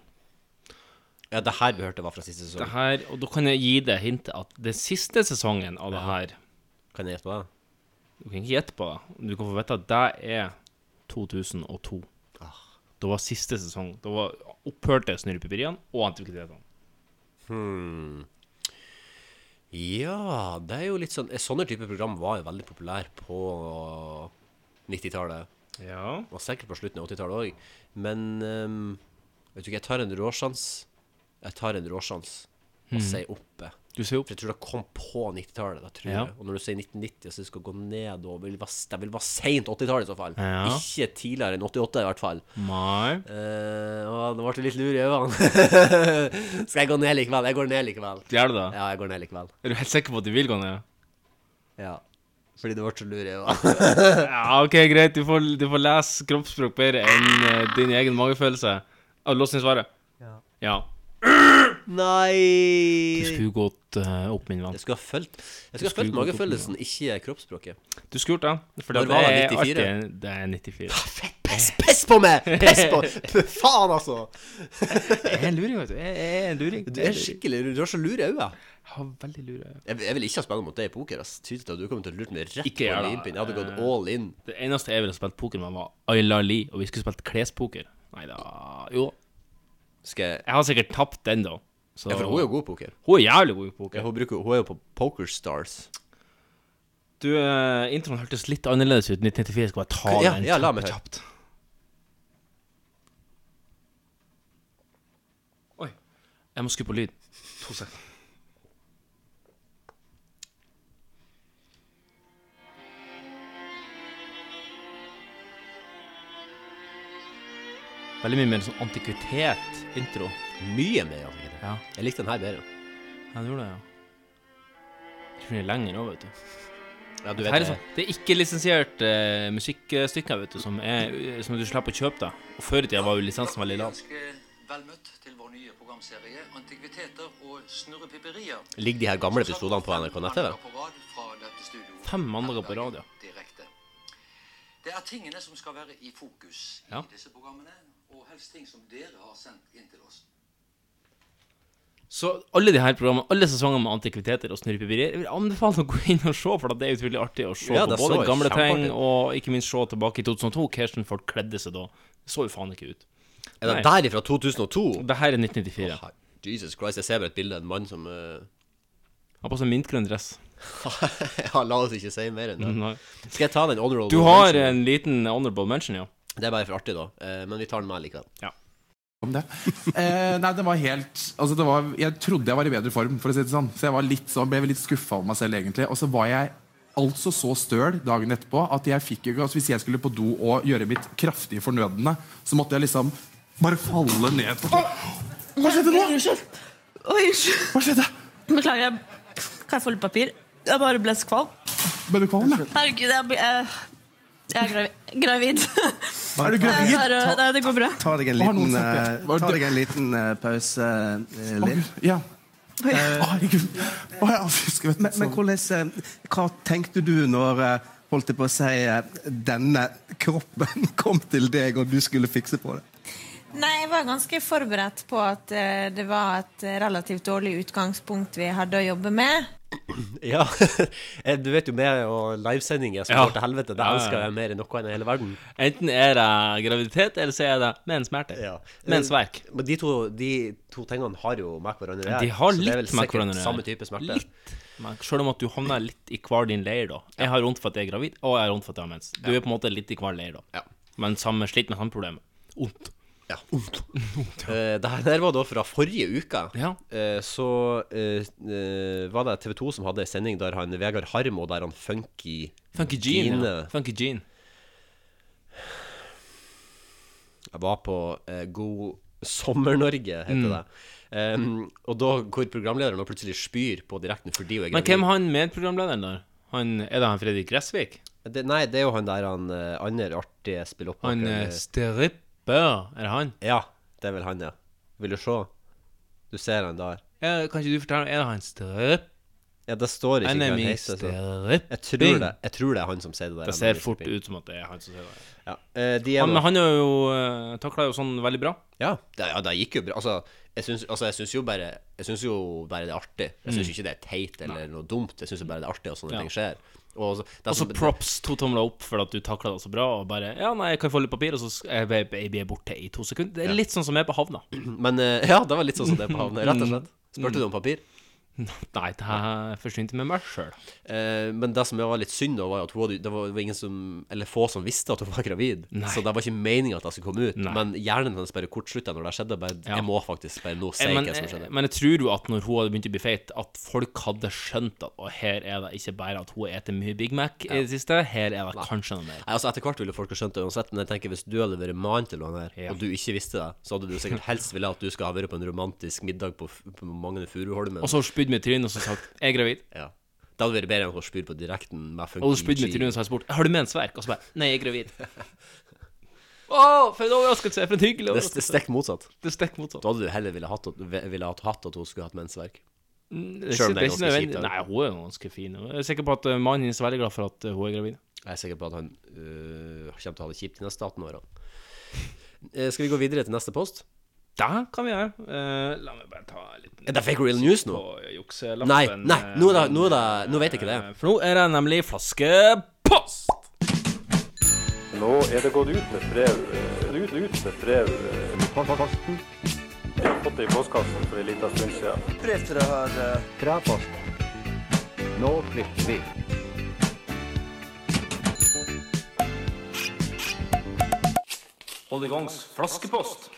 Speaker 3: Ja, det her vi hørte var fra siste sesong.
Speaker 2: Det her, og da kan jeg gi deg hintet at den siste sesongen av det her
Speaker 3: Kan jeg gjette på det?
Speaker 2: Du kan ikke gjette på det. Du kan få vite at det er 2002.
Speaker 3: Ah.
Speaker 2: Det var siste sesong. Da var opphørte snurrepiperiene og antikvitetene.
Speaker 3: Hmm. Ja, det er jo litt sånn eh, Sånne type program var jo veldig populære på 90-tallet.
Speaker 2: Ja.
Speaker 3: Og sikkert på slutten av 80-tallet òg. Men ehm, vet du ikke, jeg tar en råsjans. Jeg tar en råsjans og
Speaker 2: Mhm.
Speaker 3: sier oppe.
Speaker 2: Du sier opp.
Speaker 3: For jeg tror det kom på 90-tallet. da, tror
Speaker 2: Ja.
Speaker 3: jeg. Og når du sier 1990, så det skal gå nedover Det vil være- det vil være seint 80-tallet i så fall.
Speaker 2: Ja.
Speaker 3: Ikke tidligere enn 88 i hvert fall.
Speaker 2: Nei.
Speaker 3: Eh, å, nå ble det litt lur i øynene. Skal jeg gå ned likevel? Jeg går ned likevel.
Speaker 2: Gjør du det?
Speaker 3: Ja, jeg går ned likevel.
Speaker 2: Er du helt sikker på at du vil gå ned?
Speaker 3: Ja. Fordi du ble så lur i øynene.
Speaker 2: ja, OK, greit. Du får, du får lese kroppsspråk bedre enn eh, din egen magefølelse. Ah, Lås inn svaret.
Speaker 3: Ja.
Speaker 2: ja.
Speaker 3: Nei
Speaker 2: Du skulle gått opp, eh, opp min venn.
Speaker 3: Jeg skulle ha fulgt Jeg
Speaker 2: Du
Speaker 3: skulle ha fulgt
Speaker 2: skulle gått opp
Speaker 3: magefølelsen, ikke kroppsspråket.
Speaker 2: Du skulle gjort det. For
Speaker 3: Når
Speaker 2: det,
Speaker 3: var det?
Speaker 2: er
Speaker 3: 94?
Speaker 2: alltid- det er 94.
Speaker 3: Pess, pess på meg! Pess på! P- Faen, altså!
Speaker 2: Jeg er en luring, vet du. Jeg er en luring.
Speaker 3: Du er skikkelig Du har så lure øyne.
Speaker 2: Har veldig lure øyne.
Speaker 3: Jeg, jeg vil ikke ha spilt mot deg i poker. ass Tydelig at du kommer til å lure meg rett
Speaker 2: Ikke
Speaker 3: på
Speaker 2: gjør det.
Speaker 3: limpinnen. Jeg hadde gått all in.
Speaker 2: Det eneste jeg ville spilt poker med, var Ayla Lee, og vi skulle spilt klespoker. Nei da Jo.
Speaker 3: Skal jeg
Speaker 2: Jeg har sikkert tapt den, da. Så-
Speaker 3: Ja, for hun er jo god i poker.
Speaker 2: Hun er jævlig god i poker.
Speaker 3: Ja, hun, bruker, hun er jo på PokerStars.
Speaker 2: Du, eh, introen hørtes litt annerledes ut. 1994 skal bare ta
Speaker 3: Ja,
Speaker 2: den
Speaker 3: ja, la
Speaker 2: kjapt-
Speaker 3: meg høre.
Speaker 2: kjapt. Oi. Jeg må skru på lyd. To sekunder. Veldig mye mer sånn antikvitet-intro.
Speaker 3: Mye mer antikvitet.
Speaker 2: Ja.
Speaker 3: Jeg likte den her bedre.
Speaker 2: Ja, du gjorde det, ja. Jeg tror den er lenger òg, vet du.
Speaker 3: Ja, du
Speaker 2: Det
Speaker 3: vet
Speaker 2: her er
Speaker 3: det.
Speaker 2: sånn, det er ikke lisensiert eh, musikkstykker, vet du, som, er, som du slipper å kjøpe, da. Og før i tida var jo lisensen veldig lav.
Speaker 15: Ganske Vel møtt til vår nye programserie Antikviteter og snurrepiperier.
Speaker 3: eh, Ligger de her gamle episodene på NRK nett-TV?
Speaker 15: På rad fra dette studio
Speaker 2: Fem mandager på radio.
Speaker 15: direkte. Det er tingene som skal være i fokus
Speaker 2: Ja.
Speaker 15: i disse programmene, og helst ting som dere har sendt inn til oss.
Speaker 2: Så alle de her programmene, alle sesongene med antikviteter og snurrepiperier, jeg vil anbefale å gå inn og se, for at det er utrolig artig å se
Speaker 3: Ja,
Speaker 2: på
Speaker 3: det så
Speaker 2: både
Speaker 3: jeg
Speaker 2: gamle ting
Speaker 3: kjempeartig.
Speaker 2: og ikke minst se tilbake i 2002. Kirsten Ford kledde seg da. Det så jo faen ikke ut.
Speaker 3: Er det
Speaker 2: Nei.
Speaker 3: der ifra 2002?
Speaker 2: Det her er 1994.
Speaker 3: Å, her- Jesus Christ, jeg ser bare et bilde av en mann som eh,
Speaker 2: Han har på seg mintgrønn dress.
Speaker 3: Ja, la oss ikke si mer enn det.
Speaker 2: Nei.
Speaker 3: Skal jeg ta den honorable
Speaker 2: Du har
Speaker 3: mention?
Speaker 2: en liten honorable mention, ja.
Speaker 3: Det er bare for artig, da. Eh, men vi tar den med likevel.
Speaker 2: Ja.
Speaker 16: om det. Eh, nei, det var helt altså det var, Jeg trodde jeg var i bedre form, for å si det sånn. Så jeg var litt, sånn- ble litt skuffa over meg selv, egentlig. Og så var jeg altså så støl dagen etterpå at jeg fikk ikke altså Hvis jeg skulle på do og gjøre mitt kraftige fornødne, så måtte jeg liksom bare falle ned på Hva skjedde nå?
Speaker 17: Unnskyld. Oi, unnskyld.
Speaker 16: Hva skjedde?
Speaker 17: Beklager, jeg kan jeg få litt papir? Jeg bare ble så kvalm.
Speaker 16: Ble du kvalm? ja?
Speaker 17: Herregud, jeg, blir- jeg, jeg er gravid. gravid.
Speaker 18: Er du gravid?
Speaker 17: Jeg klarer å-
Speaker 18: Ta-
Speaker 17: Nei, det går bra.
Speaker 18: Ta deg en
Speaker 17: Har noen
Speaker 18: liten,
Speaker 17: snakket?
Speaker 18: eh,
Speaker 17: Var
Speaker 18: ta
Speaker 17: det-
Speaker 18: deg en liten eh, pause, eh, Linn.
Speaker 16: Ja.
Speaker 17: Oi.
Speaker 16: Herregud. Å, jeg husker, vet du,
Speaker 18: Men, men hvordan, eh, hva tenkte du når eh, holdt jeg på å si, eh, denne kroppen kom til deg, og du skulle fikse på det?
Speaker 19: Nei, jeg var ganske forberedt på at eh, det var et relativt dårlig utgangspunkt vi hadde å jobbe med.
Speaker 3: Ja, eh, du vet jo meg og livesendinger som
Speaker 2: Ja.
Speaker 3: går til helvete. Det
Speaker 2: Ja, ja, ja.
Speaker 3: elsker jeg mer enn noe annet i hele verden.
Speaker 2: Enten er det graviditet, eller så er det menssmerter. Mensverk.
Speaker 3: Eh, Men de to, de to tingene har jo med hverandre å gjøre,
Speaker 2: De har
Speaker 3: så det er vel
Speaker 2: litt med
Speaker 3: sikkert
Speaker 2: hvordan det er.
Speaker 3: Samme type smerte.
Speaker 2: Litt. Men selv om at du havner litt i hver din leir, da. Jeg har vondt for at jeg er gravid, og jeg har vondt for at jeg har mens. Du
Speaker 3: Ja.
Speaker 2: er på en måte litt i hver leir, da. Men samme slitt med samme problem. Vondt.
Speaker 3: Ja, vondt. Eh, det her der var da fra forrige uke. Eh, så eh, eh, var det TV 2 som hadde en sending der han Vegard Harmo, der han Funky
Speaker 2: Funky Gene, ja.
Speaker 3: Gine-
Speaker 2: Funky Gene.
Speaker 3: Jeg var på eh, God sommer-Norge, heter
Speaker 2: Mm.
Speaker 3: det. Em, og da hvor programlederen nå plutselig spyr på direkten fordi hun er
Speaker 2: Men hvem er han medprogramlederen der? Han, er det han Fredrik Gressvik?
Speaker 3: Det, nei, det er jo han der han eh, andre artige spiller opp
Speaker 2: Han eh, stripper, er det han?
Speaker 3: Ja, det er vel han, ja. Vil du se? Du ser han der.
Speaker 2: Ja, kan ikke du fortelle meg, er det han stripp?
Speaker 3: Ja, det står ikke
Speaker 2: Han er
Speaker 3: hva
Speaker 2: min
Speaker 3: han heter. så-
Speaker 2: stripping.
Speaker 3: Jeg tror det, jeg tror det er han som sier det der.
Speaker 2: Det ser fort ut som at det er han som sier det.
Speaker 3: Ja, eh, de er
Speaker 2: Han,
Speaker 3: nå-
Speaker 2: men han er jo uh, takla jo sånn veldig bra.
Speaker 3: Ja, det, ja, det gikk jo bra. Altså, jeg syns, altså, jeg syns jo bare Jeg syns jo bare det er artig. Jeg syns
Speaker 2: Mm.
Speaker 3: ikke det er teit eller noe dumt. Jeg syns jo bare det er artig at sånne
Speaker 2: Ja.
Speaker 3: ting skjer. Og så- det er
Speaker 2: Og så
Speaker 3: som-
Speaker 2: props to tomler opp for at du takla det så bra. Og bare Ja, nei, jeg kan få litt papir, og så sk- er ba- baby er borte i to sekunder. Det er
Speaker 3: Ja.
Speaker 2: litt sånn som jeg er på havna.
Speaker 3: Men eh, ja, det var litt sånn som det på havna,
Speaker 2: Mm.
Speaker 3: rett og slett. Spurte du om papir?
Speaker 2: Nei, det her forsynte med meg sjøl.
Speaker 3: Eh, men det som var litt synd, da, var jo at hun hadde, det var det var ingen som Eller få som visste at hun var gravid.
Speaker 2: Nei.
Speaker 3: Så det var ikke meninga at det skulle komme ut.
Speaker 2: Nei.
Speaker 3: Men hjernen hennes bare kortslutta når det skjedde. Bare,
Speaker 2: Ja.
Speaker 3: Jeg må faktisk bare nå si
Speaker 2: Eh, Men,
Speaker 3: hva som
Speaker 2: eh,
Speaker 3: skjedde.
Speaker 2: men jeg tror jo at når hun hadde begynt å bli feit, at folk hadde skjønt at Og her er det ikke bare at hun spiser mye Big Mac i det siste, her er det kanskje noe mer.
Speaker 3: Nei, altså Etter hvert ville folk ha skjønt det uansett, men jeg tenker hvis du hadde vært mann til han her, og du ikke visste det, så hadde du sikkert helst ville at du skal ha vært på en romantisk middag på, f- på Magne Furuholmen.
Speaker 2: Og så spydde meg i trynet og så sagt 'Jeg er gravid'.
Speaker 3: Ja. Det hadde vært bedre enn å spyr på direkten med funky
Speaker 2: Og hun spydde meg i
Speaker 3: G.
Speaker 2: trynet og så har jeg spurt 'Har du mensverk?' Og så bare 'Nei, jeg er gravid'. Å, for en overraskelse! For en hyggelig
Speaker 3: Det, det
Speaker 2: overraskelse.
Speaker 3: stekk motsatt.
Speaker 2: Det stekk motsatt.
Speaker 3: Da hadde du heller ville hatt, at- ville hatt, hatt at hun skulle hatt mensverk.
Speaker 2: Mm, Det er ikke- det er ikke
Speaker 3: Selv om det er ganske
Speaker 2: nødvendig-
Speaker 3: kjipt, da.
Speaker 2: Nei, hun er jo ganske fin. Jeg er sikker på at eh, mannen hennes er veldig glad for at eh, hun er gravid.
Speaker 3: Jeg er sikker på at han øh, kommer til å ha det kjipt de neste 18 årene. Eh, skal vi gå videre til neste post?
Speaker 2: Da kan vi gjøre. Eh, la meg bare ta litt
Speaker 3: Er det fake real news nå?
Speaker 2: på
Speaker 3: Nei,
Speaker 2: jukselappen.
Speaker 3: nei,
Speaker 2: eh,
Speaker 3: nå, er det, nå, er det, nå vet jeg ikke det.
Speaker 2: For nå er det nemlig flaskepost!
Speaker 20: Nå er det gått ut et brev. eh, Ut, ut et brev. eh, Jeg har fått det i postkassen for en liten stund siden.
Speaker 21: Brev til eh, det her
Speaker 20: Kraposten. Nå flytter vi.
Speaker 2: Hold i gangs flaskepost.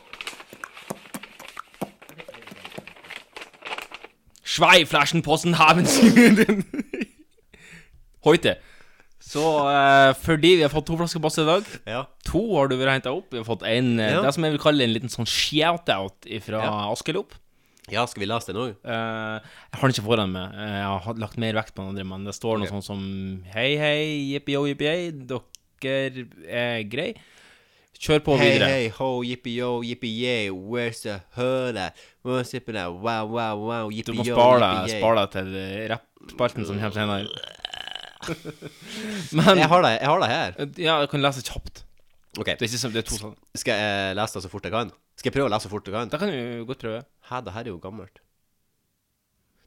Speaker 2: Schweiflaschenposten haben Sie den. Heute. Så eh, fordi vi har fått to flasker post i dag To har du vært henta opp. Vi har fått en, eh,
Speaker 3: Ja.
Speaker 2: det som jeg vil kalle en liten sånn shout-out fra
Speaker 3: Ja.
Speaker 2: Askelopp.
Speaker 3: Ja, skal vi lese det nå?
Speaker 2: Eh, jeg har den ikke foran meg. Eh, jeg har lagt mer vekt på den andre, men det står noe sånt som Hei, hei, jippi-yo, jippi-ei, dere er grei. Kjør på
Speaker 3: Hei,
Speaker 2: videre.
Speaker 3: hei, ho, yippee yo, yippee yay, where's the hurl at? Where's it at? Wow, wow, wow,
Speaker 2: Du
Speaker 3: yippee
Speaker 2: må
Speaker 3: yo,
Speaker 2: spare deg,
Speaker 3: yippee yay.
Speaker 2: spare deg til eh, rappspalten som kommer senere.
Speaker 3: Jeg har det- jeg har det her.
Speaker 2: Ja, jeg kan lese kjapt.
Speaker 3: Ok.
Speaker 2: Det er ikke som det er to sånn.
Speaker 3: Skal jeg lese det så fort jeg kan? Skal jeg prøve å lese så fort jeg kan?
Speaker 2: Det kan du godt prøve.
Speaker 3: Hæ, det her er jo gammelt.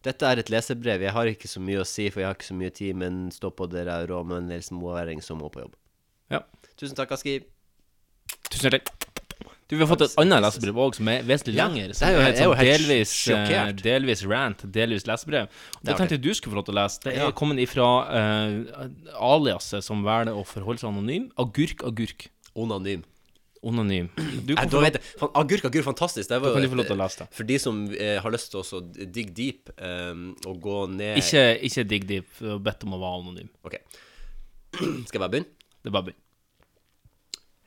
Speaker 3: Dette er et lesebrev. Jeg har ikke så mye å si, for jeg har ikke så mye tid, men stå på dere rå mønner småværing som må på jobb.
Speaker 2: Ja.
Speaker 3: Tusen takk, Aski.
Speaker 2: Tusen hjertelig. Du, Vi har fått et annet lesebrev òg, som er vesentlig
Speaker 3: Ja,
Speaker 2: lengre.
Speaker 3: det
Speaker 2: Som
Speaker 3: er jo-
Speaker 2: er, et
Speaker 3: jeg er jo
Speaker 2: sånn
Speaker 3: helt
Speaker 2: delvis, eh,
Speaker 3: sjokkert.
Speaker 2: delvis rant, delvis lesebrev. Og
Speaker 3: Det
Speaker 2: det
Speaker 3: er
Speaker 2: tenkte jeg du skulle få lov til å lese. Det er
Speaker 3: Ja.
Speaker 2: kommet ifra eh, aliaset som velger å forholde seg anonym. Agurk, agurk.
Speaker 3: Onanym.
Speaker 2: Onanym. Du
Speaker 3: Nei,
Speaker 2: kan
Speaker 3: da
Speaker 2: få
Speaker 3: vet jeg. Fan, agurk, agurk, fantastisk. Det var
Speaker 2: Da kan
Speaker 3: jo
Speaker 2: du få lov til å
Speaker 3: et-
Speaker 2: lese det.
Speaker 3: For de som eh, har lyst til å også dig deep eh, og gå ned
Speaker 2: Ikke, ikke digg deep, og bedt om å være anonym.
Speaker 3: Ok. Skal jeg bare begynne?
Speaker 2: Det er bare å begynne.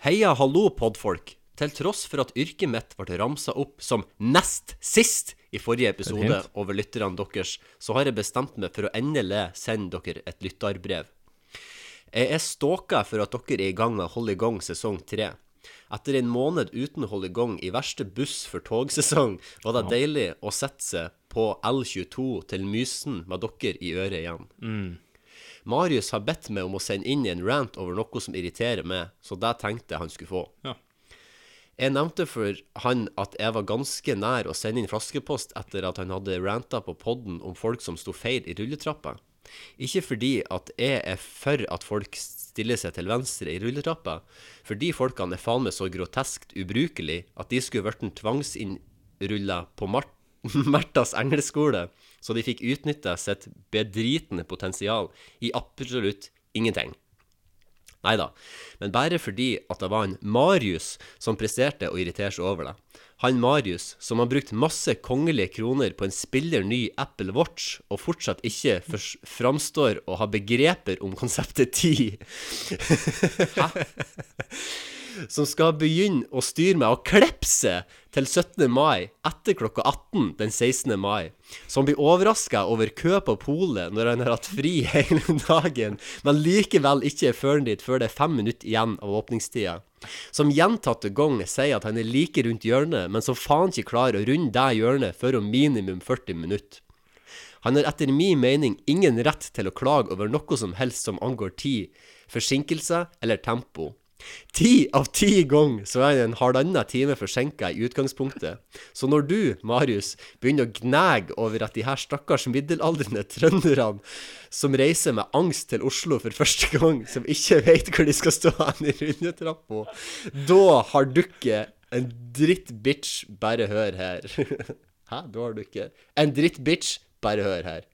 Speaker 3: Heia hallo, podfolk. Til tross for at yrket mitt ble ramsa opp som nest sist i forrige episode
Speaker 2: hint.
Speaker 3: over lytterne deres, så har jeg bestemt meg for å endelig sende dere et lytterbrev. Jeg er stalka for at dere er i gang med Hold i gang sesong tre. Etter en måned uten Hold i gang i verste buss for togsesong, var det
Speaker 2: Ja.
Speaker 3: deilig å sette seg på L22 til Mysen med dere i øret igjen.
Speaker 2: Mm.
Speaker 3: Marius har bedt meg om å sende inn en rant over noe som irriterer meg, så det tenkte jeg han skulle få.
Speaker 2: Ja.
Speaker 3: Jeg nevnte for han at jeg var ganske nær å sende inn flaskepost etter at han hadde ranta på podden om folk som sto feil i rulletrappa. Ikke fordi at jeg er for at folk stiller seg til venstre i rulletrappa, for de folkene er faen meg så groteskt ubrukelig at de skulle vært tvangsinnrulla på Mart Märthas engleskole, så de fikk utnytta sitt bedritne potensial i absolutt ingenting. Nei da, men bare fordi at det var han Marius som presterte å irritere seg over det. Han Marius som har brukt masse kongelige kroner på en spiller ny Apple Watch, og fortsatt ikke fors- framstår å ha begreper om konseptet tid. Som skal begynne å styre meg og klepse til 17. mai etter klokka 18 den 16. mai. Som blir overraska over kø på polet når han har hatt fri hele dagen, men likevel ikke er ført dit før det er fem minutter igjen av åpningstida. Som gjentatte ganger sier at han er like rundt hjørnet, men som faen ikke klarer å runde det hjørnet før om minimum 40 minutter. Han har etter min mening ingen rett til å klage over noe som helst som angår tid, forsinkelser eller tempo. Ti av ti ganger så er han en halvannen time forsinka i utgangspunktet. Så når du, Marius, begynner å gnage over at de her stakkars middelaldrende trønderne som reiser med angst til Oslo for første gang, som ikke vet hvor de skal stå hen i rulletrappa, da har du ikke en drittbitch, bare hør her. Hæ, da har du ikke En drittbitch, bare hør her.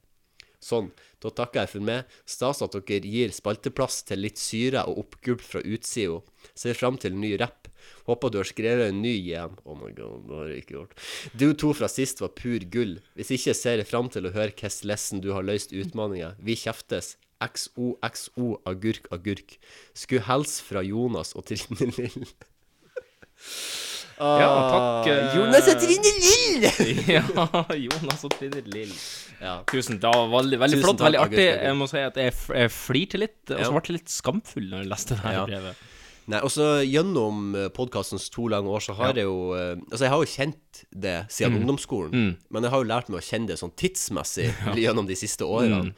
Speaker 3: Sånn. Da takker jeg for meg. Stas at dere gir spalteplass til litt syre og oppgulp fra utsida. Ser fram til ny rapp. Håper du har skrevet en ny igjen. Oh my god, det har jeg ikke gjort. Du to fra sist var pur gull. Hvis ikke ser jeg fram til å høre hvordan lesson du har løst utfordringa. Vi kjeftes. XOXO agurk agurk. Skulle helse fra Jonas og Trine Lill.
Speaker 2: Ja, takk. eh,
Speaker 3: Ah, Jonas og Trine Lill!
Speaker 2: ja, Jonas og Trine Lill.
Speaker 3: Ja.
Speaker 2: Tusen takk. Veldig, veldig
Speaker 3: Tusen
Speaker 2: flott.
Speaker 3: takk,
Speaker 2: veldig
Speaker 3: August
Speaker 2: artig.
Speaker 3: Berger.
Speaker 2: Jeg må si at jeg, f jeg flirte litt, og
Speaker 3: Ja.
Speaker 2: så ble jeg litt skamfull når jeg leste det her
Speaker 3: Ja.
Speaker 2: brevet.
Speaker 3: Nei, også Gjennom podkastens to lange år så har jeg jo eh, Altså, jeg har jo kjent det siden
Speaker 2: Mm.
Speaker 3: ungdomsskolen,
Speaker 2: Mm.
Speaker 3: men jeg har jo lært meg å kjenne det sånn tidsmessig
Speaker 2: Ja.
Speaker 3: gjennom de siste årene.
Speaker 2: Mm.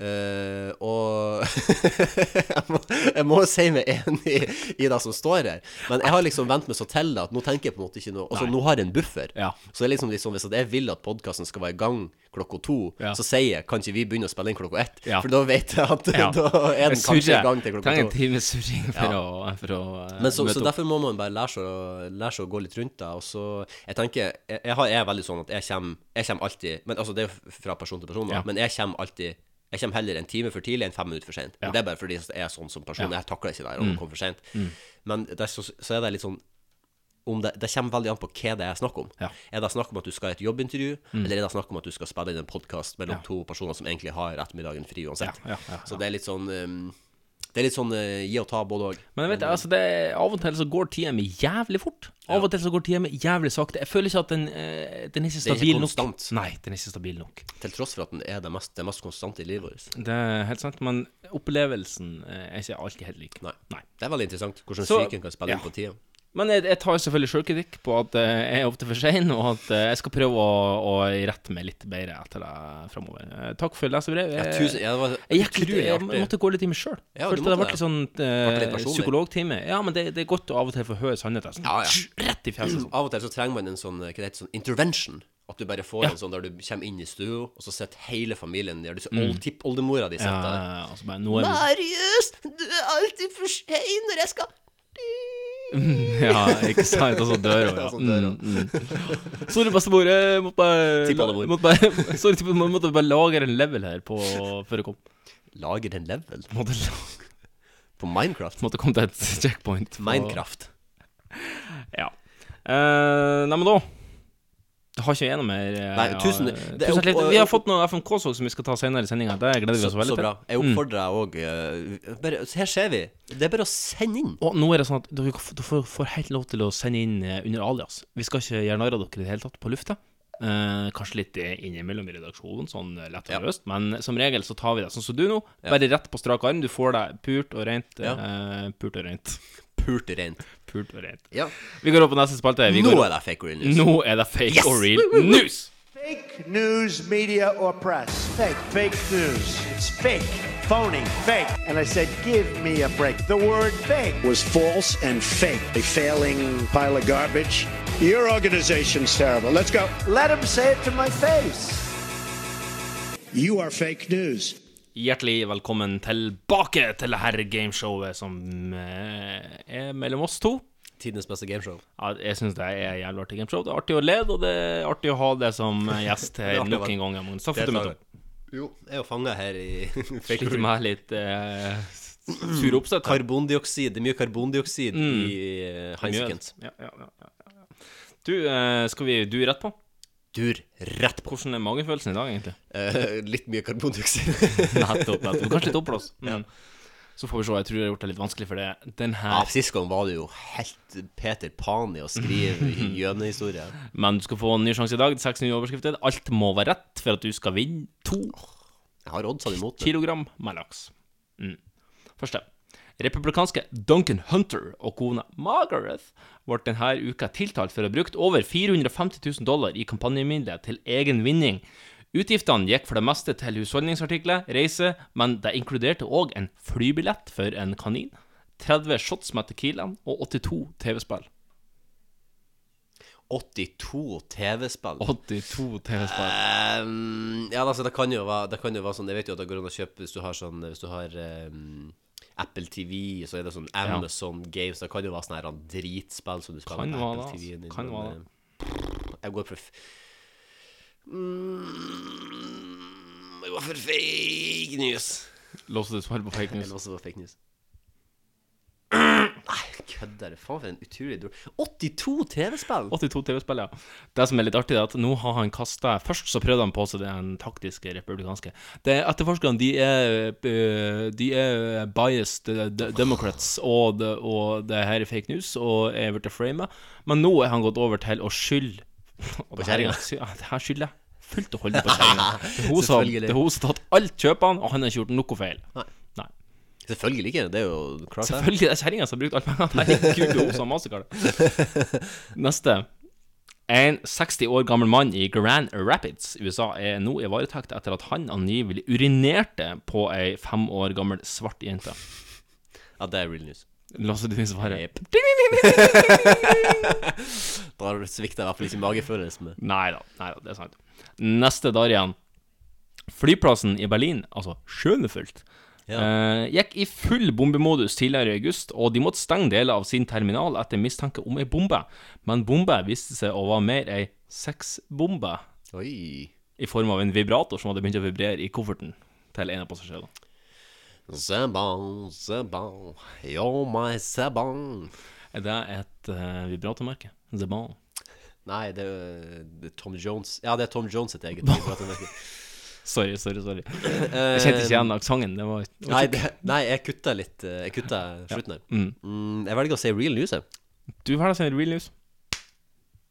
Speaker 3: Eh, og jeg, må, jeg må si meg enig i, i det som står her, men jeg har liksom vent meg så til det at nå tenker jeg på en måte ikke noe Altså,
Speaker 2: Nei.
Speaker 3: nå har jeg en buffer. Så det er liksom litt sånn, hvis at jeg vil at podkasten skal være i gang klokka to,
Speaker 2: Ja.
Speaker 3: så sier jeg kan ikke vi begynne å spille inn klokka ett?
Speaker 2: Ja.
Speaker 3: For da vet jeg at
Speaker 2: Ja.
Speaker 3: da er den
Speaker 2: Jeg
Speaker 3: kanskje
Speaker 2: surrer.
Speaker 3: i gang til klokka
Speaker 2: Trenger
Speaker 3: to.
Speaker 2: en times surring for å- for å, eh,
Speaker 3: Men så,
Speaker 2: møte
Speaker 3: så
Speaker 2: opp.
Speaker 3: derfor må man bare lære seg, å, lære seg å gå litt rundt det. Og så Jeg tenker Jeg, jeg, har, jeg er veldig sånn at jeg kommer, jeg kommer alltid Men altså, det er jo fra person til person, da,
Speaker 2: Ja.
Speaker 3: men jeg kommer alltid jeg kommer heller en time for tidlig enn fem minutter for sent.
Speaker 2: Ja.
Speaker 3: Og Det er bare fordi jeg er sånn som person.
Speaker 2: Ja.
Speaker 3: Jeg takler ikke det her om
Speaker 2: Mm.
Speaker 3: å komme for sent.
Speaker 2: Mm.
Speaker 3: Men det, er så, så er det litt sånn om det, det kommer veldig an på hva det er snakk om. Er det snakk om at du skal ha et jobbintervju,
Speaker 2: Mm.
Speaker 3: eller er det snakk om at du skal spille inn en podkast mellom
Speaker 2: Ja.
Speaker 3: to personer som egentlig har ettermiddagen fri uansett?
Speaker 2: Ja, ja, ja,
Speaker 3: Så det er litt sånn um, Det er litt sånn eh, gi og ta, både òg.
Speaker 2: Men jeg vet, altså, det, av og til så går tida mi jævlig fort. Av og til så går tida mi jævlig sakte. Jeg føler ikke at den, eh, den er ikke
Speaker 3: Den er ikke
Speaker 2: stabil nok.
Speaker 3: konstant.
Speaker 2: Nei, den er ikke stabil nok.
Speaker 3: Til tross for at den er det mest, det mest konstante i livet vårt.
Speaker 2: Det er helt sant, men opplevelsen eh, er ikke alltid helt lik.
Speaker 3: Nei. Det er veldig interessant hvordan
Speaker 2: Så-
Speaker 3: psyken kan spille
Speaker 2: ja.
Speaker 3: inn på tida.
Speaker 2: Men jeg, jeg tar selvfølgelig sjølkritikk på at eh, jeg er ofte for sein, og at eh, jeg skal prøve å, å rette meg litt bedre etter det framover. Eh, Takk for leserbrev.
Speaker 3: Ja, tusen- ja, det var
Speaker 2: jeg, gikk litt,
Speaker 3: utrolig
Speaker 2: jeg
Speaker 3: artig.
Speaker 2: måtte gå litt i meg sjøl.
Speaker 3: Ja, du
Speaker 2: Følte det
Speaker 3: måtte
Speaker 2: ble litt
Speaker 3: det.
Speaker 2: sånn
Speaker 3: Ble
Speaker 2: eh,
Speaker 3: litt personlig.
Speaker 2: psykologtime. Ja, men det, det er godt å av og til få høre sannheten. Sånn, Rett i fjeset. Sånn.
Speaker 3: Av og til så trenger man en sånn, hva det heter, sånn intervention. At du bare får
Speaker 2: Ja.
Speaker 3: en sånn der du kommer inn i stua, og så sitter hele familien der. Du ser
Speaker 2: Mm.
Speaker 3: old tippoldemora di sitter
Speaker 2: Ja,
Speaker 3: der.
Speaker 2: ja, ja, og så bare, nå er vi-
Speaker 3: Marius, du er alltid for sein når jeg skal
Speaker 2: ja, ikke sant? Og så dør hun, ja.
Speaker 3: Og så dør hun.
Speaker 2: Mm, mm. Sorry, bestemor. Jeg måtte bare,
Speaker 3: Tippoldemor.
Speaker 2: måtte bare Sorry, tippoldemor. Jeg måtte bare lagre en level her på, før jeg kom.
Speaker 3: Lager en level?
Speaker 2: Måtte lage
Speaker 3: På Minecraft?
Speaker 2: Måtte komme til et checkpoint. på-
Speaker 3: Minecraft.
Speaker 2: Ja. Eh, nei, men da Det har ikke jeg noe mer eh,
Speaker 3: Nei, tusen-
Speaker 2: ja,
Speaker 3: det er
Speaker 2: tusen
Speaker 3: opp-
Speaker 2: hjertelig. Vi har fått noe FMK-sak som vi skal ta senere i sendinga. Det gleder vi
Speaker 3: Så,
Speaker 2: oss veldig
Speaker 3: så
Speaker 2: til.
Speaker 3: bra. Jeg
Speaker 2: Mm.
Speaker 3: oppfordrer deg òg. Bare Her ser vi. Det er bare å sende inn.
Speaker 2: Og nå er det sånn at dere f- dere får, får helt lov til å sende inn eh, under alias. Vi skal ikke gjøre narr av dere i det hele tatt på lufta. Eh, kanskje litt eh, innimellom i redaksjonen, sånn eh, lett og løst. Men som regel så tar vi det sånn som du nå.
Speaker 3: Ja.
Speaker 2: Bare rett på strak arm. Du får det purt og rent.
Speaker 3: Ja.
Speaker 2: eh, purt og rent.
Speaker 3: Pult rent.
Speaker 2: Purt og rent.
Speaker 3: Ja.
Speaker 2: Vi går opp på neste spalte. Vi
Speaker 3: Nå
Speaker 2: går-
Speaker 3: er det fake or real news.
Speaker 2: Nå er det fake
Speaker 3: Yes!
Speaker 2: or
Speaker 3: Woo, woo,
Speaker 2: real
Speaker 3: woo.
Speaker 2: news.
Speaker 21: Fake news, media, or press. Fake, fake news. It's fake, phony, fake. And I said, give me a break. The word fake was false and fake. A failing pile of garbage. Your organization's terrible. Let's go. Let him say it to my face. You are fake news.
Speaker 2: Hjertelig velkommen tilbake til det her gameshowet som eh, er mellom oss to.
Speaker 3: Tidenes beste gameshow.
Speaker 2: Ja, jeg syns det er jævlig artig gameshow. Det er artig å lede, og det er artig å ha det som eh, gjest
Speaker 3: Det
Speaker 2: her
Speaker 3: er artig å
Speaker 2: nok
Speaker 3: være-
Speaker 2: en gang. Magnus. Takk for
Speaker 3: Det
Speaker 2: at du
Speaker 3: sa
Speaker 2: møtte
Speaker 3: jeg. Jo, jeg er jo fanga her i fake
Speaker 2: Sliter med litt eh, sur oppstøt. her.
Speaker 3: Karbondioksid. Det er mye karbondioksid
Speaker 2: Mm.
Speaker 3: i eh, Heinzekens.
Speaker 2: Ja, ja, ja, ja, ja. Du, eh, skal vi dure rett på?
Speaker 3: Dur rett
Speaker 2: på. Hvordan er magefølelsen i dag, egentlig?
Speaker 3: Eh, litt mye karbondioksid.
Speaker 2: nettopp. nettopp. Kanskje litt oppblåst. Mm. Så får vi se. Jeg tror jeg har gjort det litt vanskelig for det. Den her
Speaker 3: Ja, Sist gang var det jo helt Peter Pan i å skrive gjønehistorie.
Speaker 2: Men du skal få en ny sjanse i dag. Seks nye overskrifter. Alt må være rett for at du skal vinne to
Speaker 3: Jeg har oddsene imot meg.
Speaker 2: kilogram med laks. Mm. Første. Republikanske Duncan Hunter og kona Margaret ble denne uka tiltalt for å ha brukt over 450 000 dollar i kampanjemidler til egen vinning. Utgiftene gikk for det meste til husholdningsartikler, reise, men det inkluderte òg en flybillett for en kanin, 30 shots med Tequilaen og 82 TV-spill.
Speaker 3: 82 TV-spill.
Speaker 2: 82 TV-spill.
Speaker 3: Ehm, ja, altså, det kan jo være, det kan jo være sånn Jeg vet jo at det går an å kjøpe hvis du har sånn Hvis du har ehm, Apple TV, så er det sånn
Speaker 2: Ja.
Speaker 3: Amazon Games. Det kan jo være sånne her dritspill som du spiller
Speaker 2: Kan
Speaker 3: på
Speaker 2: være
Speaker 3: Apple
Speaker 2: det,
Speaker 3: TV-en din.
Speaker 2: altså. Kan
Speaker 3: men,
Speaker 2: være det.
Speaker 3: eh, Jeg går for f- mm, Jeg går for fake news.
Speaker 2: Låste du svar på fake
Speaker 3: Jeg
Speaker 2: news?
Speaker 3: låser på fake news. Nei, kødder du? Faen, for en utrolig dårlig 82 TV-spill!
Speaker 2: 82 TV-spill, ja. Det som er litt artig, er at nå har han kasta Først så prøvde han på seg den taktiske republikanske. Det er Etterforskerne, de er eh, De er biased eh, de- democrats, og det, og det her er fake news, og er blitt frama. Men nå er han gått over til å skylde og det her-
Speaker 3: kjerringa.
Speaker 2: ja, Det her skylder jeg fullt og holdent på kjerringa. Det er hun som-
Speaker 3: Selvfølgelig.
Speaker 2: det er hun som har tatt alt kjøpene, og han har ikke gjort noe feil.
Speaker 3: Nei.
Speaker 2: Nei.
Speaker 3: Selvfølgelig ikke. Det er jo klart. det.
Speaker 2: Selvfølgelig, det er kjerringa som har brukt alle pengene. Herregud, hun som mastercard. Neste. En 60 år gammel mann i Grand Rapids, USA, er nå i varetekt etter at han angivelig urinerte på ei fem år gammel svart jente.
Speaker 3: Ja, det er real news.
Speaker 2: La oss du svare.
Speaker 3: Da har du svikta i hvert fall ikke magefølelsen.
Speaker 2: Nei da, nei da, det er sant. Neste dag igjen. Flyplassen i Berlin, altså sjømefullt, eh, gikk i full bombemodus tidligere i august, og de måtte stenge deler av sin terminal etter mistanke om ei bombe. Men bombe viste seg å være mer ei sexbombe.
Speaker 3: Oi.
Speaker 2: I form av en vibrator som hadde begynt å vibrere i kofferten til en av passasjerene.
Speaker 3: Zabang, zabang, yo my zabang.
Speaker 2: Er det et eh, vibratormerke? Zabang.
Speaker 3: Nei, det er, jo- det er Tom Jones. Ja, det er Tom Jones sitt eget. vibratormerke.
Speaker 2: Sorry, sorry, sorry. Jeg kjente ikke igjen aksenten. Det var, det var
Speaker 3: Eh, Nei, det, nei, jeg kutta litt eh, Jeg kutta slutten her.
Speaker 2: Mm.
Speaker 3: Mm, jeg velger å si real news, jeg.
Speaker 2: Du har da sendt real news.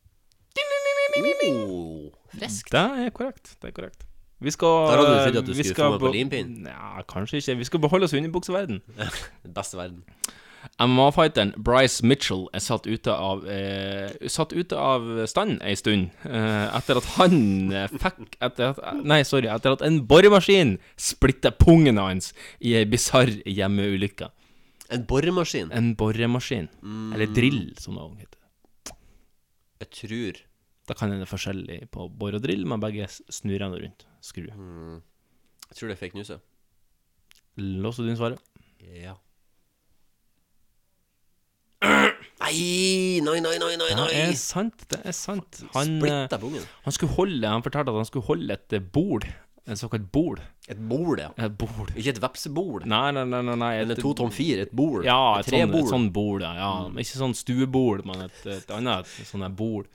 Speaker 3: Oh, friskt.
Speaker 2: Det er korrekt. Det er korrekt. Vi skal
Speaker 3: Der hadde du trodd at du
Speaker 2: vi
Speaker 3: skulle
Speaker 2: skal
Speaker 3: få meg
Speaker 2: be-
Speaker 3: på limpinnen.
Speaker 2: Nja, kanskje ikke. Vi skal beholde oss i underbukseverden.
Speaker 3: Beste verden.
Speaker 2: MMA-fighteren Bryce Mitchell er satt ute av, eh, satt ute av stand ei stund eh, etter at han eh, fikk etter at, Nei, sorry. Etter at en boremaskin splitta pungen hans i ei bisarr hjemmeulykke.
Speaker 3: En boremaskin?
Speaker 2: En boremaskin.
Speaker 3: Mm.
Speaker 2: Eller drill, som det også heter.
Speaker 3: Jeg tror
Speaker 2: Da kan en være forskjellig på bor og drill, men begge snurrer den rundt. Skru.
Speaker 3: Mm. Jeg tror det er fake news, ja.
Speaker 2: Låser du inn svaret?
Speaker 3: ja. Nei, nei, nei, nei, nei,
Speaker 2: Det
Speaker 3: nei.
Speaker 2: er eh, sant, det er sant. Han,
Speaker 3: Splitta
Speaker 2: eh,
Speaker 3: pungen.
Speaker 2: han skulle holde Han fortalte at han skulle holde et eh, bord. Et såkalt bord.
Speaker 3: Et bord, ja.
Speaker 2: Et bord.
Speaker 3: Ikke et vepsebord.
Speaker 2: Nei, nei, nei. nei, nei
Speaker 3: Eller to tom fire, et bord.
Speaker 2: Ja,
Speaker 3: Et
Speaker 2: et, sånn,
Speaker 3: trebord. Mm.
Speaker 2: et sånn bord, ja. ja. Ikke sånn stuebord, men et, et annet et sånn der bord.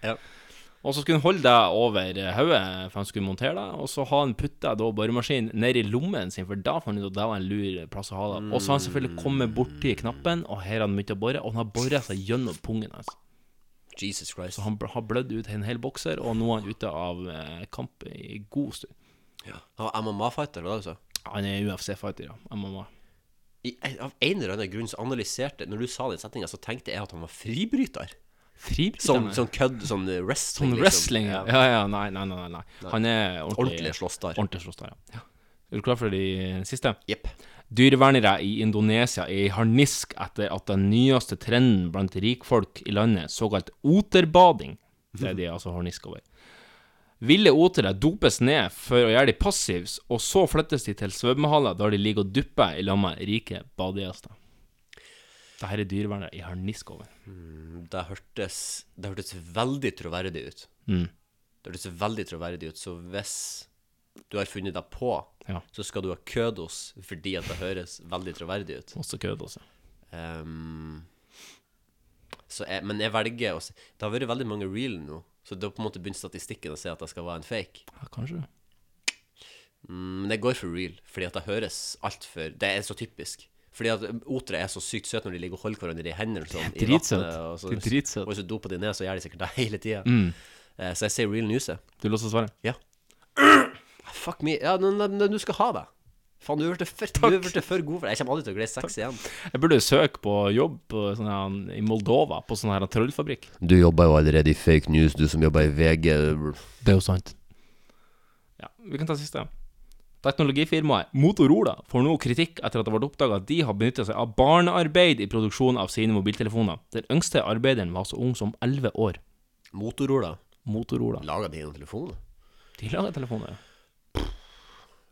Speaker 2: Og så skulle han holde det over eh, hodet, for han skulle montere det. Og så har han putta da boremaskinen ned i lommen sin, for da fant han ut at det var en lur plass å ha det. Og så har han
Speaker 3: Mm.
Speaker 2: selvfølgelig kommet borti knappen, og her har han begynt å bore, og han har bora seg gjennom pungen hans.
Speaker 3: Jesus Christ.
Speaker 2: Så han bl- har blødd ut en hel bokser, og nå er han ute av eh, kamp i god stund.
Speaker 3: Han var MMA-fighter, hva sa du?
Speaker 2: Han er UFC-fighter, ja. MMA.
Speaker 3: I, eh, av en eller annen grunn så analyserte Når du sa den setninga, så tenkte jeg at han var fribryter.
Speaker 2: Fribryter?
Speaker 3: Som, som kødd, sånn eh, wrestling.
Speaker 2: Sånn
Speaker 3: liksom.
Speaker 2: wrestling, ja. Ja, ja, nei, nei, nei, nei. Han er ordentlig
Speaker 3: Ordentlig slåssdar.
Speaker 2: Ordentlig slåssdar, ja. Er du klar for de siste?
Speaker 3: Jepp.
Speaker 2: Dyrevernere i Indonesia er i harnisk etter at den nyeste trenden blant rikfolk i landet, såkalt oterbading, det er de altså harnisk over, ville otere dopes ned for å gjøre de passives, og så flyttes de til svømmehaller der de ligger og dupper i lag med rike badegjester. Dette er dyrevernere i harnisk over.
Speaker 3: Mm, Det hørtes, det hørtes veldig troverdig ut.
Speaker 2: Mm.
Speaker 3: Det hørtes veldig troverdig ut, så hvis du har funnet deg på,
Speaker 2: Ja.
Speaker 3: så skal du ha kødos fordi at det høres veldig troverdig ut.
Speaker 2: Også kødd, altså.
Speaker 3: Ehm, så jeg, men jeg velger å si Det har vært veldig mange real nå, så da på en måte begynner statistikken å si at det skal være en fake.
Speaker 2: Ja, kanskje.
Speaker 3: Mm, Men jeg går for real, fordi at det høres altfor Det er så typisk. Fordi at otere er så sykt søte når de ligger og holder hverandre i hendene sånn, i
Speaker 2: dritsøt.
Speaker 3: vannet, og så-
Speaker 2: De er dritsøt.
Speaker 3: Og hvis du doper de ned, så gjør de sikkert det hele tida.
Speaker 2: Mm.
Speaker 3: Så jeg sier real news, jeg.
Speaker 2: Du låser svaret?
Speaker 3: Ja. Fuck me. Ja, nå- nå- nå- du skal ha det. Faen, du hørte for, du hørte for god for det. Jeg kommer aldri til å glede sex igjen.
Speaker 2: Jeg burde søke på jobb på sånn her, i Moldova, på sånn her trollfabrikk.
Speaker 3: Du jobber jo allerede i fake news, du som jobber i VG.
Speaker 2: Det er jo sant. Ja, vi kan ta siste. Teknologifirmaet Motorola får nå kritikk etter at det ble oppdaga at de har benytta seg av barnearbeid i produksjonen av sine mobiltelefoner. Den yngste arbeideren var så ung som 11 år.
Speaker 3: Motorola.
Speaker 2: Motorola.
Speaker 3: Lager de noen telefon?
Speaker 2: De lager telefoner, ja.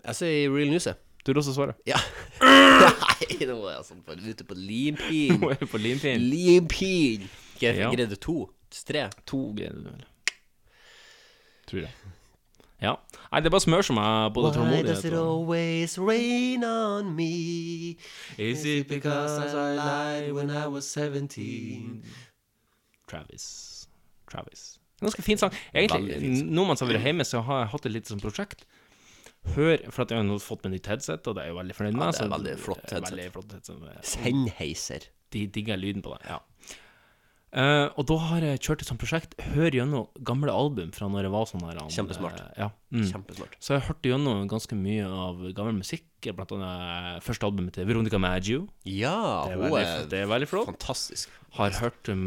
Speaker 3: Jeg sier real news, jeg.
Speaker 2: Du låser svaret?
Speaker 3: Ja. Nei, nå er jeg sånn bare ute på limpin.
Speaker 2: Nå er vi på limpin.
Speaker 3: Limpin. Gre-
Speaker 2: Ja.
Speaker 3: Greide to. Tre.
Speaker 2: To greide du vel. Tror jeg. Ja. Nei, det er bare smør som er både
Speaker 3: Why does it
Speaker 2: tålmodighet og
Speaker 3: always rain on me? Is it because I lied when I was 17?
Speaker 2: Travis. Travis. En ganske fin sang. Egentlig,
Speaker 3: Veldig fint.
Speaker 2: nå mens jeg har vært hjemme, så har jeg hatt et lite sånn prosjekt. Hør, for at jeg har nå fått meg nytt headset, og det er jeg jo veldig fornøyd med.
Speaker 3: Ja, det er
Speaker 2: så
Speaker 3: veldig flott
Speaker 2: det er
Speaker 3: headset.
Speaker 2: veldig flott headset.
Speaker 3: Sennheiser.
Speaker 2: De digger lyden på det. Ja. Eh, og da har jeg kjørt et sånt prosjekt. Hør gjennom gamle album fra når jeg var sånn her. han,
Speaker 3: Kjempesmart.
Speaker 2: eh, ja. mm.
Speaker 3: Kjempesmart.
Speaker 2: Så jeg hørte gjennom ganske mye av gammel musikk, blant annet første albumet til Veronica Maggio.
Speaker 3: Ja,
Speaker 2: det er
Speaker 3: hun
Speaker 2: veldig,
Speaker 3: er
Speaker 2: det er veldig flott.
Speaker 3: Fantastisk.
Speaker 2: Har hørt um,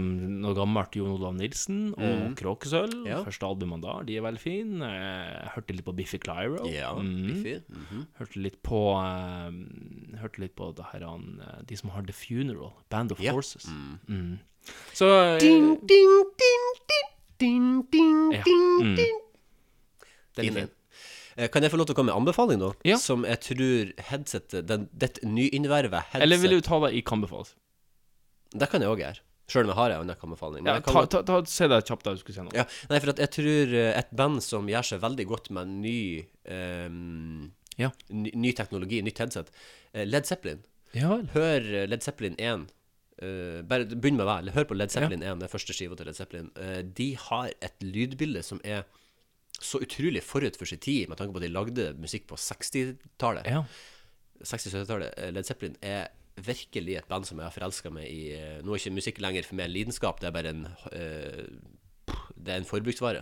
Speaker 2: noe gammelt Jon Olav Nilsen og
Speaker 3: Mm.
Speaker 2: Kråkesølv.
Speaker 3: Ja.
Speaker 2: Første albumene da, de er veldig fine. Eh, hørte litt på Biffy Clyro.
Speaker 3: Ja,
Speaker 2: Mm.
Speaker 3: Biffy, mhm.
Speaker 2: Hørte litt på eh, Hørte litt på det her, han, eh, de som har The Funeral, Band of
Speaker 3: Ja.
Speaker 2: Horses.
Speaker 3: Mm.
Speaker 2: Mm. Så eh,
Speaker 3: Ding, ding, ding, ding, ding, ding,
Speaker 2: Ja,
Speaker 3: ding,
Speaker 2: mm.
Speaker 3: ding. Den er fin. Eh, Kan jeg få lov til å komme med en anbefaling, da? Som jeg tror headsetet den, Det nyinnvervet headset
Speaker 2: Eller vil du ta det i kan befales?
Speaker 3: Det kan jeg òg gjøre. Sjøl om jeg har en annen anbefaling. men
Speaker 2: Ja,
Speaker 3: jeg kan
Speaker 2: ta,
Speaker 3: godt-
Speaker 2: ta, ta, se deg kjapt da du skulle si noe.
Speaker 3: Ja, nei, for at jeg tror eh, et band som gjør seg veldig godt med ny, ehm, ny, ny teknologi, nytt headset, eh, Led Zeppelin.
Speaker 2: Ja vel.
Speaker 3: Hør eh, Led Zeppelin 1. eh, bare Begynn med hver. Hør på Led Zeppelin 1, den første skiva til Led Zeppelin. Eh, de har et lydbilde som er så utrolig forut for sin tid, med tanke på at de lagde musikk på 60-tallet. 60-70-tallet. Eh, Led Zeppelin er virkelig et band som jeg har forelska meg i. eh, Nå er ikke musikk lenger for meg en lidenskap, det er bare en eh, pff, Det er en forbruksvare.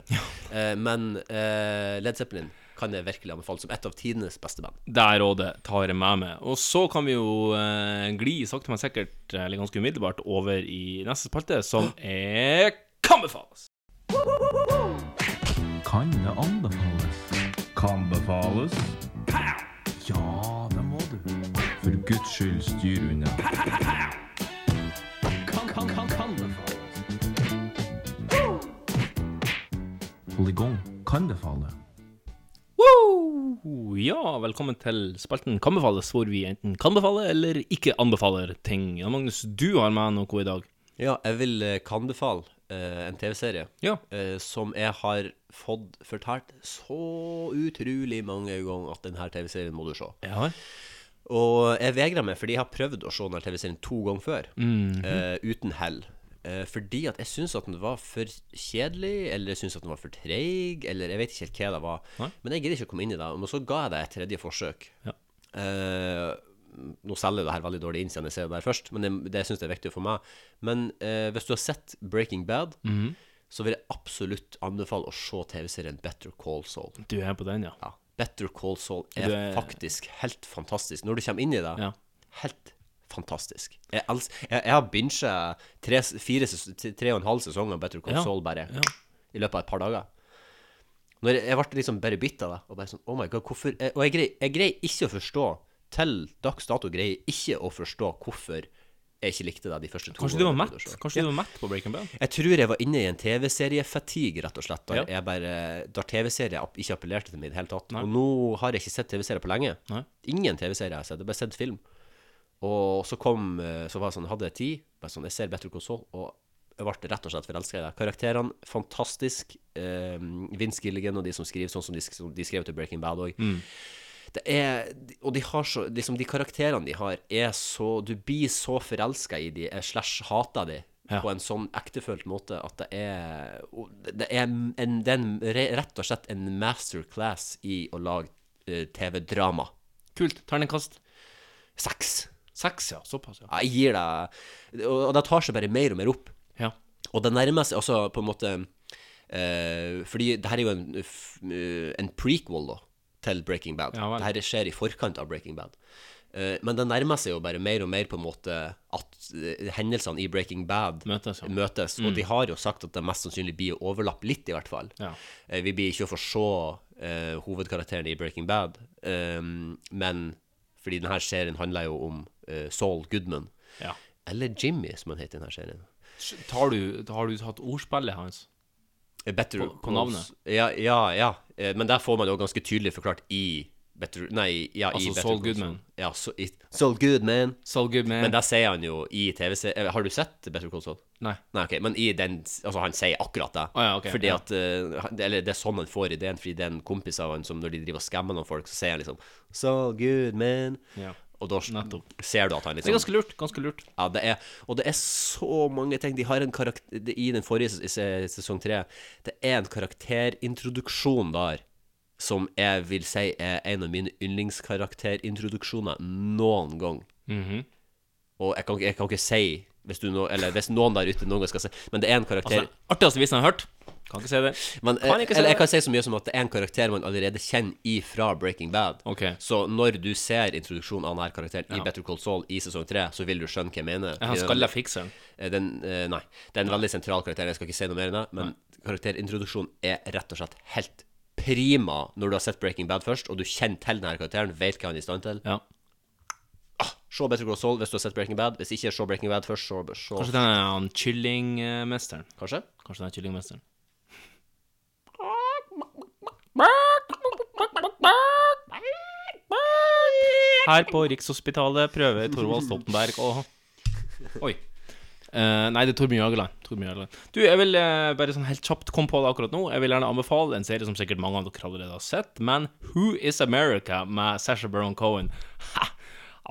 Speaker 3: Eh, men eh, Led Zeppelin kan jeg virkelig anbefale som et av tidenes beste band.
Speaker 2: Der rådet tar jeg med meg. Og så kan vi jo eh, gli sakte, men sikkert, eh, eller ganske umiddelbart, over i neste spalte, som er Kan befales!
Speaker 1: Kan det anbefales? Kan befales? Ja, det må du. For guds skyld, styr unna.
Speaker 22: Kan, kan, kan, kan befales.
Speaker 1: Polygon kan befale.
Speaker 2: Woo! Ja, velkommen til spalten Kan befales, hvor vi enten kan befale eller ikke anbefaler ting. Ja, Magnus, du har med noe i dag.
Speaker 3: Ja, jeg vil eh, kan befale eh, en TV-serie
Speaker 2: Ja.
Speaker 3: eh, som jeg har fått fortalt så utrolig mange ganger at denne TV-serien må du se.
Speaker 2: Ja.
Speaker 3: Og jeg vegrer meg, fordi jeg har prøvd å se denne TV-serien to ganger før,
Speaker 2: Mhm.
Speaker 3: eh, uten hell. Eh, fordi at jeg syns at den var for kjedelig, eller jeg syns at den var for treig, eller jeg vet ikke helt hva det var.
Speaker 2: Nei.
Speaker 3: Men jeg gidder ikke å komme inn i det. Men så ga jeg det et tredje forsøk. Eh, nå selger jo det her veldig dårlig inn siden jeg ser det der først, men det, det syns jeg er viktig for meg. Men eh, hvis du har sett Breaking Bad,
Speaker 2: Mhm.
Speaker 3: så vil jeg absolutt anbefale å se TV-serien Better Call Saul.
Speaker 2: Du er på den, ja.
Speaker 3: Better Call Saul er,
Speaker 2: Du er-
Speaker 3: faktisk helt fantastisk. Når du kommer inn i det, helt fantastisk. Jeg, els jeg, jeg har bincha tre, fire ses- tre og en halv sesong av Better Call
Speaker 2: Ja,
Speaker 3: Saul bare
Speaker 2: ja.
Speaker 3: i løpet av et par dager. Når jeg, jeg ble liksom bare bitt av det. Og bare sånn, oh my god, hvorfor jeg, Og jeg greier, jeg greier ikke å forstå, til dags dato greier jeg ikke å forstå hvorfor jeg ikke likte det de første to
Speaker 2: Kanskje du var mett?
Speaker 3: gangene jeg prøvde å se.
Speaker 2: Kanskje du var mett på Breaking Bad?
Speaker 3: Jeg tror jeg var inne i en TV-seriefatigue, rett og slett. Der,
Speaker 2: Ja.
Speaker 3: jeg bare, der TV-serier app- ikke appellerte til meg i det hele tatt.
Speaker 2: Nei.
Speaker 3: Og nå har jeg ikke sett TV-serier på lenge. Ingen TV-serier har jeg sett. Jeg har bare sett film. Og så kom eh, Så var jeg sånn, hadde jeg tid. Bare sånn, jeg ser Better Call Saul, og jeg ble rett og slett forelska i det. Karakterene, fantastisk. Eh, Vince Gilligan og de som skriver sånn som de, sk- som de skrev til Breaking Bad òg.
Speaker 2: Mm.
Speaker 3: Det er, og de har så liksom De karakterene de har, er så Du blir så forelska i de eh, slash hater de på en sånn ektefølt måte at det er og Det er, en, det er en, re- rett og slett en masterclass i å lage eh, TV-drama.
Speaker 2: Kult. Terningkast
Speaker 3: seks.
Speaker 2: Seks, ja. Såpass, ja.
Speaker 3: Ja, Jeg gir deg Og og det tar seg bare mer og mer opp.
Speaker 2: Ja.
Speaker 3: Og det nærmer seg også på en måte eh, Fordi det her er jo en, f- eh, en prequel da til Breaking Bad.
Speaker 2: Ja vel.
Speaker 3: det her skjer i forkant av Breaking Bad. Eh, men det nærmer seg jo bare mer og mer på en måte at eh, hendelsene i Breaking Bad
Speaker 2: møtes.
Speaker 3: Og
Speaker 2: Mm.
Speaker 3: de har jo sagt at det mest sannsynlig blir å overlappe litt, i hvert fall.
Speaker 2: Ja.
Speaker 3: Eh, vi blir ikke å få se eh, hovedkarakteren i Breaking Bad, eh, men fordi denne serien handler jo om eh, Saul Goodman.
Speaker 2: Ja.
Speaker 3: Eller Jimmy, som han heter i denne serien.
Speaker 2: Tar du, har du tatt ordspillet hans?
Speaker 3: Eh, Better
Speaker 2: På- på navnet?
Speaker 3: Ja, ja, ja. Eh, Men der får man jo ganske tydelig forklart i Better Nei, ja, i
Speaker 2: Altså
Speaker 3: Better
Speaker 2: Saul
Speaker 3: Call Saul.
Speaker 2: Goodman.
Speaker 3: Ja, så, i, Saul Goodman.
Speaker 2: Saul Goodman.
Speaker 3: Men der sier han jo i TV-serien eh, Har du sett Better Call Saul?
Speaker 2: Nei.
Speaker 3: Nei, ok, Men i den Altså, han sier akkurat det.
Speaker 2: Å ja, ok,
Speaker 3: fordi
Speaker 2: ja.
Speaker 3: at eh, han- Eller det er sånn han får ideen, fordi det er en kompis av han som når de driver og skammer noen folk, så sier han liksom Saul Goodman.
Speaker 2: Ja.
Speaker 3: Og da ser du at han
Speaker 2: Det er
Speaker 3: liksom
Speaker 2: ganske lurt. Ganske lurt.
Speaker 3: ja, det er, og det er så mange ting. De har en karakter det- I den forrige ses- se- sesong tre Det er en karakterintroduksjon der som jeg vil si er en av mine yndlingskarakterintroduksjoner noen gang.
Speaker 2: Mhm.
Speaker 3: Og jeg kan, ikke- jeg kan ikke si Hvis, du nå, eller hvis noen der ute noen gang skal se Men det er en karakter
Speaker 2: Altså, Artigste visen jeg har hørt. Kan ikke si det.
Speaker 3: men,
Speaker 2: Altså, Kan ikke si det.
Speaker 3: eller jeg kan si så mye som at det er en karakter man allerede kjenner ifra Breaking Bad. Så når du ser introduksjonen av denne karakteren i
Speaker 2: Ja.
Speaker 3: Better Call Saul i sesong tre, så vil du skjønne hva jeg mener.
Speaker 2: Er han
Speaker 3: Den-
Speaker 2: skalla fikseren?
Speaker 3: Eh, Den, eh, nei. Det er en veldig sentral karakter. Jeg skal ikke si noe mer enn det. Men karakterintroduksjonen er rett og slett helt prima når du har sett Breaking Bad først, og du kjenner til denne karakteren, vet hva han er i stand til. Ah, se Better Call Saul hvis du har sett Breaking Bad. Hvis ikke, se Breaking Bad først. Se, se.
Speaker 2: Kanskje den er han kyllingmesteren?
Speaker 3: Kanskje?
Speaker 2: Kanskje den er kyllingmesteren. Her på Rikshospitalet prøver Torvald Stoltenberg å Oi. Eh, nei, det er Torbjørn Jagland. Torbjørn Jagland. Du, jeg vil eh, bare sånn helt kjapt komme på det akkurat nå. Jeg vil gjerne anbefale en serie som sikkert mange av dere allerede har sett, men Who Is America med Sasha Baron Cohen. Ha!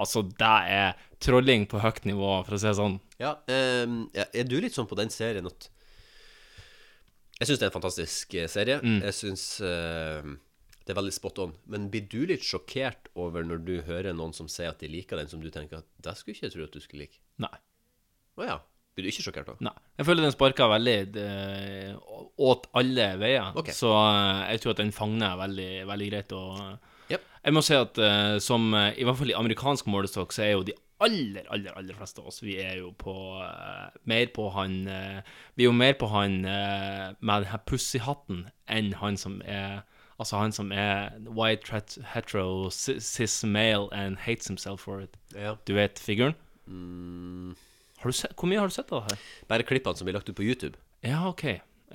Speaker 2: Altså, det er trolling på høyt nivå, for å si det sånn.
Speaker 3: Ja, ehm, ja, er du litt sånn på den serien at Jeg syns det er en fantastisk eh, serie.
Speaker 2: Mm.
Speaker 3: Jeg syns det er veldig spot on. Men blir du litt sjokkert over når du hører noen som sier at de liker den, som du tenker at det skulle jeg ikke tro at du skulle like?
Speaker 2: Nei.
Speaker 3: Å ja. Blir du ikke sjokkert da?
Speaker 2: Nei. Jeg føler den sparka veldig eh, åt alle veier.
Speaker 3: Ok.
Speaker 2: Så eh, jeg tror at den fagner veldig, veldig greit. Og, eh, Jeg må si at eh, som eh, I hvert fall i amerikansk målestokk, så er jo de aller, aller aller fleste av oss Vi er jo på eh, mer på han eh, Vi er jo mer på han eh, med den her pussyhatten enn han som er Altså han som er white tret- hetero si- cis male and hates himself for it.
Speaker 3: Ja.
Speaker 2: Du vet figuren?
Speaker 3: Mm,
Speaker 2: Har du sett, hvor mye har du sett av det her?
Speaker 3: bare klippene som blir lagt ut på YouTube.
Speaker 2: Ja, ok.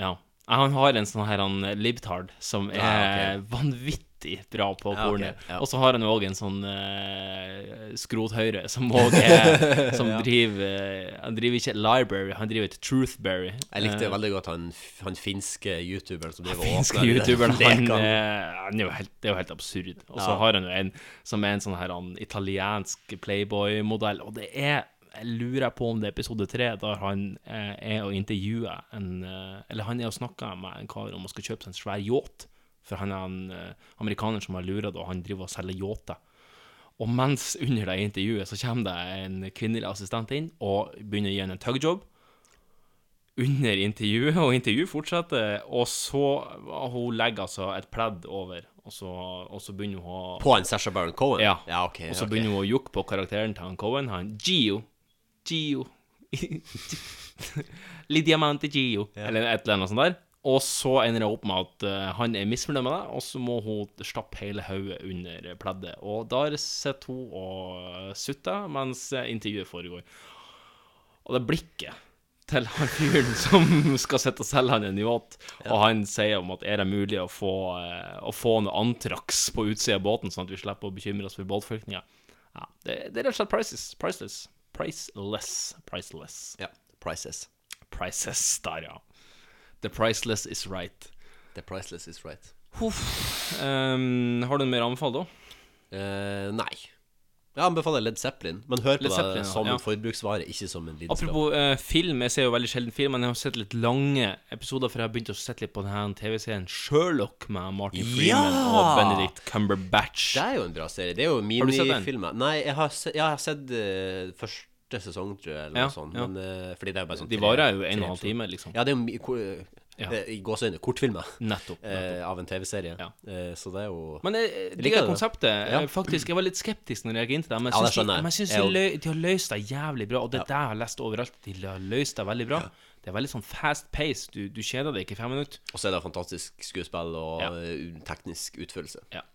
Speaker 2: Ja. Ja, Han har en sånn her han, libtard som er
Speaker 3: Ja, ok.
Speaker 2: vanvittig bra på
Speaker 3: Ja, ok,
Speaker 2: kornet.
Speaker 3: ja.
Speaker 2: Og så har han jo òg en sånn eh, skrothøyre som òg er Som
Speaker 3: Ja.
Speaker 2: driver eh, Han driver ikke library, han driver et truthberry.
Speaker 3: Jeg likte
Speaker 2: Eh,
Speaker 3: veldig godt han, han finske youtuberen som driver og
Speaker 2: finske
Speaker 3: åpner den
Speaker 2: youtuberen, han,
Speaker 3: lekan.
Speaker 2: eh, han er jo helt, det er jo helt absurd. Og så
Speaker 3: Ja.
Speaker 2: har han jo en som er en sånn her han, italiensk playboy-modell, og det er jeg lurer på om det er episode tre, der han eh, er og intervjuer en eh, Eller han er og snakker med en kar om å skal kjøpe seg en svær yacht. For han er en eh, amerikaner som har lura det, og han driver og selger yachter. Og mens under det intervjuet så kommer det en kvinnelig assistent inn og begynner å gi henne en tugjob under intervjuet, og intervjuet fortsetter, og så hun legger altså et pledd over, og så, og så begynner hun å
Speaker 3: På en Sasha Baron Cohen?
Speaker 2: Ja.
Speaker 3: Ja, ok,
Speaker 2: og så
Speaker 3: ok.
Speaker 2: begynner hun å jukke på karakteren til han Cohen, han Gio. Gio. Li diamante Gio, eller et eller annet sånt der. Og så ender det opp med at eh, han er misfornøyd med det, og så må hun stappe hele hodet under pleddet. Og der sitter hun og sutter mens eh, intervjuet foregår. Og det blikket til han fyren som skal sitte og selge han en yacht, og han sier om at er det mulig å få, eh, å få noe antrax på utsida av båten, sånn at vi slipper å bekymre oss for båtflyktninger. Ja, det, det er rett og slett priceless. Priceless. Priceless. Priceless.
Speaker 3: Ja. Priceless.
Speaker 2: Priceless, der, ja. The priceless is right.
Speaker 3: The priceless is right.
Speaker 2: Huff. Ehm, har du en mer anbefal, da?
Speaker 3: Eh, nei. Jeg anbefaler Led Zeppelin, men hør på
Speaker 2: Led Zeppelin,
Speaker 3: det
Speaker 2: ja.
Speaker 3: som
Speaker 2: Ja.
Speaker 3: en forbruksvare, ikke som en lidenskap.
Speaker 2: Apropos eh, film, jeg ser jo veldig sjelden film, men jeg har sett litt lange episoder, for jeg har begynt å sette litt på denne TV-serien Sherlock med Martin Freeman og Benedict Cumberbatch.
Speaker 3: Det er jo en bra serie. Det er jo
Speaker 2: Har du sett den?
Speaker 3: minifilmer. Nei, jeg har, se, ja, jeg har sett eh, første sesong, tror jeg, eller
Speaker 2: Ja,
Speaker 3: noe sånt.
Speaker 2: ja.
Speaker 3: Men, eh, fordi det er jo bare sånn
Speaker 2: De
Speaker 3: tre-
Speaker 2: varer jo en og en
Speaker 3: tre
Speaker 2: halv
Speaker 3: episoder.
Speaker 2: time, liksom.
Speaker 3: Ja, det er jo mi- ko- eh,
Speaker 2: Ja.
Speaker 3: det er i gåseøyne kortfilmer.
Speaker 2: Nettopp,
Speaker 3: eh, av en TV-serie. Eh, så det er jo
Speaker 2: Men jeg, jeg liker konseptet. Jeg, faktisk, jeg var litt skeptisk når jeg gikk inn til det, men
Speaker 3: Ja,
Speaker 2: jeg
Speaker 3: det
Speaker 2: syns,
Speaker 3: skjønner
Speaker 2: de,
Speaker 3: jeg.
Speaker 2: men jeg synes
Speaker 3: Jeg
Speaker 2: de,
Speaker 3: også.
Speaker 2: lø, de har løst det jævlig bra, og det er det jeg har lest overalt. De har løst det veldig bra. Det er veldig sånn fast pace. Du, du kjeder deg ikke i fem minutter.
Speaker 3: Og så er det fantastisk skuespill og eh, teknisk utførelse.
Speaker 2: Ja.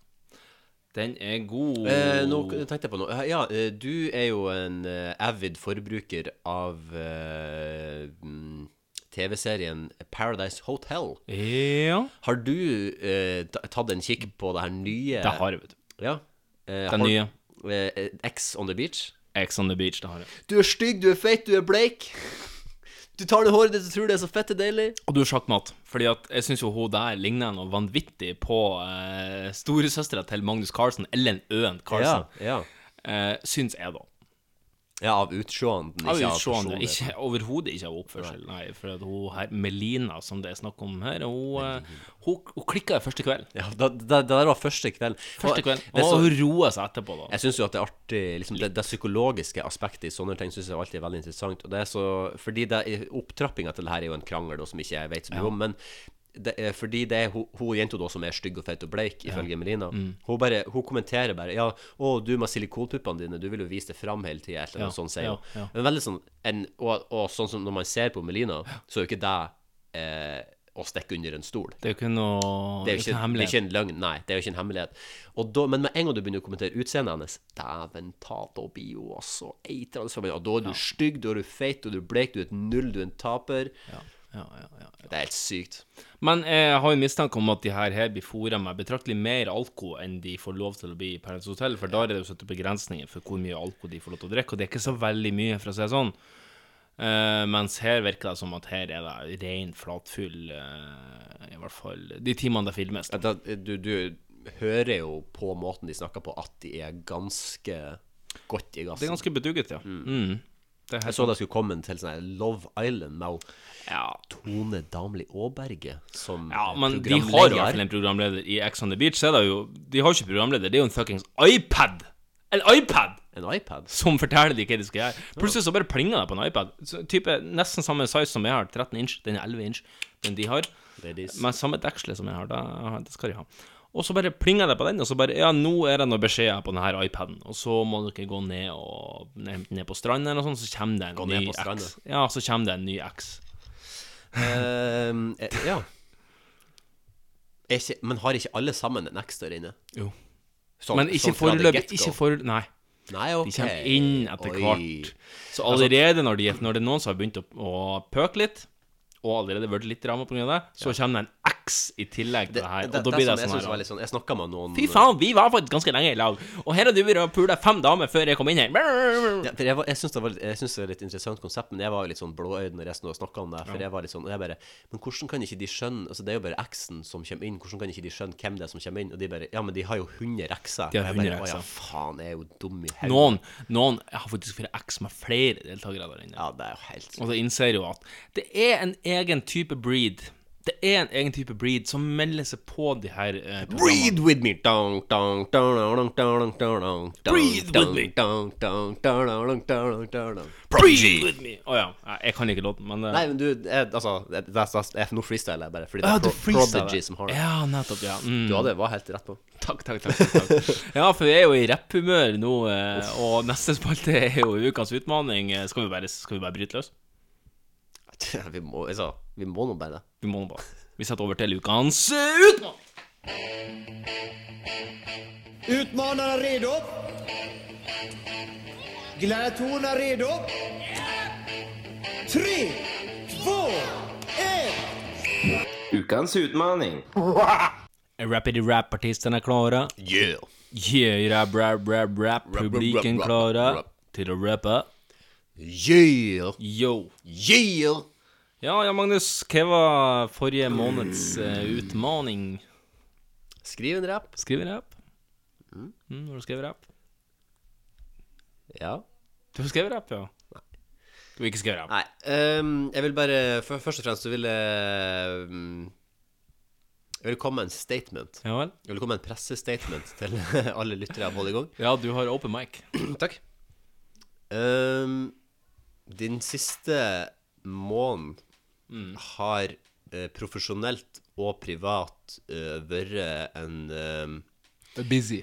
Speaker 2: Den er god.
Speaker 3: Eh, nå tenkte jeg på noe. Ja, eh, du er jo en eh, avid forbruker av eh, mm, TV-serien Paradise Hotel.
Speaker 2: Ja.
Speaker 3: Har du eh, ta- tatt en kikk på det her nye
Speaker 2: Det har jeg, vet du.
Speaker 3: Ja. Eh,
Speaker 2: Den
Speaker 3: har-
Speaker 2: nye.
Speaker 3: eh, X on the beach.
Speaker 2: X on the beach, det har jeg.
Speaker 3: Du er stygg, du er feit, du er bleik. Du tar det håret ditt og tror det er så fette deilig.
Speaker 2: Og du er sjakkmatt. Fordi at jeg syns jo hun der ligner noe vanvittig på eh, storesøstera til Magnus Carlsen, Ellen Øen Carlsen.
Speaker 3: Ja, ja.
Speaker 2: Eh, syns jeg, da.
Speaker 3: Ja, av utseende,
Speaker 2: Av
Speaker 3: ikke av
Speaker 2: utseende.
Speaker 3: personlighet.
Speaker 2: Ikke- Overhodet ikke av oppførsel. Nei, for at hun her, Melina, som det er snakk om her, hun, eh, hun, hun klikka første kveld.
Speaker 3: Ja, da, da, det der var første kvelden.
Speaker 2: Første
Speaker 3: Og-
Speaker 2: kvelden.
Speaker 3: det er
Speaker 2: Og
Speaker 3: så-
Speaker 2: hun roer seg etterpå, da.
Speaker 3: Jeg syns jo at det er artig liksom, det, det psykologiske aspektet i sånne ting synes jeg alltid er veldig interessant. Og det er så, fordi det, Opptrappinga til det her er jo en krangel da, som ikke jeg vet så mye
Speaker 2: Ja.
Speaker 3: om. Men det er, fordi det er hun, hun jenta da som er stygg og feit og bleik, ifølge
Speaker 2: Ja.
Speaker 3: Melina,
Speaker 2: Mm.
Speaker 3: hun, bare, hun kommenterer bare Ja, å, du med silikonpuppene dine, du vil jo vise det fram hele tida, eller noe
Speaker 2: Ja,
Speaker 3: sånt, sier
Speaker 2: ja,
Speaker 3: hun.
Speaker 2: ja.
Speaker 3: Men veldig sånn en, og, og sånn som når man ser på Melina, så er jo ikke det eh, å stikke under en stol.
Speaker 2: Det er jo ikke noe
Speaker 3: Det er jo ikke, det er
Speaker 2: hemmelighet.
Speaker 3: ikke en løgn, nei. Det er jo ikke en hemmelighet. Og da, men med en gang du begynner å kommentere utseendet hennes Dæven ta, da blir hun altså eitrende sammen. Og da er du stygg, da er du feit, og du er blek, du er et null, du er en taper. Det er helt sykt.
Speaker 2: Men jeg har jo mistanke om at de her, her blir fôra med betraktelig mer alko enn de får lov til å bli i Paradise Hotel, for da er det jo satt begrensninger for hvor mye alko de får lov til å drikke, og det er ikke så veldig mye, for å si det sånn. Eh, mens her virker det som at her er det ren flatfyll, eh, i hvert fall de timene det filmes. da.
Speaker 3: Da, du, du hører jo på måten de snakker på, at de er ganske godt i gassen.
Speaker 2: Det er ganske bedugget, ja. Mm. Det er helt
Speaker 3: Jeg så
Speaker 2: sant.
Speaker 3: det skulle komme en til sånn her Love Island med hun Tone Damli Aaberge som
Speaker 2: Ja, men de
Speaker 3: Eh, programleder.
Speaker 2: har jo i hvert fall en programleder i Ex on the Beach. Så er det jo, de har jo ikke programleder, det er jo en fuckings iPad! En iPad!
Speaker 3: En iPad?
Speaker 2: Som forteller de hva de skal gjøre. Plutselig så bare plinger det på en iPad. Så, type, nesten samme size som jeg har, 13 inch. Den er 11 inch, den de har.
Speaker 3: Ladies.
Speaker 2: Men samme deksle som jeg har, da, det skal de ha. Og så bare plinger det på den, og så bare Ja, nå er det noen beskjeder på denne iPaden, og så må dere gå ned og ned, ned på stranda eller noe sånt, så kommer det en
Speaker 3: Gå ned
Speaker 2: ny
Speaker 3: på stranda.
Speaker 2: X. Ja, så kommer det en ny X.
Speaker 3: Ehm, eh, ja. Er ikke, men har ikke alle sammen en X der inne?
Speaker 2: Jo.
Speaker 3: Sånn-
Speaker 2: Men ikke
Speaker 3: sånn fra det
Speaker 2: foreløpig.
Speaker 3: get-go.
Speaker 2: Ikke foreløpig, nei.
Speaker 3: Nei, ok.
Speaker 2: De kommer inn etter
Speaker 3: Oi.
Speaker 2: hvert. Så
Speaker 3: Altså-
Speaker 2: allerede når, de, når det er noen som har begynt å, å pøke litt, og allerede vært litt ramma pga. det, så kommer det en X i tillegg til det her.
Speaker 3: Det,
Speaker 2: Og da blir det sånn
Speaker 3: som jeg synes var
Speaker 2: her
Speaker 3: litt sånn Jeg snakka med noen
Speaker 2: Fy faen, vi var faktisk ganske lenge i lag, og her har du vært og pula fem damer før jeg kom inn her.
Speaker 3: Ja, for jeg, var- jeg syns det, var litt- jeg synes det var et litt interessant konsept, men jeg var jo litt sånn blåøyd når jeg snakka om det. For
Speaker 2: Ja.
Speaker 3: jeg var litt sånn og jeg bare, Men hvordan kan ikke de skjønne Altså, det er jo bare X-en som kommer inn. Hvordan kan ikke de skjønne hvem det er som kommer inn? Og de bare Ja, men de har jo 100 X-er.
Speaker 2: De har
Speaker 3: Og jeg
Speaker 2: 100
Speaker 3: bare, «Å Ja,
Speaker 2: X-er.
Speaker 3: faen, jeg er jo dum i hodet.
Speaker 2: Noen, noen jeg har faktisk fire X med flere deltakere der inne.
Speaker 3: Ja, det er jo helt
Speaker 2: Og da innser jeg jo at det er en egen type breed. Det er en egen type breed som melder seg på de her eh, programmene.
Speaker 3: Breathe with me. Dong, dong, dong, dong, dong, dong, dong, dong,
Speaker 2: Breathe with
Speaker 3: dong,
Speaker 2: me.
Speaker 3: Dong, dong, dong, dong, dong, dong, dong.
Speaker 2: Breathe with me! Å ja. Nei, Jeg kan ikke låten, men eh,
Speaker 3: Nei, men du, jeg, altså det- det- det- jeg- Nå freestyler jeg bare, fordi det
Speaker 2: Ja,
Speaker 3: er
Speaker 2: du
Speaker 3: Pro
Speaker 2: freestyler.
Speaker 3: Prodigy som har det.
Speaker 2: Ja, nettopp, ja. Mm.
Speaker 3: Du hadde var helt rett på.
Speaker 2: Takk, takk, takk. takk, takk. Ja, for vi er jo i rapphumør nå, eh, og neste spalte er jo ukas utfordring. Eh, Skal vi bare, skal vi bare bryte løs?
Speaker 3: vi, må, altså, vi må nå bare det.
Speaker 2: Vi må nå bare Vi setter over til ukens eh, utfordring.
Speaker 5: Utmanarna redo? Gladiatorerna redo? Tre, två, ett!
Speaker 2: Ukens utfordring. Rapid-rap-artistene er klare.
Speaker 3: Yeah.
Speaker 2: Yeah, rap, rap, rap, rap. Publikum
Speaker 3: rap, rap,
Speaker 2: klare
Speaker 3: rap.
Speaker 2: til å rappe.
Speaker 3: Yeah.
Speaker 2: Yo.
Speaker 3: Yeah.
Speaker 2: Ja, ja, Magnus. Hva var forrige måneds eh, utfordring?
Speaker 3: Skriv en rap.
Speaker 2: Skriv en rap. Mm, har du skrevet rap?
Speaker 3: Ja.
Speaker 2: Du har skrevet rap, ja? Skal vi ikke skrive rap?
Speaker 3: Nei. ehm, jeg vil bare fø- Først og fremst så vil jeg ehm, Jeg vil komme med en statement.
Speaker 2: Ja vel?
Speaker 3: Jeg vil komme med en pressestatement til alle lyttere av Hold i gang.
Speaker 2: Ja, du har open mic.
Speaker 3: Takk. Ehm, din siste måned har eh, profesjonelt og privat eh, vært en ehm,
Speaker 2: Busy.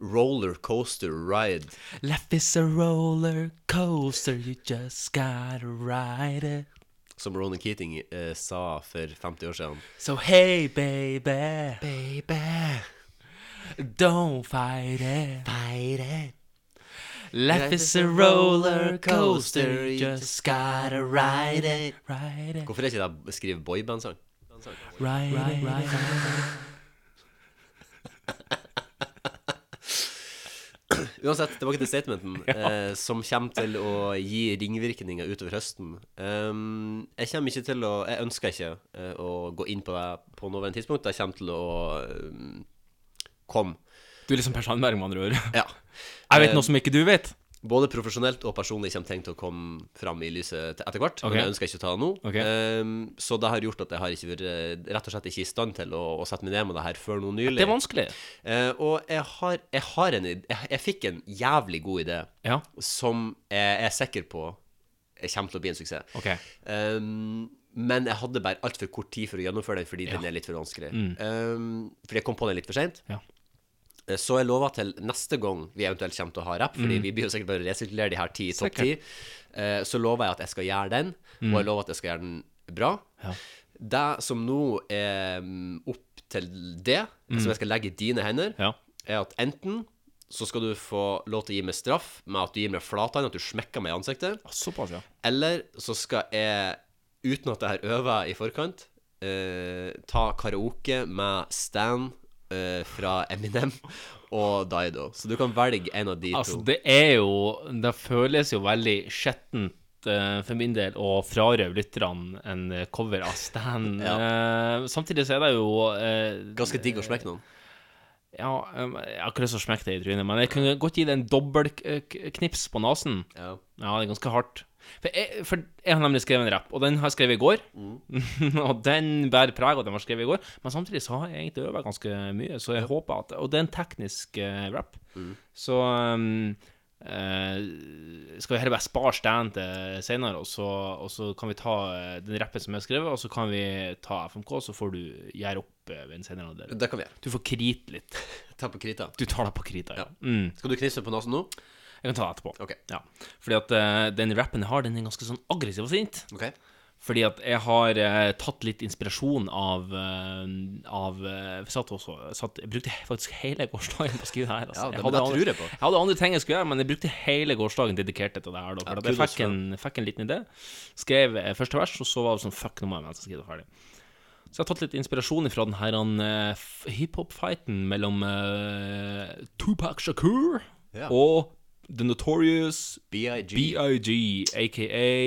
Speaker 3: rollercoaster ride.
Speaker 2: Life is a roller coaster, you just gotta ride it.
Speaker 3: Som Ronan Keating eh, sa for 50 år siden.
Speaker 2: So hey, baby. Baby. Don't fight it. Fight it. Life is a roller coaster, you just gotta ride it. Ride it.
Speaker 3: Hvorfor er ikke det å skrive boybandsang?
Speaker 2: Ride it. Ride it.
Speaker 3: Uansett, tilbake til statementen, eh, som kommer til å gi ringvirkninger utover høsten. Um, jeg kommer ikke til å Jeg ønsker ikke eh, å gå inn på det på nåværende tidspunkt. Jeg kommer til å um, komme.
Speaker 2: Du er liksom Per Sandberg, med andre ord.
Speaker 3: Ja.
Speaker 2: Jeg vet
Speaker 3: Eh,
Speaker 2: noe som ikke du vet.
Speaker 3: både profesjonelt og personlig kommer ting til å komme fram i lyset til- etter hvert.
Speaker 2: Ok.
Speaker 3: Men jeg ønsker ikke å ta det nå.
Speaker 2: Ok.
Speaker 3: Ehm, så det har gjort at jeg har ikke vært eh, rett og slett ikke i stand til å, å sette meg ned med det her før nå nylig.
Speaker 2: Det er vanskelig.
Speaker 3: Eh, og jeg har, jeg har en id- jeg, jeg fikk en jævlig god idé som jeg er sikker på jeg kommer til å bli en suksess.
Speaker 2: Ok.
Speaker 3: Ehm, men jeg hadde bare altfor kort tid for å gjennomføre den fordi den er litt for vanskelig.
Speaker 2: Mm.
Speaker 3: Ehm, fordi jeg kom på den litt for seint.
Speaker 2: Ja.
Speaker 3: Eh, Så jeg lover til neste gang vi eventuelt kommer til å ha rapp, fordi
Speaker 2: Mm.
Speaker 3: vi blir jo sikkert bare å resirkulere de her ti i topp ti,
Speaker 2: Sikkert.
Speaker 3: eh, så lover jeg at jeg skal gjøre den,
Speaker 2: Mm.
Speaker 3: og jeg lover at jeg skal gjøre den bra.
Speaker 2: Ja.
Speaker 3: Det som nå er mm, opp til det,
Speaker 2: Mm.
Speaker 3: som jeg skal legge i dine hender,
Speaker 2: Ja.
Speaker 3: er at enten så skal du få lov til å gi meg straff med at du gir meg flatan, at du smekker meg i ansiktet.
Speaker 2: Såpass, ja.
Speaker 3: Eller så skal jeg, uten at jeg har øvd i forkant, eh, ta karaoke med Stan eh, fra Eminem og Dido. Så du kan velge en av de
Speaker 2: Altså,
Speaker 3: to.
Speaker 2: det er jo Det føles jo veldig skjettent eh, for min del å frarøve lytterne en eh, cover av Stan. Eh, samtidig så er det jo eh,
Speaker 3: Ganske digg å smekke noen.
Speaker 2: Ja, um, jeg har ikke lyst til å smekke deg i trynet, men jeg kunne godt gi deg en dobbel k- k- knips på nesen.
Speaker 3: Ja.
Speaker 2: det er ganske hardt. For jeg, for jeg har nemlig skrevet en rapp, og den har jeg skrevet i går. og den bærer preg av at den var skrevet i går, men samtidig så har jeg egentlig øvd ganske mye, så jeg håper at Og det er en teknisk eh, rapp.
Speaker 3: Mm.
Speaker 2: Så um, eh, skal vi heller bare spare stand til senere, og så, og så kan vi ta eh, den rappen som jeg har skrevet, og så kan vi ta FMK, så får du gjøre opp eh, ved en senere anledning.
Speaker 3: Det kan vi gjøre.
Speaker 2: Du får krite litt.
Speaker 3: Ta på krita.
Speaker 2: Du tar deg på krita, ja. Mm.
Speaker 3: Skal du knipse på nesen nå?
Speaker 2: Jeg kan ta det etterpå. Ja. Fordi at eh, den rappen jeg har, den er ganske sånn aggressiv og sint. Fordi at jeg har eh, tatt litt inspirasjon av, eh, av eh, jeg, satt også, jeg satt, jeg brukte faktisk hele gårsdagen på å skrive det her.
Speaker 3: Ja,
Speaker 2: hadde
Speaker 3: det- men det
Speaker 2: andre-
Speaker 3: tror jeg på.
Speaker 2: Jeg hadde andre ting jeg skulle gjøre, men jeg brukte hele gårsdagen dedikert til det her. Da,
Speaker 3: Ja,
Speaker 2: for at jeg
Speaker 3: kudos
Speaker 2: fikk en, fikk en liten idé, skrev eh, første vers, og så var det sånn fuck, nå må jeg vente til jeg skriver det ferdig. Så jeg har tatt litt inspirasjon fra den her han, eh, f- hiphop-fighten mellom eh, Tupac Shakur
Speaker 3: Ja.
Speaker 2: og The Notorious
Speaker 3: B.I.G.,
Speaker 2: aka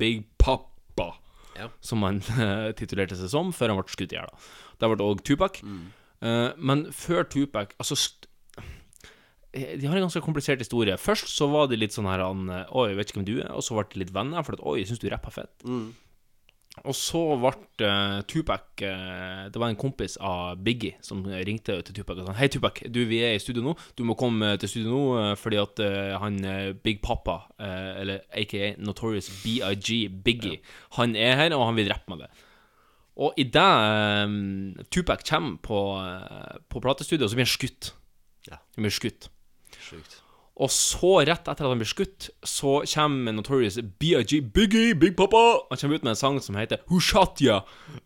Speaker 2: Big Papa,
Speaker 3: Ja.
Speaker 2: som han eh, titulerte seg som før han ble skutt i hjel. da. Der ble det òg Tupac. Eh, men før Tupac Altså st eh, de har en ganske komplisert historie. Først så var de litt sånn her han, eh, Oi, jeg vet ikke hvem du er. Og så ble de litt venner, for at oi, syns du rapper fett? Og så ble eh, Tupac eh, Det var en kompis av Biggie som ringte til Tupac og sa Hei, Tupac, du, vi er i studio nå. Du må komme til studio nå eh, fordi at eh, han eh, Big Papa, eh, eller aka Notorious BIG, Biggie, han er her, og han vil drepe meg med det. Og idet eh, Tupac kommer på, eh, på platestudioet, så blir han skutt.
Speaker 3: Ja.
Speaker 2: Han blir skutt.
Speaker 3: Sjukt.
Speaker 2: Og så, rett etter at han blir skutt, så kommer Notorious BIG Biggie, Big Papa Han kommer ut med en sang som heter Who Shot Ya?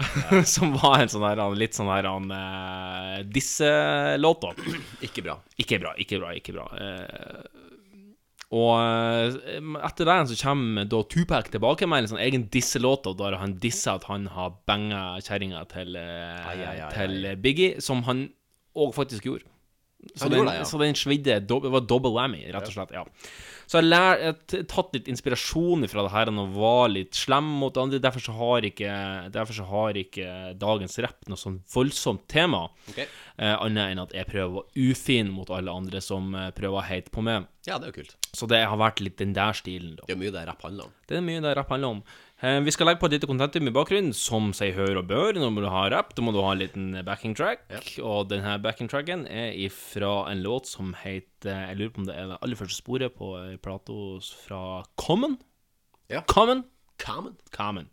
Speaker 2: som var en sånn her, han- litt sånn her han eh, Disse-låt, da.
Speaker 3: Ikke bra.
Speaker 2: Ikke bra, ikke bra, ikke bra. Eh, og eh, etter det så kommer da Tupac tilbake med en sånn egen disselåt, og der han disser at han har banga kjerringa til, eh,
Speaker 3: Ai, ai, ai,
Speaker 2: til Biggie, som han òg faktisk gjorde. Så
Speaker 3: Han
Speaker 2: den,
Speaker 3: gjorde det, ja.
Speaker 2: så den svidde dob- Det var double whammy, rett og slett. ja Så jeg har tatt litt inspirasjon fra det her og var litt slem mot andre. Derfor så har ikke, derfor så har ikke dagens rapp noe sånn voldsomt tema.
Speaker 3: Ok.
Speaker 2: Eh, Annet enn at jeg prøver å være ufin mot alle andre som eh, prøver å heite på meg.
Speaker 3: Ja, det er jo kult.
Speaker 2: Så det har vært litt den der stilen, da.
Speaker 3: Det er mye det rapp handler om.
Speaker 2: Det er mye det rapp handler om. Eh, Vi skal legge på et lite kontentum i bakgrunnen, som sier hør og bør. Når du har rapp, da må du ha en liten backing track. Og denne backing tracken er ifra en låt som heter Jeg lurer på om det er det aller første sporet på eh, plata fra Common. Common.
Speaker 3: Common.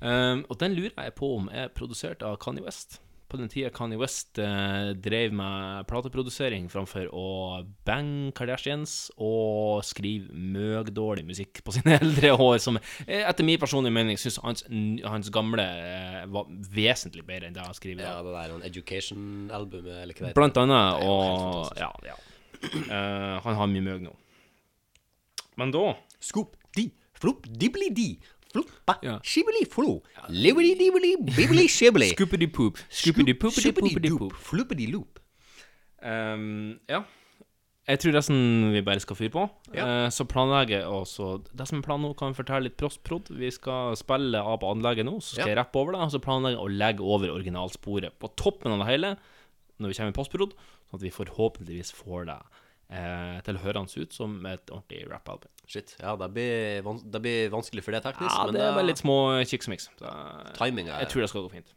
Speaker 2: Um, og den lurer jeg på om er produsert av Kanye West. På den tida Kanye West eh, drev med plateprodusering framfor å bange Kardashians og skrive møgdårlig musikk på sine eldre år, som eh, etter min personlige mening syns hans, hans gamle eh, var vesentlig bedre enn det han skriver. i dag.
Speaker 3: Ja, det der Education-albumet, eller hva det heter.
Speaker 2: Blant
Speaker 3: Det
Speaker 2: annet.
Speaker 3: er jo helt
Speaker 2: Og ja, ja. Eh, han har mye møg nå. Men da
Speaker 3: Scoop di, flopp dibli di, floppa
Speaker 2: ja.
Speaker 3: skibli flo, livli dibli bibli skibli.
Speaker 2: Scoopity poop, scoopity poopity poopity poop.
Speaker 3: Floopity loop.
Speaker 2: Ehm, ja. Jeg tror resten vi bare skal fyre på. Eh, så planlegger jeg også Det som er planen nå, kan vi fortelle litt prost-prod. Vi skal spille av på anlegget nå, så skal
Speaker 3: Ja.
Speaker 2: jeg rappe over det. Og så planlegger jeg å legge over originalsporet på toppen av det hele når vi kommer i postprod, sånn at vi forhåpentligvis får det eh, til hørende ut som et ordentlig rappalbum.
Speaker 3: Shit. Ja, det blir, vans det blir vanskelig for det teknisk.
Speaker 2: Ja,
Speaker 3: men
Speaker 2: det er bare litt små kikksmiks.
Speaker 3: Timing er-
Speaker 2: Jeg tror det skal gå fint.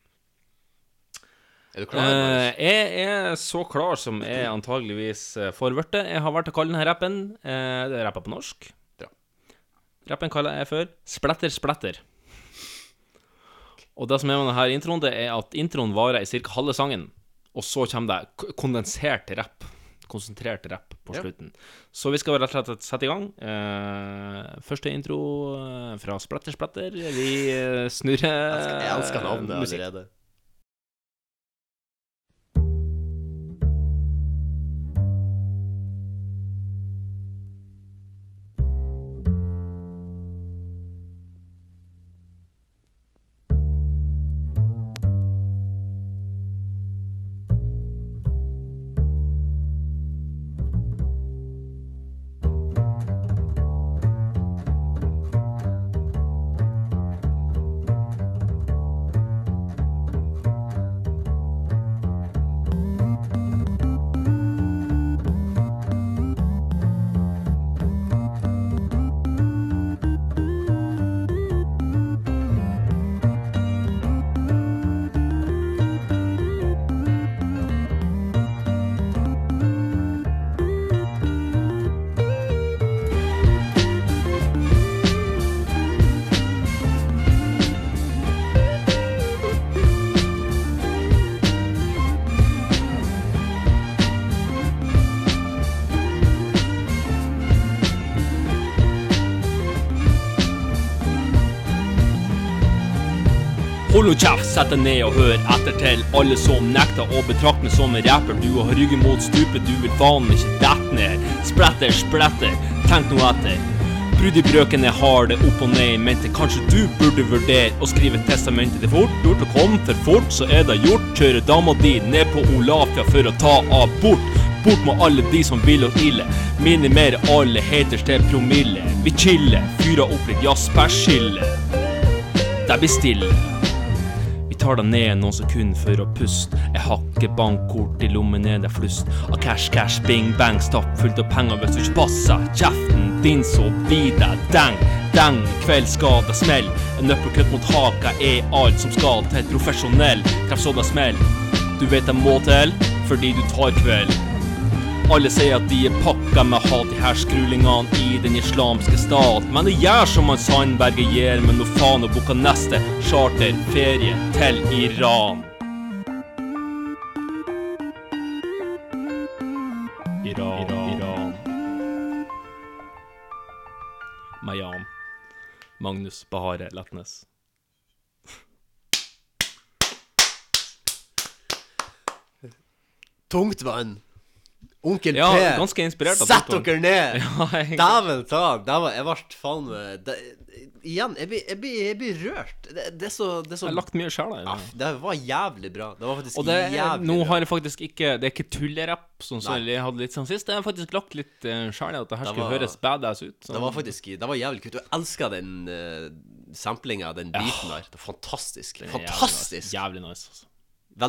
Speaker 3: Er du klar? Marius?
Speaker 2: Eh, jeg er så klar som jeg antageligvis eh, får blitt. Jeg har valgt å kalle denne rappen eh, Det er rappa på norsk. Rappen kaller jeg for Splatter Splatter. Og det som er med denne introen, det er at introen varer i ca. halve sangen. Og så kommer det k- kondensert rapp. Konsentrert rapp på
Speaker 3: Ja.
Speaker 2: slutten. Så vi skal rett og slett sette i gang. Eh, første intro eh, fra Splatter Splatter. Vi eh, snurrer
Speaker 3: Jeg elsker navnet altså.
Speaker 2: eh, musikk.
Speaker 3: allerede.
Speaker 2: Hold nå kjeft, sett deg ned og hør etter til alle som nekter å betrakte meg som en rapper. Du har ryggen mot stupet, du vil faen ikke dette ned. Spretter, spretter, tenk nå etter. Brudebrøken er harde opp og ned i mente. Kanskje du burde vurdere å skrive testamentet ditt fort? Gjort og kom for fort, så er det gjort. Kjøre dama di ned på Olafia for å ta abort. Bort med alle de som vil oss ille. Minimere alle haters til promille. Vi chiller, fyrer opp litt jazzperskille. Det blir stille. Vi tar deg ned noen sekunder for å puste. Jeg hakker bankkort i lommen ned det er flust. Av cash, cash, bing, bang, stappfullt av penger hvis du ikke passer. Kjeften din så blir det dang, dang. I kveld skal det smell. En nøkkelkutt mot haka er alt som skal til et profesjonell. Treff så det smell. Du vet det må til, fordi du tar kveld. Alle sier at de er pakka med hat, de her skrulingene i den islamske stat. Men det gjør som han Sandberget gjør, men nå faen å booke neste charterferie til Iran. Iran, Iran. Mayan. Magnus Bahare Letnes.
Speaker 3: Tungtvann. Onkel
Speaker 2: Ja,
Speaker 3: P.
Speaker 2: ganske inspirert av
Speaker 3: Sett
Speaker 2: Tungtvann.
Speaker 3: dere ned!
Speaker 2: Ja, egentlig.
Speaker 3: Dæven ta! Dæven, jeg ble faen meg- det- Igjen, jeg blir, jeg blir, jeg blir rørt. Det, det er så, det er så
Speaker 2: Jeg har lagt mye sjel i det.
Speaker 3: Ja, Det var jævlig bra. Det var faktisk
Speaker 2: Og det, er-
Speaker 3: jævlig
Speaker 2: nå har jeg faktisk ikke Det er ikke tullerapp, sånn som
Speaker 3: Nei.
Speaker 2: jeg hadde litt sånn sist. Jeg har faktisk lagt litt uh, sjel i at det her
Speaker 3: Det
Speaker 2: skulle
Speaker 3: var-
Speaker 2: høres badass ut. sånn.
Speaker 3: Det var faktisk Det var jævlig kult. Og jeg elsker den uh, samplinga, den biten der. Det var fantastisk.
Speaker 2: Den er jævlig
Speaker 3: Fantastisk!
Speaker 2: nice. Jævlig nice. altså.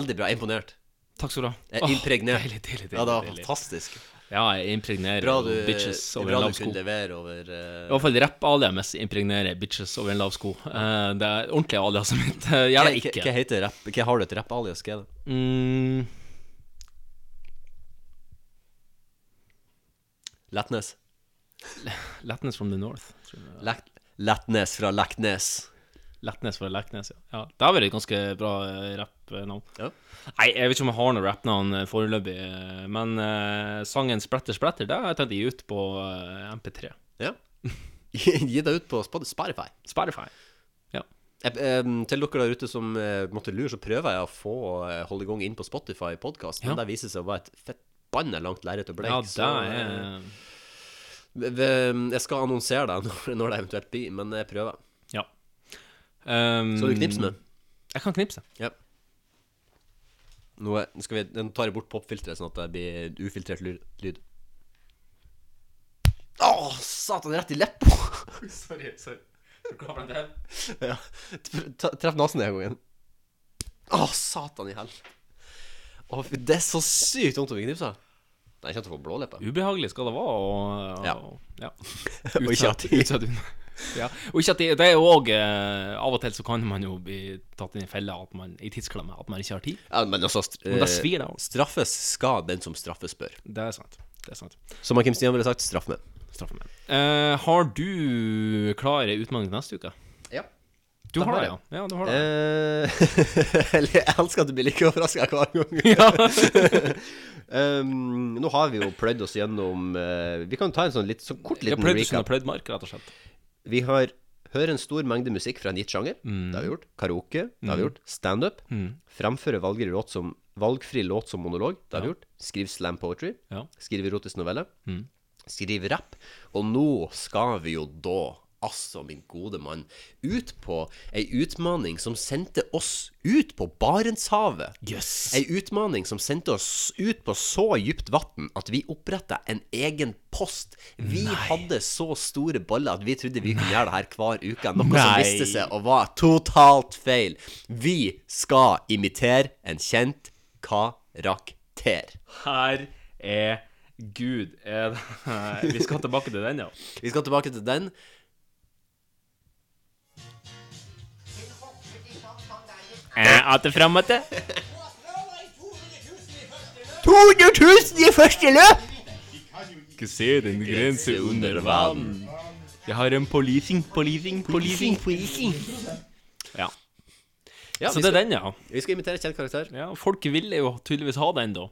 Speaker 3: Veldig bra. Jeg er Imponert.
Speaker 2: Takk skal du ha.
Speaker 3: Jeg
Speaker 2: Åh,
Speaker 3: er impregnert.
Speaker 2: deilig, deilig,
Speaker 3: ja, det var
Speaker 2: deilig, deilig.
Speaker 3: fantastisk.
Speaker 2: Ja, jeg impregnerer
Speaker 3: Bra du,
Speaker 2: bitches
Speaker 3: det er
Speaker 2: over en
Speaker 3: bra
Speaker 2: lav
Speaker 3: du
Speaker 2: sko.
Speaker 3: kunne levere over eh,
Speaker 2: I hvert fall rapp-aliamet impregnerer bitches over en lav sko. Eh, det er ordentlig aliaset mitt. Eh, Gjør det
Speaker 3: Hva-
Speaker 2: ikke.
Speaker 3: Hva, hva heter rapp? Hva har du et rapp-alias? Hva er det?
Speaker 2: Mm,
Speaker 3: Letnes?
Speaker 2: Letnes from the North. tror jeg.
Speaker 3: Letnes fra Leknes.
Speaker 2: Letnes fra Leknes, ja. ja. Det har vært et ganske bra eh, rappnavn. Nei, jeg vet ikke om jeg har noe rappnavn eh, foreløpig, eh, men eh, sangen 'Spretter Spretter' det har jeg tatt i ut på eh, MP3.
Speaker 3: Ja. Gi deg ut på Spot- Spotify.
Speaker 2: Spotify. Ja.
Speaker 3: Jeg, em, til dere der ute som eh, måtte lure, så prøver jeg å få eh, holde i gang inn på Spotify-podkast, men
Speaker 2: Ja.
Speaker 3: det viser seg å være et fett banne langt lerret å
Speaker 2: Ja,
Speaker 3: bleke. så,
Speaker 2: det er-
Speaker 3: eh, v- v- Jeg skal annonsere deg når, når det eventuelt blir, men jeg prøver.
Speaker 2: Ja. Um,
Speaker 3: Skal du knipse nå?
Speaker 2: Jeg kan knipse.
Speaker 3: Ja. Nå, er- nå skal vi, nå tar jeg bort popfilteret, sånn at det blir ufiltrert lyd. lyd. Å, satan, rett i leppa!
Speaker 2: sorry, sorry. Beklager det.
Speaker 3: ja. Tre- Treff nesen den gangen. Å, satan i hell. Å, fy, det er så sykt vondt å bli knipsa. Nei, ikke at du får blå lepper.
Speaker 2: Ubehagelig skal det være. Og,
Speaker 3: Ja.
Speaker 2: og, ja.
Speaker 3: Og ikke at de-
Speaker 2: utsatt unna. Ja. Og ikke at de, det er jo òg eh, Av og til så kan man jo bli tatt inn i fella at man i tidsklemme at man ikke har tid.
Speaker 3: Ja, men også st-
Speaker 2: Men da svir det òg.
Speaker 3: Eh, Straffes skal den som straffes bør.
Speaker 2: Eh, Det er sant. Det er sant.
Speaker 3: Som Kim Stian ville sagt, straff meg.
Speaker 2: Straff meg. Eh, har du klare utmaning neste uke?
Speaker 3: Ja.
Speaker 2: Du
Speaker 3: Det
Speaker 2: har
Speaker 3: har
Speaker 2: det, ja.
Speaker 3: jeg.
Speaker 2: ja du har det.
Speaker 3: Eh, Eller jeg elsker at du blir like overraska hver gang. um, nå har vi jo pløyd oss gjennom eh, Vi kan ta en sånn litt sånn kort
Speaker 2: Vi har
Speaker 3: liten
Speaker 2: pløyd oss gjennom
Speaker 3: mark, rett og slett. Vi har hører en stor mengde musikk fra en gitt sjanger.
Speaker 2: Mm.
Speaker 3: Det har vi gjort. Karaoke. Det har
Speaker 2: Mm.
Speaker 3: vi gjort. Standup.
Speaker 2: Mm.
Speaker 3: Fremføre valgfri låt som, valgfri låt som monolog. Det har
Speaker 2: Ja.
Speaker 3: vi gjort. Skriv slam poetry.
Speaker 2: Ja.
Speaker 3: Skriv erotisk novelle.
Speaker 2: Mm.
Speaker 3: Skriv rapp. Og nå skal vi jo da, altså min gode mann, ut på ei utmaning som sendte oss ut på Barentshavet.
Speaker 2: Yes.
Speaker 3: Ei utmaning som sendte oss ut på så dypt vann at vi oppretta en egen post. Vi hadde så store baller at vi trodde vi kunne gjøre det her hver uke. Noe som
Speaker 2: Nei.
Speaker 3: viste seg å være totalt feil. Vi skal imitere en kjent karakter.
Speaker 2: Her er Gud. Er det- vi skal tilbake til den, ja.
Speaker 3: Vi skal tilbake til den.
Speaker 2: Eh, At det fram at det
Speaker 3: 200 000 i første løp!
Speaker 2: Ikke se den grense under vann. Jeg har en policing, policing, policing. Ja.
Speaker 3: Ja,
Speaker 2: Så
Speaker 3: vi
Speaker 2: det er
Speaker 3: skal-
Speaker 2: den, ja.
Speaker 3: Vi skal imitere kjent karakter.
Speaker 2: ja. Folk ville jo tydeligvis ha den, da.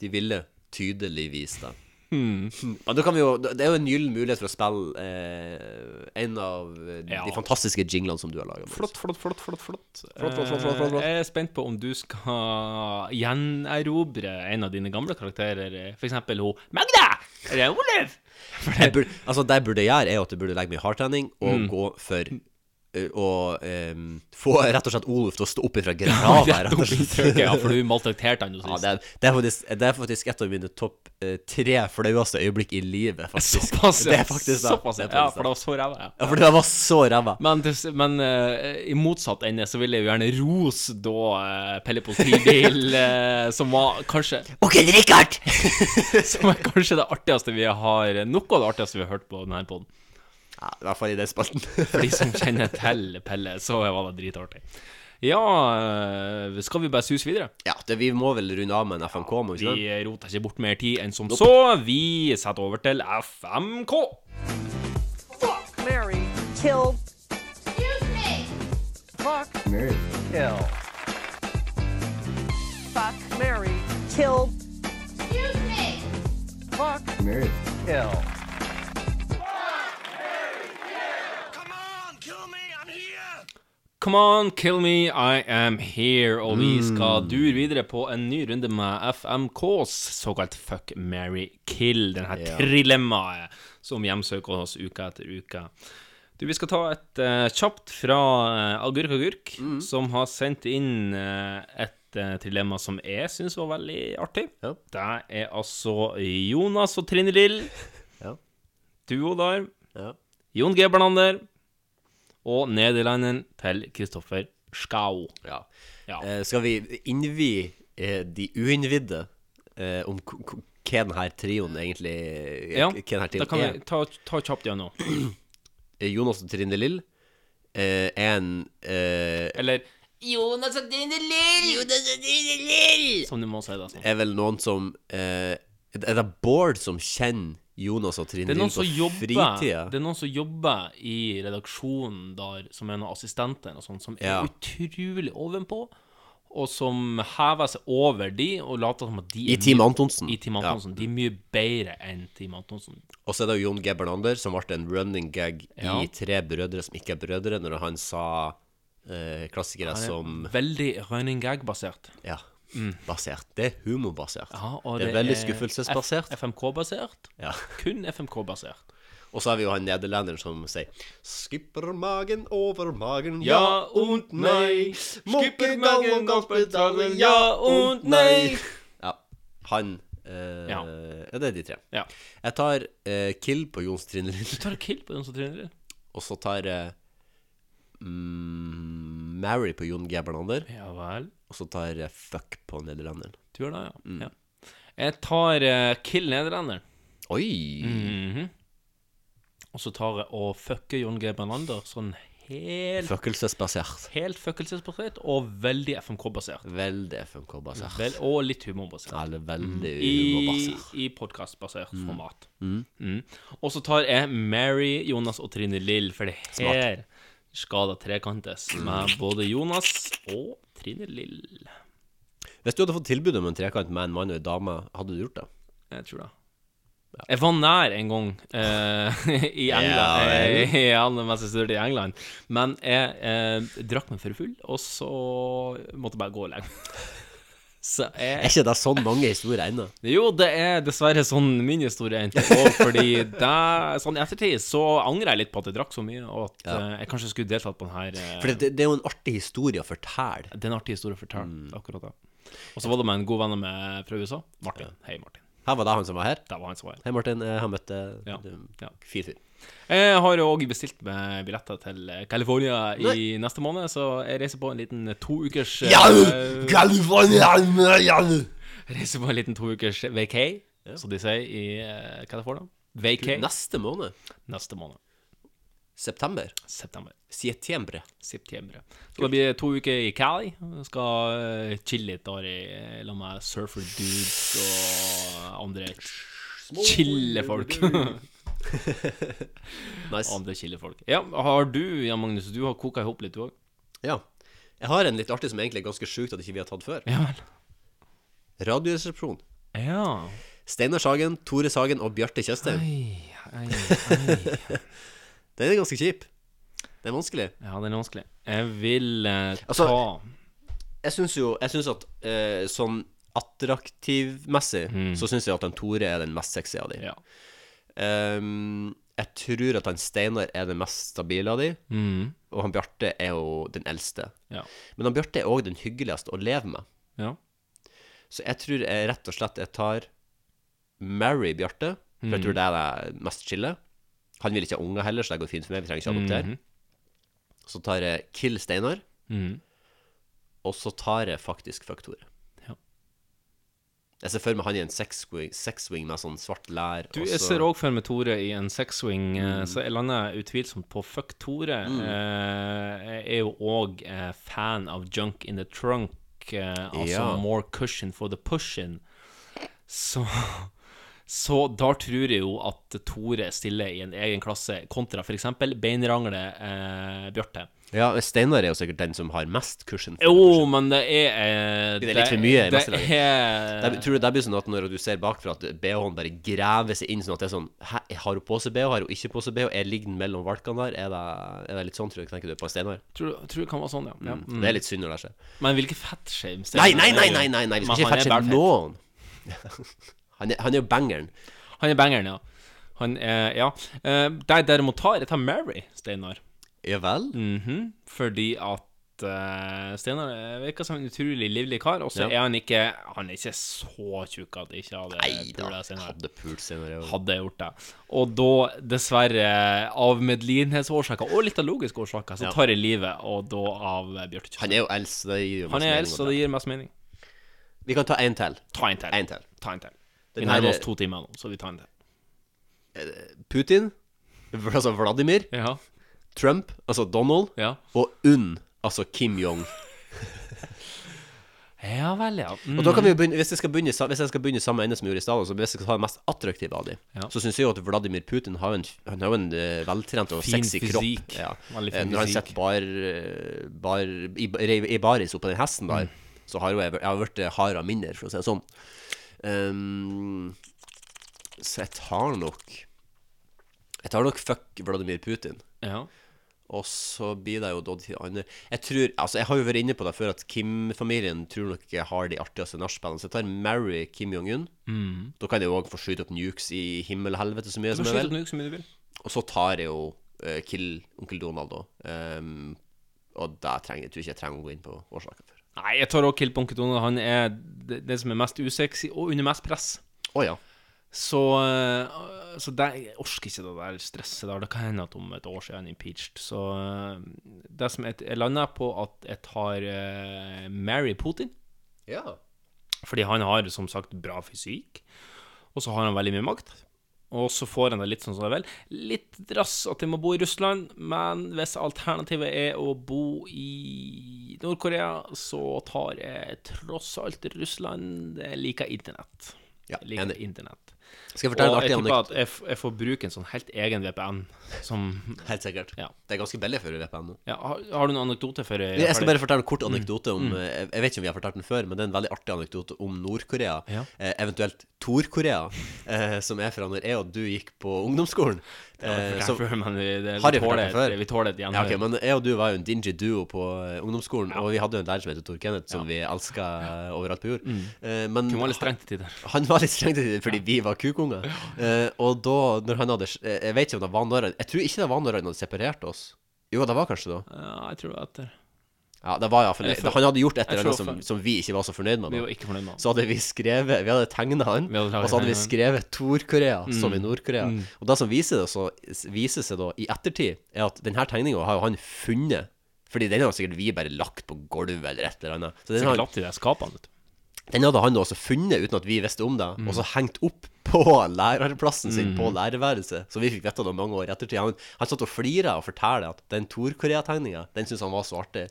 Speaker 3: De ville tydeligvis det.
Speaker 2: Hmm.
Speaker 3: Men da kan vi jo, det er jo en gyllen mulighet for å spille eh, en av
Speaker 2: Ja.
Speaker 3: de fantastiske jinglene som du har laga.
Speaker 2: Flott, flott, flott, flott. flott.
Speaker 3: Flott, flott, flott, flott, flott, flott.
Speaker 2: Eh, Jeg er spent på om du skal gjenerobre en av dine gamle karakterer, f.eks. hun Magda! Eller Olav!
Speaker 3: Jeg burde, altså, det jeg burde gjøre, er jo at du burde legge meg i hardtrening og
Speaker 2: Mm.
Speaker 3: gå for eh, og eh, få rett og slett Oluf til å stå opp ifra grava.
Speaker 2: Rett
Speaker 3: rett og
Speaker 2: opp i
Speaker 3: slett.
Speaker 2: trykket, ja, for du maltrakterte han jo
Speaker 3: Ja,
Speaker 2: sist.
Speaker 3: det, er, det, er faktisk, det er faktisk et av mine topp eh, tre flaueste øyeblikk i livet, faktisk.
Speaker 2: Såpass, ja.
Speaker 3: det er faktisk det.
Speaker 2: Såpass,
Speaker 3: det. er
Speaker 2: ja,
Speaker 3: faktisk
Speaker 2: for det var så ræva, ja.
Speaker 3: Ja, for det var så ræva.
Speaker 2: Men, til- men eh, i motsatt ende så vil jeg jo gjerne rose da eh, Pelle Politibil, eh, som var kanskje
Speaker 3: Onkel Richard!
Speaker 2: som er kanskje det artigste vi har Noe av det artigste vi har hørt på denne poden.
Speaker 3: Ja, I hvert fall i den spalten.
Speaker 2: For de som kjenner til Pelle, så var det dritartig. Ja, eh, skal vi bare suse videre?
Speaker 3: Ja, det, vi må vel runde av med en FMK, må vi ikke
Speaker 2: Vi roter ikke bort mer tid enn som
Speaker 3: Nope.
Speaker 2: så. Vi setter over til FMK.
Speaker 5: Mary, kill.
Speaker 6: Excuse me.
Speaker 5: Fuck.
Speaker 1: Mary.
Speaker 5: Kill. Fuck. Mary, kill.
Speaker 6: Excuse me.
Speaker 5: Fuck.
Speaker 1: Mary.
Speaker 5: Kill.
Speaker 2: Come on, kill me, I am here. Og vi
Speaker 3: Mm.
Speaker 2: skal dure videre på en ny runde med FMKs såkalt fuck, marry, kill. Den her
Speaker 3: Ja.
Speaker 2: trilemmaet som hjemsøker oss uke etter uke. Du, Vi skal ta et eh, kjapt fra eh, Agurk Agurk,
Speaker 3: Mm.
Speaker 2: som har sendt inn eh, et eh, trilemma som jeg syns var veldig artig. Det er altså Jonas og Trine Lill.
Speaker 3: Ja.
Speaker 2: Du, Odar.
Speaker 3: Ja.
Speaker 2: Jon G. Bernander. Og nederlenderen til Kristoffer Schau.
Speaker 3: Ja. Eh, skal vi innvie eh, de uinnvidde eh, om k- k- hva denne trioen egentlig
Speaker 2: Ja,
Speaker 3: hva denne
Speaker 2: da
Speaker 3: trioen
Speaker 2: kan
Speaker 3: er?
Speaker 2: vi ta, ta kjapt gjennom.
Speaker 3: Eh, Jonas og Trine Lill eh, er en eh,
Speaker 2: Eller Jonas og Trine Lill!
Speaker 6: Jonas og Trine Lill!
Speaker 2: Som du må si, da. Sånn.
Speaker 3: er vel noen som eh, Er det Bård som kjenner Jonas og Trine
Speaker 2: Det er,
Speaker 3: Lill
Speaker 2: noen
Speaker 3: på
Speaker 2: som jobber,
Speaker 3: fritida?
Speaker 2: det er noen som jobber i redaksjonen der, som er noen assistenter og sånt, som er
Speaker 3: Ja.
Speaker 2: utrolig ovenpå, og som hever seg over de og later som at de
Speaker 3: I
Speaker 2: er
Speaker 3: Team
Speaker 2: mye-
Speaker 3: Antonsen.
Speaker 2: I Team
Speaker 3: Ja.
Speaker 2: Antonsen. De er mye bedre enn Team Antonsen.
Speaker 3: Og så er det jo Jon G. Bernander, som ble en running gag
Speaker 2: Ja.
Speaker 3: i Tre brødre som ikke er brødre, når han sa eh, klassikere
Speaker 2: Han er
Speaker 3: som
Speaker 2: Veldig running gag-basert.
Speaker 3: Ja. Basert. Det er humorbasert.
Speaker 2: Mm. Ja, og
Speaker 3: det, er veldig skuffelsesbasert.
Speaker 2: F- FMK-basert.
Speaker 3: Ja.
Speaker 2: Kun FMK-basert.
Speaker 3: Og så har vi jo han nederlenderen som sier Skipper magen over magen,
Speaker 2: Ja und nei. Skipper magen over magen, ja und nei.
Speaker 3: Ja. Han eh, ja.
Speaker 2: Ja.
Speaker 3: det er de tre.
Speaker 2: Ja.
Speaker 3: Jeg tar eh, kill på Jons Trine Lill,
Speaker 2: Du tar kill på den som trener.
Speaker 3: og så tar jeg mm, Mary på Jon G. Bernander.
Speaker 2: Ja vel.
Speaker 3: Og så tar jeg fuck på eh, nederlenderen.
Speaker 2: Du gjør det, ja. ja. Jeg tar eh, Kill Nederlender.
Speaker 3: Oi!
Speaker 2: Mm. Og så tar jeg og fucker Jon G. Bernander sånn helt
Speaker 3: Fuckelsesbasert.
Speaker 2: Helt fuckelsesbasert og veldig FMK-basert.
Speaker 3: Veldig FMK-basert.
Speaker 2: Vel, og litt humorbasert.
Speaker 3: Eller veldig
Speaker 2: I,
Speaker 3: humorbasert.
Speaker 2: i podkastbasert
Speaker 3: Mm.
Speaker 2: format.
Speaker 3: Mm.
Speaker 2: Mm. Og så tar jeg Mary, Jonas og Trine Lill, for det her skal da trekantes med både Jonas og Trine Lill.
Speaker 3: Hvis du hadde fått tilbud om en trekant med en mann og en dame, hadde du gjort det?
Speaker 2: Jeg tror det. Jeg var nær en gang eh, i
Speaker 3: Ja,
Speaker 2: England,
Speaker 3: vel.
Speaker 2: eh, i England mens jeg studerte i England. Men jeg eh, drakk meg for full, og så måtte jeg bare gå lenge. Så jeg
Speaker 3: Er ikke det sånn mange historier ennå?
Speaker 2: Jo, det er dessverre sånn min historie endte Og fordi det, sånn i ettertid så angrer jeg litt på at jeg drakk så mye, og at
Speaker 3: Ja.
Speaker 2: eh, jeg kanskje skulle deltatt på den her eh,
Speaker 3: For det, det er jo en artig historie å fortelle.
Speaker 2: Det er en artig historie å fortelle, akkurat det. Og så var det med en god venn av meg fra USA. Martin. Hei, Martin.
Speaker 3: Her var det han som var her?
Speaker 2: Det var han som var her.
Speaker 3: Hei, Martin. eh, Han møtte
Speaker 2: Ja,
Speaker 3: du-
Speaker 2: ja.
Speaker 3: Fin fyr.
Speaker 2: Jeg har jo òg bestilt meg billetter til eh, California i
Speaker 3: Nei.
Speaker 2: neste måned, så jeg reiser på en liten to ukers eh,
Speaker 3: Ja, California, ja.
Speaker 2: Jeg reiser på en liten to ukers vacay, som de sier i eh, California. Vacay.
Speaker 3: Neste måned?
Speaker 2: Neste måned.
Speaker 3: September?
Speaker 2: September.
Speaker 3: September.
Speaker 2: September. Så det blir to uker i Cali. Jeg skal eh, chille litt der i La meg surfer dudes og andre chille folk.
Speaker 3: Nice.
Speaker 2: Andre chille folk. Ja, har du, Jan Magnus, du har koka i hop litt, du òg?
Speaker 3: Ja. Jeg har en litt artig som egentlig er ganske sjukt at ikke vi har tatt før.
Speaker 2: Ja
Speaker 3: Radioresepsjon.
Speaker 2: Ja.
Speaker 3: Steinar Sagen, Tore Sagen og Bjarte Tjøstheim.
Speaker 2: ai,
Speaker 3: Den er ganske kjip. Det er vanskelig.
Speaker 2: Ja, den er vanskelig. Jeg vil eh, ta
Speaker 3: Altså, jeg syns jo Jeg syns at eh, sånn attraktivmessig,
Speaker 2: Mm.
Speaker 3: så syns jeg at den Tore er den mest sexy av de.
Speaker 2: Ja.
Speaker 3: Ehm, jeg tror at han Steinar er den mest stabile av de,
Speaker 2: Mm.
Speaker 3: og han Bjarte er jo den eldste.
Speaker 2: Ja.
Speaker 3: Men han Bjarte er òg den hyggeligste å leve med.
Speaker 2: Ja.
Speaker 3: Så jeg tror jeg rett og slett jeg tar Mary Bjarte, for jeg
Speaker 2: Mm.
Speaker 3: tror det er det mest chille. Han vil ikke ha unger heller, så det går fint for meg. Vi trenger ikke adoptere.
Speaker 2: Mhm.
Speaker 3: Så tar jeg Kill Steinar,
Speaker 2: Mhm.
Speaker 3: og så tar jeg faktisk Fuck Tore.
Speaker 2: Ja.
Speaker 3: Jeg ser for meg han i en sexswing sexswing med sånn svart lær.
Speaker 2: Du,
Speaker 3: og
Speaker 2: jeg
Speaker 3: så-
Speaker 2: ser òg for meg Tore i en sexswing, eh,
Speaker 3: Mm.
Speaker 2: så jeg lander utvilsomt på fuck Tore.
Speaker 3: Mm.
Speaker 2: Eh, Jeg er jo òg eh, fan av Junk in the Trunk, eh, altså
Speaker 3: Ja.
Speaker 2: More Cushion for the Pushin. Så så da tror jeg jo at Tore stiller i en egen klasse, kontra f.eks. beinrangle eh, Bjarte.
Speaker 3: Ja, Steinar er jo sikkert den som har mest kursen. for
Speaker 2: Jo, men det er eh,
Speaker 3: Det er litt for mye i
Speaker 2: det
Speaker 3: meste laget.
Speaker 2: er-
Speaker 3: Det- Tror du det blir sånn at når du ser bakfra, at BH-en bare graver seg inn sånn at det er sånn Hæ, jeg har hun på seg BH? Har hun ikke på seg BH? Er liggen mellom valkene der? Er det, er det litt sånn, tror du? Tenker du på Steinar?
Speaker 2: Tror, tror det kan være sånn, ja. ja.
Speaker 3: Det er litt synd når det skjer.
Speaker 2: Men hvilke fettshame
Speaker 3: Mm. Nei, nei, nei, nei, nei, nei, vi
Speaker 2: Men
Speaker 3: skal ikke
Speaker 2: han er bælfett.
Speaker 3: fetche noen. Han er, han er jo bangeren.
Speaker 2: Han er bangeren, ja. Han er, ja. Eh, Der derimot tar jeg tar Mary, Steinar.
Speaker 3: Ja vel?
Speaker 2: Fordi at eh, Steinar eh, virker som en utrolig livlig kar, og så
Speaker 3: Ja.
Speaker 2: er han ikke Han er ikke så tjukk at jeg ikke hadde
Speaker 3: da,
Speaker 2: pula Steinar.
Speaker 3: Hadde pult Steinar, ja.
Speaker 2: Hadde jeg gjort det. Og da, dessverre, av medlidenhetsårsaker og litt av logiske årsaker, så
Speaker 3: Ja.
Speaker 2: tar jeg livet, og da av eh, Bjarte Tjøstheim.
Speaker 3: Han er jo eldst, så det gir jo
Speaker 2: Han
Speaker 3: mest
Speaker 2: er
Speaker 3: mening
Speaker 2: eldst,
Speaker 3: å
Speaker 2: og det gir mest mening.
Speaker 3: Vi kan ta en til.
Speaker 2: Ta en til.
Speaker 3: En til.
Speaker 2: Ta en til. Vi
Speaker 3: Den
Speaker 2: nærmer
Speaker 3: her-
Speaker 2: oss to timer nå, så vi tar en til.
Speaker 3: Putin, altså Vladimir, Trump, altså Donald, og UNN, altså Kim Jong.
Speaker 2: Ja vel, ja. Mm.
Speaker 3: Og da kan vi jo begynne, Hvis jeg skal begynne, sa- hvis jeg skal begynne samme ende som jeg gjorde i stad, altså hvis jeg skal ta det mest attraktive av dem,
Speaker 2: Ja.
Speaker 3: så syns jeg jo at Vladimir Putin har jo en, han har jo en eh, veltrent og
Speaker 2: Fin
Speaker 3: sexy
Speaker 2: fysikk.
Speaker 3: kropp. Ja.
Speaker 2: Veldig fin
Speaker 3: Eh, Når han
Speaker 2: fysikk.
Speaker 3: sitter bar, eh, bar, i, i- i baris oppå den hesten
Speaker 2: Mm.
Speaker 3: der, så har jo jeg, jeg har eh, vært hardere mindre, for å si det sånn. Um, så jeg tar nok Jeg tar nok fuck Vladimir Putin.
Speaker 2: Ja.
Speaker 3: Og så blir det jo da de andre Jeg tror, altså jeg har jo vært inne på det før at Kim-familien tror nok jeg har de artigste nachspielene. Så jeg tar Mary Kim Jong-un.
Speaker 2: Mm.
Speaker 3: Da kan jeg jo òg få skyte opp nukes i himmelhelvete så mye
Speaker 2: Du
Speaker 3: som
Speaker 2: får
Speaker 3: jeg
Speaker 2: skyte opp
Speaker 3: vil.
Speaker 2: nukes så mye du vil.
Speaker 3: Og så tar jeg jo eh, Kill onkel Donald, da. Um, og det trenger jeg tror ikke jeg trenger å gå inn på årsaken for.
Speaker 2: Nei, jeg tar også Kill Bunker Donald. Han er det- den som er mest usexy og under mest press.
Speaker 3: Å ja.
Speaker 2: Så, eh, så det, jeg orker ikke det der stresset der. Det kan hende at om et år så er han impeached. Så eh, det øh, som jeg, jeg lander på at jeg tar eh, Mary Putin.
Speaker 3: Ja.
Speaker 2: Fordi han har som sagt bra fysikk, og så har han veldig mye makt. Og så får han det litt sånn som det vil. Litt rass at de må bo i Russland, men hvis alternativet er å bo i Nord-Korea, så tar jeg tross alt Russland. Jeg liker internett. Jeg liker internett.
Speaker 3: Skal jeg fortelle en
Speaker 2: og jeg
Speaker 3: artig
Speaker 2: tipper at jeg, f- jeg får bruke en sånn helt egen VPN. Som,
Speaker 3: helt sikkert. Det er ganske billig for VPN nå.
Speaker 2: Ja, har, har du noen anekdote for
Speaker 3: Jeg skal bare fortelle en kort
Speaker 2: Mm.
Speaker 3: anekdote om
Speaker 2: Mm.
Speaker 3: eh, Jeg jeg vet ikke om vi har fortalt den før, men det er en veldig artig anekdote om Nord-Korea.
Speaker 2: Ja.
Speaker 3: Eh, eventuelt Tor-Korea, eh, som er fra når jeg og du gikk på ungdomsskolen.
Speaker 2: Det har vi
Speaker 3: Eh,
Speaker 2: fortalt
Speaker 3: som-
Speaker 2: før, men vi- det- vi
Speaker 3: Har
Speaker 2: tåler
Speaker 3: jeg fortalt den
Speaker 2: et-
Speaker 3: før?
Speaker 2: vi tåler et gjenhør.
Speaker 3: Ja, ok, men jeg og du var jo en dingy duo på eh, ungdomsskolen, og vi hadde jo en lærer som heter Tor Kenneth, som vi elska overalt på jord.
Speaker 2: Mm.
Speaker 3: Eh, men
Speaker 2: Kunne være litt streng til tider.
Speaker 3: Han var litt streng til tider fordi vi var kukunger. Eh, og da, når han hadde eh, Jeg vet ikke om det var når han Jeg tror ikke det var når han hadde separert oss. Jo, det var kanskje da.
Speaker 2: Ja, jeg tror at det
Speaker 3: Ja, det var i hvert fall
Speaker 2: Eller for-
Speaker 3: Han hadde gjort et
Speaker 2: Jeg
Speaker 3: eller annet
Speaker 2: tror
Speaker 3: som,
Speaker 2: for-
Speaker 3: som vi ikke var så fornøyd med. da.
Speaker 2: Vi var ikke fornøyd med han.
Speaker 3: Så hadde vi skrevet Vi hadde tegna han, og så hadde vi skrevet Tor-Korea
Speaker 2: Mm.
Speaker 3: som i Nord-Korea.
Speaker 2: Mm.
Speaker 3: Og det som viser, det, så viser seg da i ettertid, er at denne tegninga har jo han funnet. Fordi den har sikkert vi bare lagt på gulvet eller et eller annet. Så den,
Speaker 2: Sikkert
Speaker 3: har-
Speaker 2: lagt i det skapene, vet du.
Speaker 3: den hadde han da også funnet uten at vi visste om det,
Speaker 2: Mm.
Speaker 3: og så hengt opp på lærerplassen sin
Speaker 2: Mm.
Speaker 3: på lærerværelset. Så vi fikk vite det mange år i ettertid. Han, han satt og flira og fortalte at den Tor-Korea-tegninga, den syntes han var så artig.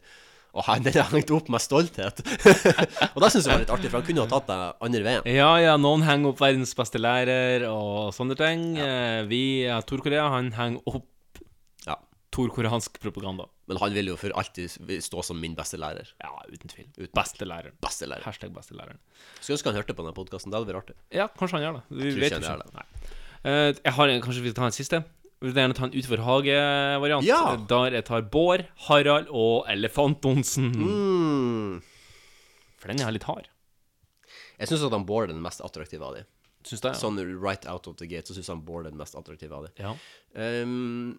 Speaker 3: Og han den har hengt opp med stolthet. og det syns jeg var litt artig, for han kunne ha tatt det andre veien.
Speaker 2: Ja, ja, noen henger opp verdens beste lærer og sånne ting. Eh, Vi, ja, Tor-Korea, han henger opp
Speaker 3: ja.
Speaker 2: tor-koreansk propaganda.
Speaker 3: Men han vil jo for alltid stå som min beste lærer.
Speaker 2: Ja, uten tvil. Beste læreren.
Speaker 3: Beste læreren.
Speaker 2: Hashtag beste læreren.
Speaker 3: Skulle ønske han hørte på denne podkasten. Det hadde vært artig.
Speaker 2: Ja, kanskje han gjør det. Vi
Speaker 3: Jeg tror
Speaker 2: vet
Speaker 3: ikke
Speaker 2: jo
Speaker 3: han gjør
Speaker 2: ikke. Nei. Eh, Jeg har en, kanskje vi skal ta en siste? Vi vil gjerne ta en utenfor hage-variant. Eh,
Speaker 3: Ja!
Speaker 2: Der jeg tar Bård, Harald og Elefant-Onsen.
Speaker 3: Mm.
Speaker 2: For den er litt hard.
Speaker 3: Jeg syns at han Bård er den mest attraktive av de.
Speaker 2: Syns det, ja.
Speaker 3: Sånn right out of the gate, så syns han Bård er den mest attraktive av de.
Speaker 2: Ja.
Speaker 3: Ehm,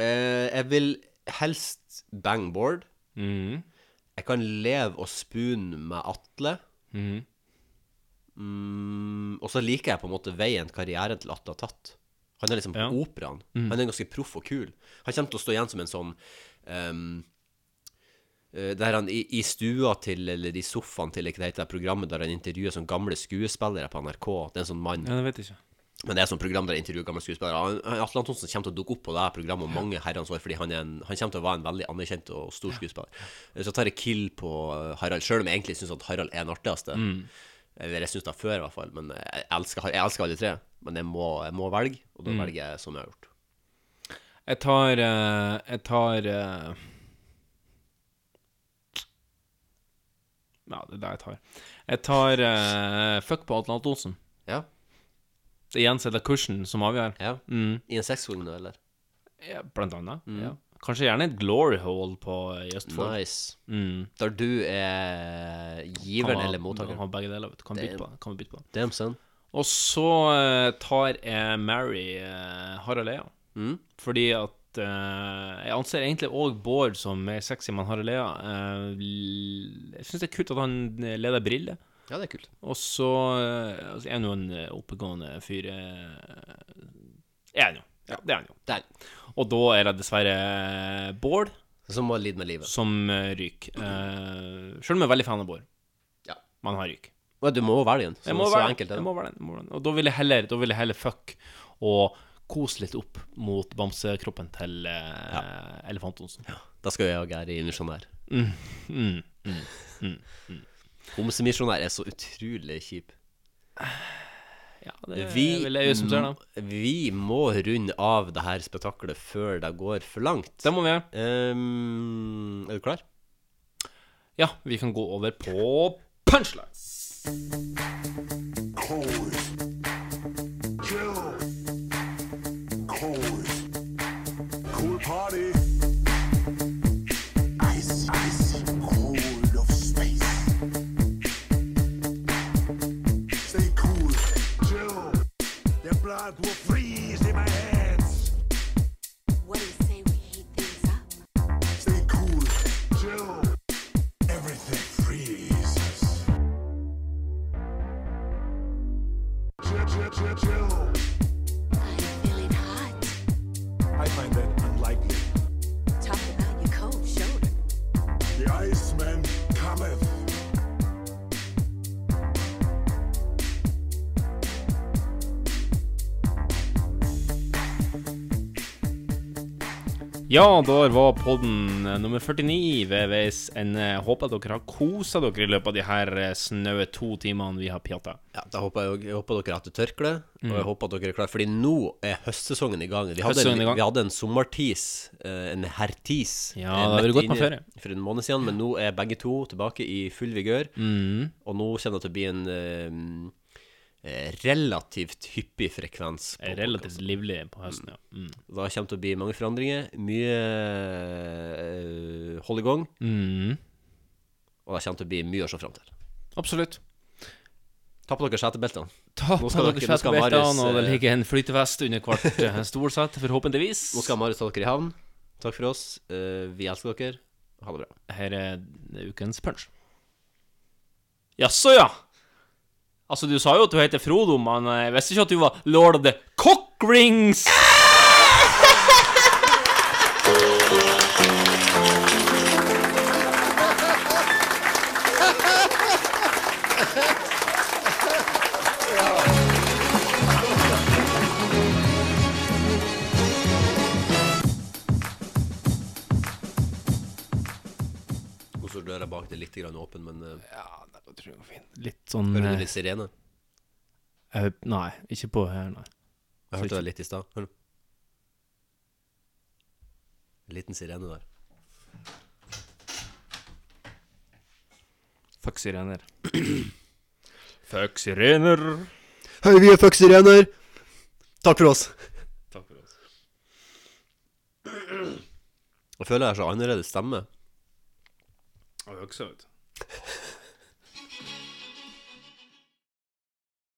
Speaker 3: eh, jeg vil helst bang Bård.
Speaker 2: Mhm.
Speaker 3: Jeg kan leve og spoon med Atle.
Speaker 2: Mhm.
Speaker 3: Mm, og så liker jeg på en måte veien karrieren til Atle har tatt. Han er liksom på operaen.
Speaker 2: Mm.
Speaker 3: Han er ganske proff og kul. Han kommer til å stå igjen som en sånn ehm, eh, der han i, i stua til, eller i sofaen til, ikke det heter, det programmet der han intervjuer sånn gamle skuespillere på NRK. Det er en sånn mann.
Speaker 2: Ja, det vet jeg ikke.
Speaker 3: Men det er sånn program der jeg intervjuer gamle skuespillere. Han- han- Atle Antonsen kommer til å dukke opp på det her programmet om mange herrens år, fordi han, er en, han kommer til å være en veldig anerkjent og stor skuespiller. Så tar jeg kill på eh, Harald, sjøl om jeg egentlig syns at Harald er den artigste.
Speaker 2: Mm.
Speaker 3: Eller jeg syns det før, i hvert fall. Men jeg elsker, Har- jeg elsker alle tre. Men jeg må, jeg må velge, og da
Speaker 2: Mm.
Speaker 3: velger jeg som jeg har gjort.
Speaker 2: Jeg tar eh, Jeg tar eh, Ja, det er det jeg tar. Jeg tar eh, fuck på Atle Antonsen.
Speaker 3: Ja.
Speaker 2: Det igjen så er det kursen som avgjør. Mm,
Speaker 3: I en sexvogn, da, eller?
Speaker 2: ja, blant annet.
Speaker 3: Mm.
Speaker 2: Ja. Kanskje gjerne et glory hole på i Østfold.
Speaker 3: Nice.
Speaker 2: Mm.
Speaker 3: Der du er giveren
Speaker 2: Kan ha-
Speaker 3: eller mottakeren.
Speaker 2: Kan ha begge deler, vet du. Kan bytte på det. Kan vi bytte på det.
Speaker 3: Damn son.
Speaker 2: Og så eh, tar jeg Mary eh, Harald Eia.
Speaker 3: Mm.
Speaker 2: Fordi at eh, Jeg anser egentlig òg Bård som mer sexy, men Harald Eia eh, l- Jeg syns det er kult at han eh, leder Brille.
Speaker 3: Ja, det er kult.
Speaker 2: Og så eh, altså, er han jo en eh, oppegående fyr. eh, Er han jo. Ja, det er han jo. Og da er det dessverre eh, Bård
Speaker 3: Som må lide med livet.
Speaker 2: som eh, ryker. Eh, Sjøl om jeg er veldig fan av Bård.
Speaker 3: Ja.
Speaker 2: Men han ryker.
Speaker 3: Men Du må velge en. Så,
Speaker 2: Jeg må
Speaker 3: så
Speaker 2: være
Speaker 3: enkelt
Speaker 2: den.
Speaker 3: er det.
Speaker 2: Jeg må være den. jeg må være den. Og da vil jeg heller, da vil jeg heller fuck og kose litt opp mot bamsekroppen til eh, Elefant Onsen.
Speaker 3: Da skal jeg og Geri i misjonær.
Speaker 2: Mm, mm, mm, mm, mm.
Speaker 3: Homsemisjonær er så utrolig kjip.
Speaker 2: Ja, det vil jeg jo som ser, da.
Speaker 3: m- vi må runde av det her spetakkelet før det går for langt.
Speaker 2: Det må vi gjøre.
Speaker 3: er du klar?
Speaker 2: Ja, vi kan gå over på punchline.
Speaker 8: Cool party. Ice, ice, cold of space. Stay cool, chill. The blood will freeze in my hands. What do you say we heat things up? Stay cool, chill. Everything freezes. Chill, chill, chill, chill. I'm feeling hot. I find that unlikely. Talk about your cold shoulder. The Iceman cometh.
Speaker 2: Ja, der var podden nummer 49 ved veis ende. Håper dere har kosa dere i løpet av de her eh, snaue to timene vi har pjatta.
Speaker 3: Ja, da håper jeg, jeg håper dere har hatt det tørkle,
Speaker 2: Mm.
Speaker 3: og jeg håper at dere er klare, fordi nå er høstsesongen i gang. Vi hadde,
Speaker 2: Høstsesongen
Speaker 3: en,
Speaker 2: i gang.
Speaker 3: Vi hadde en sommertis, eh, en hertis,
Speaker 2: Ja,
Speaker 3: eh,
Speaker 2: da har vi
Speaker 3: midt
Speaker 2: gått på
Speaker 3: inn i-
Speaker 2: ferie.
Speaker 3: for en måned siden, men nå er begge to tilbake i full vigør,
Speaker 2: Mm.
Speaker 3: og nå kommer det til å bli en eh, eh, relativt hyppig frekvens. På relativt
Speaker 2: livlig på høsten, ja. Mm.
Speaker 3: Da kommer det til å bli mange forandringer, mye eh, hold i gang,
Speaker 2: Mm.
Speaker 3: og det kommer til å bli mye å se fram til.
Speaker 2: Absolutt.
Speaker 3: Ta på dere setebeltene.
Speaker 2: Ta
Speaker 3: Nå
Speaker 2: på
Speaker 3: skal
Speaker 2: dere
Speaker 3: dere- nå skal Marius,
Speaker 2: setebeltene, og det
Speaker 3: eh,
Speaker 2: ligger en flytevest under hvert eh, stolsett, forhåpentligvis.
Speaker 3: Nå skal Marius ta dere i havn. Takk for oss. Eh, vi elsker dere. Ha det bra.
Speaker 2: Her er ukens punch. Jaså, ja. Altså, du sa jo at du heter Frodo, men eh, jeg visste ikke at du var lord of the cockrings.
Speaker 3: Og så døra bak det litt grann åpen, men Ja,
Speaker 2: det tror jeg går fint. Litt sånn
Speaker 3: Hører
Speaker 2: eh,
Speaker 3: du litt sirene?
Speaker 2: eh, Nei, ikke på her, nei.
Speaker 3: Jeg hørte
Speaker 2: Så
Speaker 3: det litt i stad. Hør nå. En Liten sirene der.
Speaker 2: ikke- Fuck sirener. Fuck sirener.
Speaker 3: Hei, vi er fuck sirener! Takk for oss.
Speaker 2: Takk for oss.
Speaker 3: Jeg føler jeg har så annerledes stemme.
Speaker 2: Og øksa, vet du.